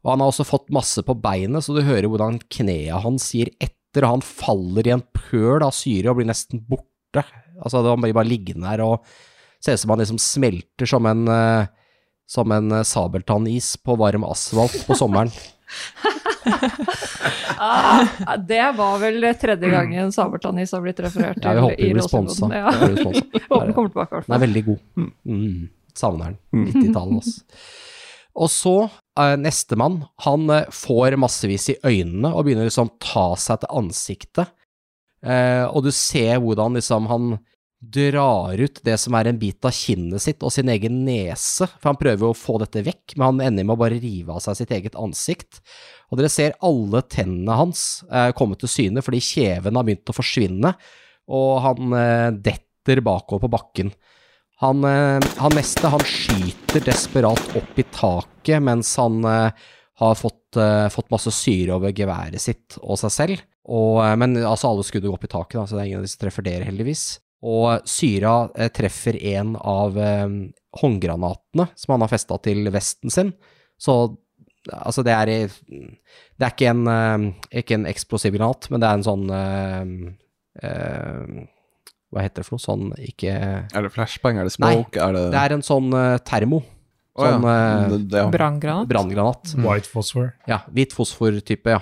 [SPEAKER 2] Og han har også fått masse på beinet, så du hører hvordan kneet hans gir etter, og han faller i en pøl av syre og blir nesten borte. Altså, han blir bare liggende her og ser ut som han liksom smelter som en eh, som en eh, sabeltannis på varm asfalt på sommeren.
[SPEAKER 5] Ah, det var vel tredje gangen Sabeltannis har blitt referert
[SPEAKER 2] Mm. Ja, vi håper
[SPEAKER 5] i
[SPEAKER 2] vi blir
[SPEAKER 5] Rosenboden.
[SPEAKER 2] sponsa.
[SPEAKER 5] Ja.
[SPEAKER 2] Vi blir sponsa.
[SPEAKER 5] Håper den kommer tilbake, i
[SPEAKER 2] Den er
[SPEAKER 5] hvert fall. Mm.
[SPEAKER 2] veldig god. Mm. Savner den. 90-tallet, altså. Og så, eh, nestemann, han eh, får massevis i øynene og begynner liksom ta seg til ansiktet. Eh, og du ser hvordan liksom han drar ut det som er en bit av kinnet sitt og sin egen nese, for han prøver jo å få dette vekk, men han ender med å bare rive av seg sitt eget ansikt. Og dere ser alle tennene hans eh, komme til syne fordi kjeven har begynt å forsvinne, og han eh, detter bakover på bakken. Han, eh, han neste han skyter desperat opp i taket mens han eh, har fått, eh, fått masse syre over geværet sitt og seg selv. Og, eh, men altså, alle skuddene går opp i taket, da, så det er ingen av de som treffer dere, heldigvis. Og syra eh, treffer en av eh, håndgranatene som han har festa til vesten sin. Så altså, det er i Det er ikke en, eh, ikke en eksplosiv granat, men det er en sånn eh, eh, Hva heter det for noe? Sånn ikke
[SPEAKER 4] Er det flashbang? Er det
[SPEAKER 2] Nei,
[SPEAKER 4] smoke? er det,
[SPEAKER 2] det er en sånn eh, termo.
[SPEAKER 4] Å ja,
[SPEAKER 2] Sånn eh,
[SPEAKER 4] Mm, det- Mm. det- ja.
[SPEAKER 6] Branngranat.
[SPEAKER 2] branngranat.
[SPEAKER 3] Mm. White phosphor.
[SPEAKER 2] Ja, hvit fosfor-type, ja.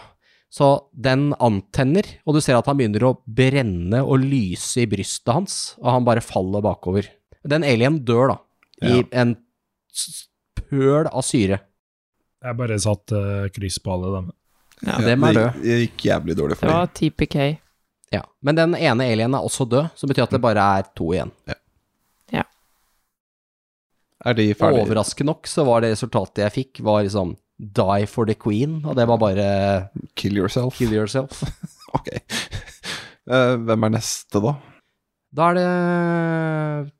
[SPEAKER 2] Så den antenner, og du ser at han begynner å brenne og lyse i brystet hans, og han bare faller bakover. Den alien dør, da, i
[SPEAKER 4] Ja.
[SPEAKER 2] en s- pøl av syre.
[SPEAKER 3] Jeg bare satt eh, kryss på alle dem.
[SPEAKER 4] Ja,
[SPEAKER 2] dem er
[SPEAKER 4] det gikk- Det gikk jævlig dårlig for
[SPEAKER 6] Det
[SPEAKER 4] dem.
[SPEAKER 6] var TPK.
[SPEAKER 2] Ja. Men den ene alien er også død, som betyr at det bare er to igjen.
[SPEAKER 4] Er de
[SPEAKER 2] Og
[SPEAKER 4] ferdige?
[SPEAKER 2] overraskende nok så var det resultatet jeg fikk, var liksom Die for the queen, og det var bare
[SPEAKER 4] Kill yourself?
[SPEAKER 2] kill yourself.
[SPEAKER 4] Ok. Eh, hvem er neste, da?
[SPEAKER 2] Da er det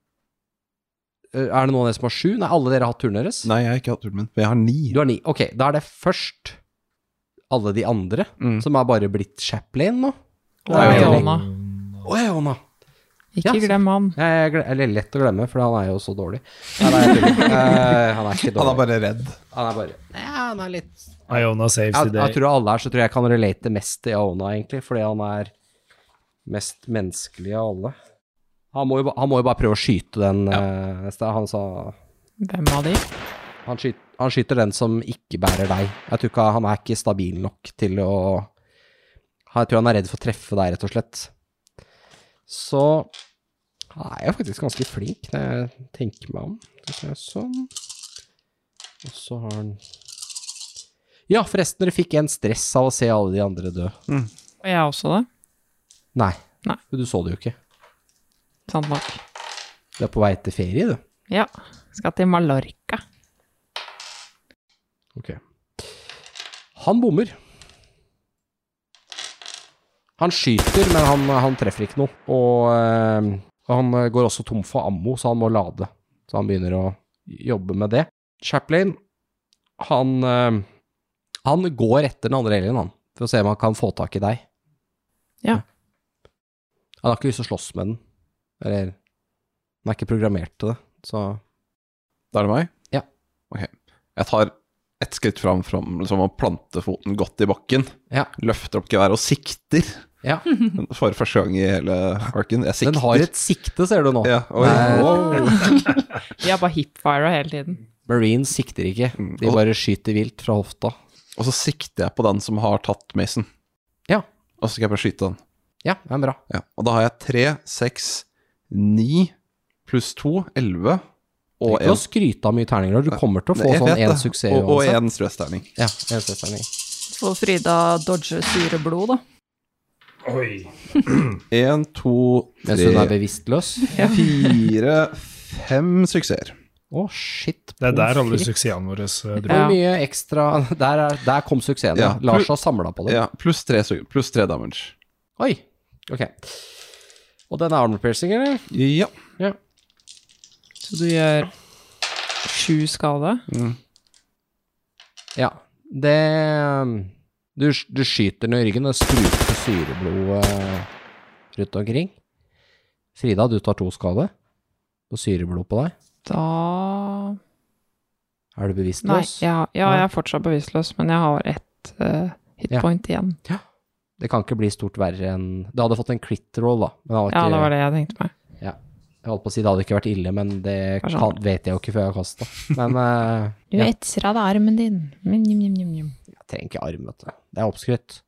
[SPEAKER 2] eh, Er det noen av dere som har sju? Nei, alle dere har hatt turen deres?
[SPEAKER 4] Nei, jeg har ikke hatt turen min. Men jeg har ni.
[SPEAKER 2] Du har ni. Ok, da er det først alle de andre,
[SPEAKER 4] Mm.
[SPEAKER 2] som er bare blitt Chaplin nå.
[SPEAKER 6] Og
[SPEAKER 2] Nei,
[SPEAKER 4] jeg-
[SPEAKER 6] Leona.
[SPEAKER 2] Å, Eona.
[SPEAKER 6] Ikke
[SPEAKER 2] Ja.
[SPEAKER 6] glem han.
[SPEAKER 2] Jeg er gle- eller lett å glemme, for han er jo så dårlig. Nei, nei, jeg tuller. Eh, han er ikke dårlig.
[SPEAKER 4] Han er bare redd.
[SPEAKER 2] Han er bare Ja, han er litt
[SPEAKER 3] Iona saves
[SPEAKER 2] jeg,
[SPEAKER 3] i
[SPEAKER 2] jeg
[SPEAKER 3] det.
[SPEAKER 2] tror alle her så tror jeg jeg kan relate mest til Aona, egentlig, fordi han er mest menneskelig av alle. Han må jo, ba- han må jo bare prøve å skyte den eh, neste. Han sa
[SPEAKER 6] Hvem av de?
[SPEAKER 2] Han, skyt, Han skyter den som ikke bærer deg. Jeg tror ikke han er ikke stabil nok til å Jeg tror han er redd for å treffe deg, rett og slett. Så han er jo faktisk ganske flink, når jeg tenker meg om. Skal vi se, Sånn. Og så har han Ja, forresten, dere fikk en stress av å se alle de andre dø.
[SPEAKER 6] Og jeg også det.
[SPEAKER 2] Nei.
[SPEAKER 6] Nei.
[SPEAKER 2] Du så det jo ikke.
[SPEAKER 6] Sant nok.
[SPEAKER 2] Du er på vei til ferie, du.
[SPEAKER 6] Ja. Skal til Mallorca.
[SPEAKER 2] Ok. Han bommer. Han skyter, men han, han treffer ikke noe. Og eh, han går også tom for ammo, så han må lade. Så han begynner å jobbe med det. Chaplin, han, eh, han går etter den andre alienen, han, for å se om han kan få tak i deg.
[SPEAKER 6] Ja.
[SPEAKER 2] Han har ikke lyst til å slåss med den. Eller Han er ikke programmert til det, så
[SPEAKER 4] Da er det meg?
[SPEAKER 2] Ja.
[SPEAKER 4] Ok. Jeg tar ett skritt fram, fram liksom, og planter foten godt i bakken.
[SPEAKER 2] Ja.
[SPEAKER 4] Løfter opp geværet og sikter.
[SPEAKER 2] Ja.
[SPEAKER 4] For første gang i hele arken. Jeg sikter.
[SPEAKER 2] Den har et sikte, ser du nå.
[SPEAKER 4] ja, oi,
[SPEAKER 2] Nei.
[SPEAKER 4] wow.
[SPEAKER 6] Vi har bare hipfira hele tiden.
[SPEAKER 2] Marines sikter ikke.
[SPEAKER 4] Mm,
[SPEAKER 2] De
[SPEAKER 4] og-
[SPEAKER 2] bare skyter vilt fra hofta.
[SPEAKER 4] Og så sikter jeg på den som har tatt Mason.
[SPEAKER 2] Ja.
[SPEAKER 4] Og så skal jeg bare skyte den.
[SPEAKER 2] Ja, det er bra.
[SPEAKER 4] Ja. Og da har jeg tre, seks, ni pluss to, elleve
[SPEAKER 2] Og
[SPEAKER 4] og
[SPEAKER 2] ikke
[SPEAKER 4] en.
[SPEAKER 2] å skryte av mye terninger. Du kommer til å få
[SPEAKER 4] Jeg
[SPEAKER 2] sånn
[SPEAKER 4] vet
[SPEAKER 2] én
[SPEAKER 4] det.
[SPEAKER 2] suksess
[SPEAKER 4] Og, og
[SPEAKER 2] uansett.
[SPEAKER 4] en stressterning.
[SPEAKER 2] Ja, en stressterning.
[SPEAKER 5] Så Frida dodger sure blod, da.
[SPEAKER 3] Oi.
[SPEAKER 4] Én, to,
[SPEAKER 2] Mens hun er
[SPEAKER 4] tre,
[SPEAKER 2] bevisstløs.
[SPEAKER 4] fire, fem suksesser.
[SPEAKER 2] Å, shit.
[SPEAKER 3] Det er der alle
[SPEAKER 2] pommes frites.
[SPEAKER 3] suksessene våre eh,
[SPEAKER 2] Hvor
[SPEAKER 3] dro.
[SPEAKER 6] Ja.
[SPEAKER 2] mye ekstra Der, er, der kom suksessen. Ja.
[SPEAKER 4] Ja.
[SPEAKER 2] Lars har samla på det.
[SPEAKER 4] Ja, pluss tre, su- pluss tre damage.
[SPEAKER 2] Oi. Ok. Og den er armor piercing, eller?
[SPEAKER 4] Ja.
[SPEAKER 6] Så du gjør sju skade.
[SPEAKER 2] Ja. Det um, Du, du skyter den i ryggen. Det spruter syreblod eh, rundt omkring. Frida, du tar to skade. Og syreblod på deg.
[SPEAKER 6] Da
[SPEAKER 2] Er du
[SPEAKER 6] Nei,
[SPEAKER 2] bevisstløs?
[SPEAKER 6] ja, ja, jeg er fortsatt bevisstløs, men jeg har ett eh,
[SPEAKER 2] Ja.
[SPEAKER 6] hitpoint igjen.
[SPEAKER 2] Det kan ikke bli stort verre enn Det hadde fått en crit roll, da. Men det hadde
[SPEAKER 6] Ja,
[SPEAKER 2] ikke,
[SPEAKER 6] det var det jeg tenkte meg.
[SPEAKER 2] Jeg holdt på å si det hadde ikke vært ille, men det
[SPEAKER 6] Kanskje
[SPEAKER 2] kan, vet jeg jo ikke før jeg har kasta. Men eh,
[SPEAKER 6] Du
[SPEAKER 2] Ja.
[SPEAKER 6] etser av deg armen din. Njum, njum, njum, njum.
[SPEAKER 2] jeg trenger ikke arm, vet du. Det er oppskrytt.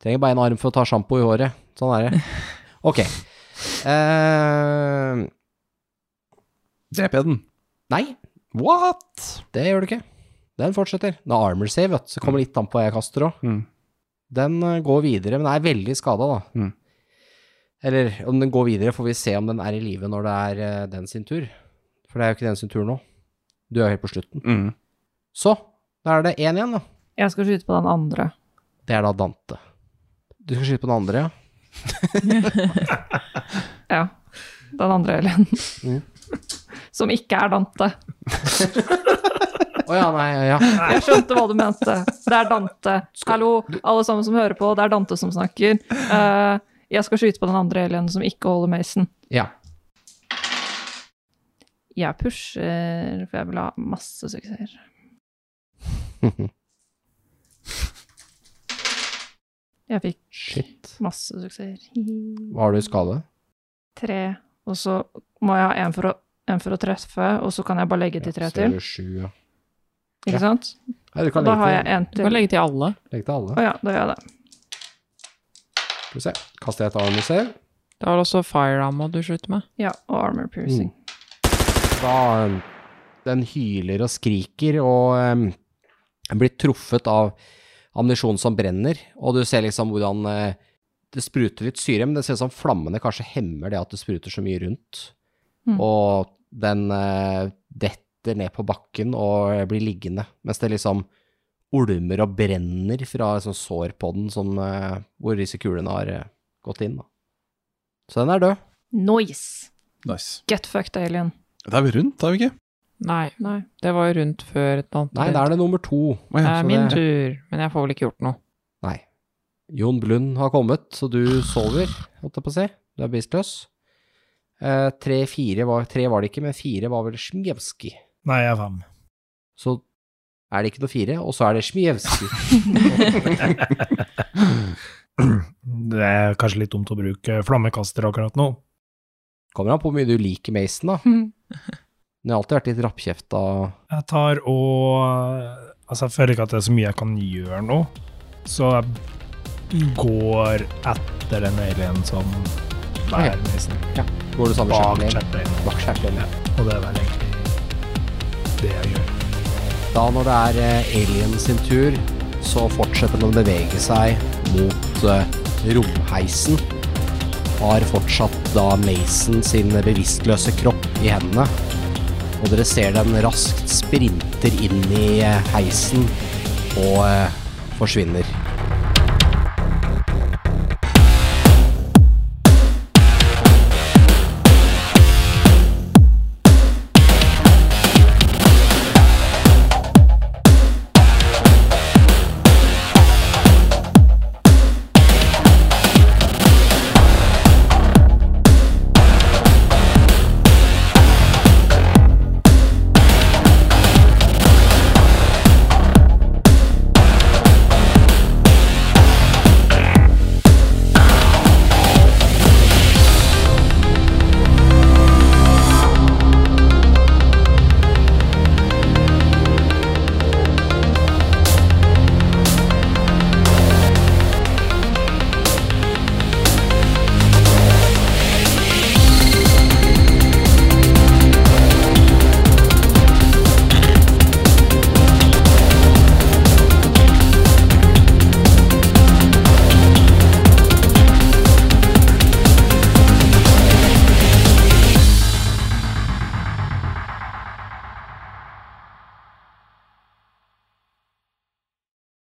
[SPEAKER 2] Trenger bare en arm for å ta sjampo i håret. Sånn er det. Ok. Eh,
[SPEAKER 4] Dreper jeg den?
[SPEAKER 2] nei,
[SPEAKER 4] What?
[SPEAKER 2] det gjør du ikke. Den fortsetter. Den har armor save, vet du, så kommer litt an på hva jeg kaster òg.
[SPEAKER 4] Mm.
[SPEAKER 2] Den eh, går videre, men er veldig skada, da.
[SPEAKER 4] Mm.
[SPEAKER 2] Eller om den går videre, får vi se om den er i live når det er eh, den sin tur. For det er jo ikke den sin tur nå. Du er jo helt på slutten.
[SPEAKER 4] Mm.
[SPEAKER 2] Så, da er det én igjen, da.
[SPEAKER 5] Jeg skal skyte på den andre.
[SPEAKER 2] Det er da Dante. Du skal skyte på den andre, ja?
[SPEAKER 5] Ja. Den andre Helen.
[SPEAKER 2] Mm.
[SPEAKER 5] Som ikke er Dante.
[SPEAKER 2] Å ja, nei, ja. ja.
[SPEAKER 5] Jeg skjønte hva du mente. Det er Dante. Hallo, alle sammen som hører på. Det er Dante som snakker. Eh, jeg skal skyte på den andre alienen som ikke holder Mason.
[SPEAKER 2] ja.
[SPEAKER 5] Jeg pusher, for jeg vil ha masse suksesser. Jeg fikk
[SPEAKER 2] Shit.
[SPEAKER 5] masse suksesser.
[SPEAKER 2] Hva har du i skade?
[SPEAKER 5] Tre, og så må jeg ha en for å, en for å treffe, og så kan jeg bare legge til tre
[SPEAKER 2] Ja, så er
[SPEAKER 5] til.
[SPEAKER 2] det sju, ja. ja.
[SPEAKER 5] Ikke sant?
[SPEAKER 2] Nei, du
[SPEAKER 5] Og
[SPEAKER 2] kan
[SPEAKER 5] da
[SPEAKER 2] legge
[SPEAKER 5] har
[SPEAKER 2] til,
[SPEAKER 5] jeg en
[SPEAKER 6] Du kan
[SPEAKER 5] til.
[SPEAKER 6] legge til alle.
[SPEAKER 2] legge til alle.
[SPEAKER 5] Å ja, da gjør jeg det.
[SPEAKER 2] Skal vi se. Kaster jeg et armor save?
[SPEAKER 6] Det var også fire ammo du slutter med.
[SPEAKER 5] Ja, og armor piercing.
[SPEAKER 2] Da um, Den hyler og skriker og um, blir truffet av ammunisjon som brenner, og du ser liksom hvordan eh, det spruter litt syre, men det ser ut som flammene kanskje hemmer det at det spruter så mye rundt.
[SPEAKER 5] Mm.
[SPEAKER 2] Og den eh, detter ned på bakken og eh, blir liggende, mens det liksom olmer og brenner fra et sånt sår på den som, eh, hvor disse kulene har eh, gått inn. Da. Så den er død.
[SPEAKER 5] Noise!
[SPEAKER 4] Nice.
[SPEAKER 5] Get fucked alien.
[SPEAKER 4] Det er vi rundt, er vi ikke?
[SPEAKER 6] Nei,
[SPEAKER 5] Nei.
[SPEAKER 6] det var jo rundt før et annet.
[SPEAKER 2] Nei, da er det nummer to.
[SPEAKER 4] Å
[SPEAKER 6] Det
[SPEAKER 4] ja,
[SPEAKER 6] er
[SPEAKER 2] så
[SPEAKER 6] Eh, min
[SPEAKER 2] det-
[SPEAKER 6] tur, men jeg får vel ikke gjort noe.
[SPEAKER 2] Nei. Jon Blund har kommet, så du sover, holdt jeg på å si. Du er bevisstløs. Eh, tre, fire var, tre var det ikke, men fire var vel Smjevskij.
[SPEAKER 3] Nei, jeg er fem.
[SPEAKER 2] Så er det ikke noe fire, og så er det Smjevskij.
[SPEAKER 3] Det er kanskje litt dumt å bruke flammekaster akkurat nå.
[SPEAKER 2] Kommer an på hvor mye du liker Mason, da. Men jeg har alltid vært litt rappkjefta.
[SPEAKER 3] Jeg tar og Altså, jeg føler ikke at det er så mye jeg kan gjøre nå, så jeg går etter den sånn alien som bærer nissen.
[SPEAKER 2] Går du samme
[SPEAKER 3] Bak
[SPEAKER 2] skjermen?
[SPEAKER 3] chatten.
[SPEAKER 2] Bak skjermen.
[SPEAKER 3] Og det er vel egentlig det jeg gjør.
[SPEAKER 2] Da når det er eh, Alien sin tur, så fortsetter den å bevege seg mot eh, romheisen. Har fortsatt da Mason sin bevisstløse kropp i hendene. Og dere ser den raskt sprinter inn i eh, heisen og eh, forsvinner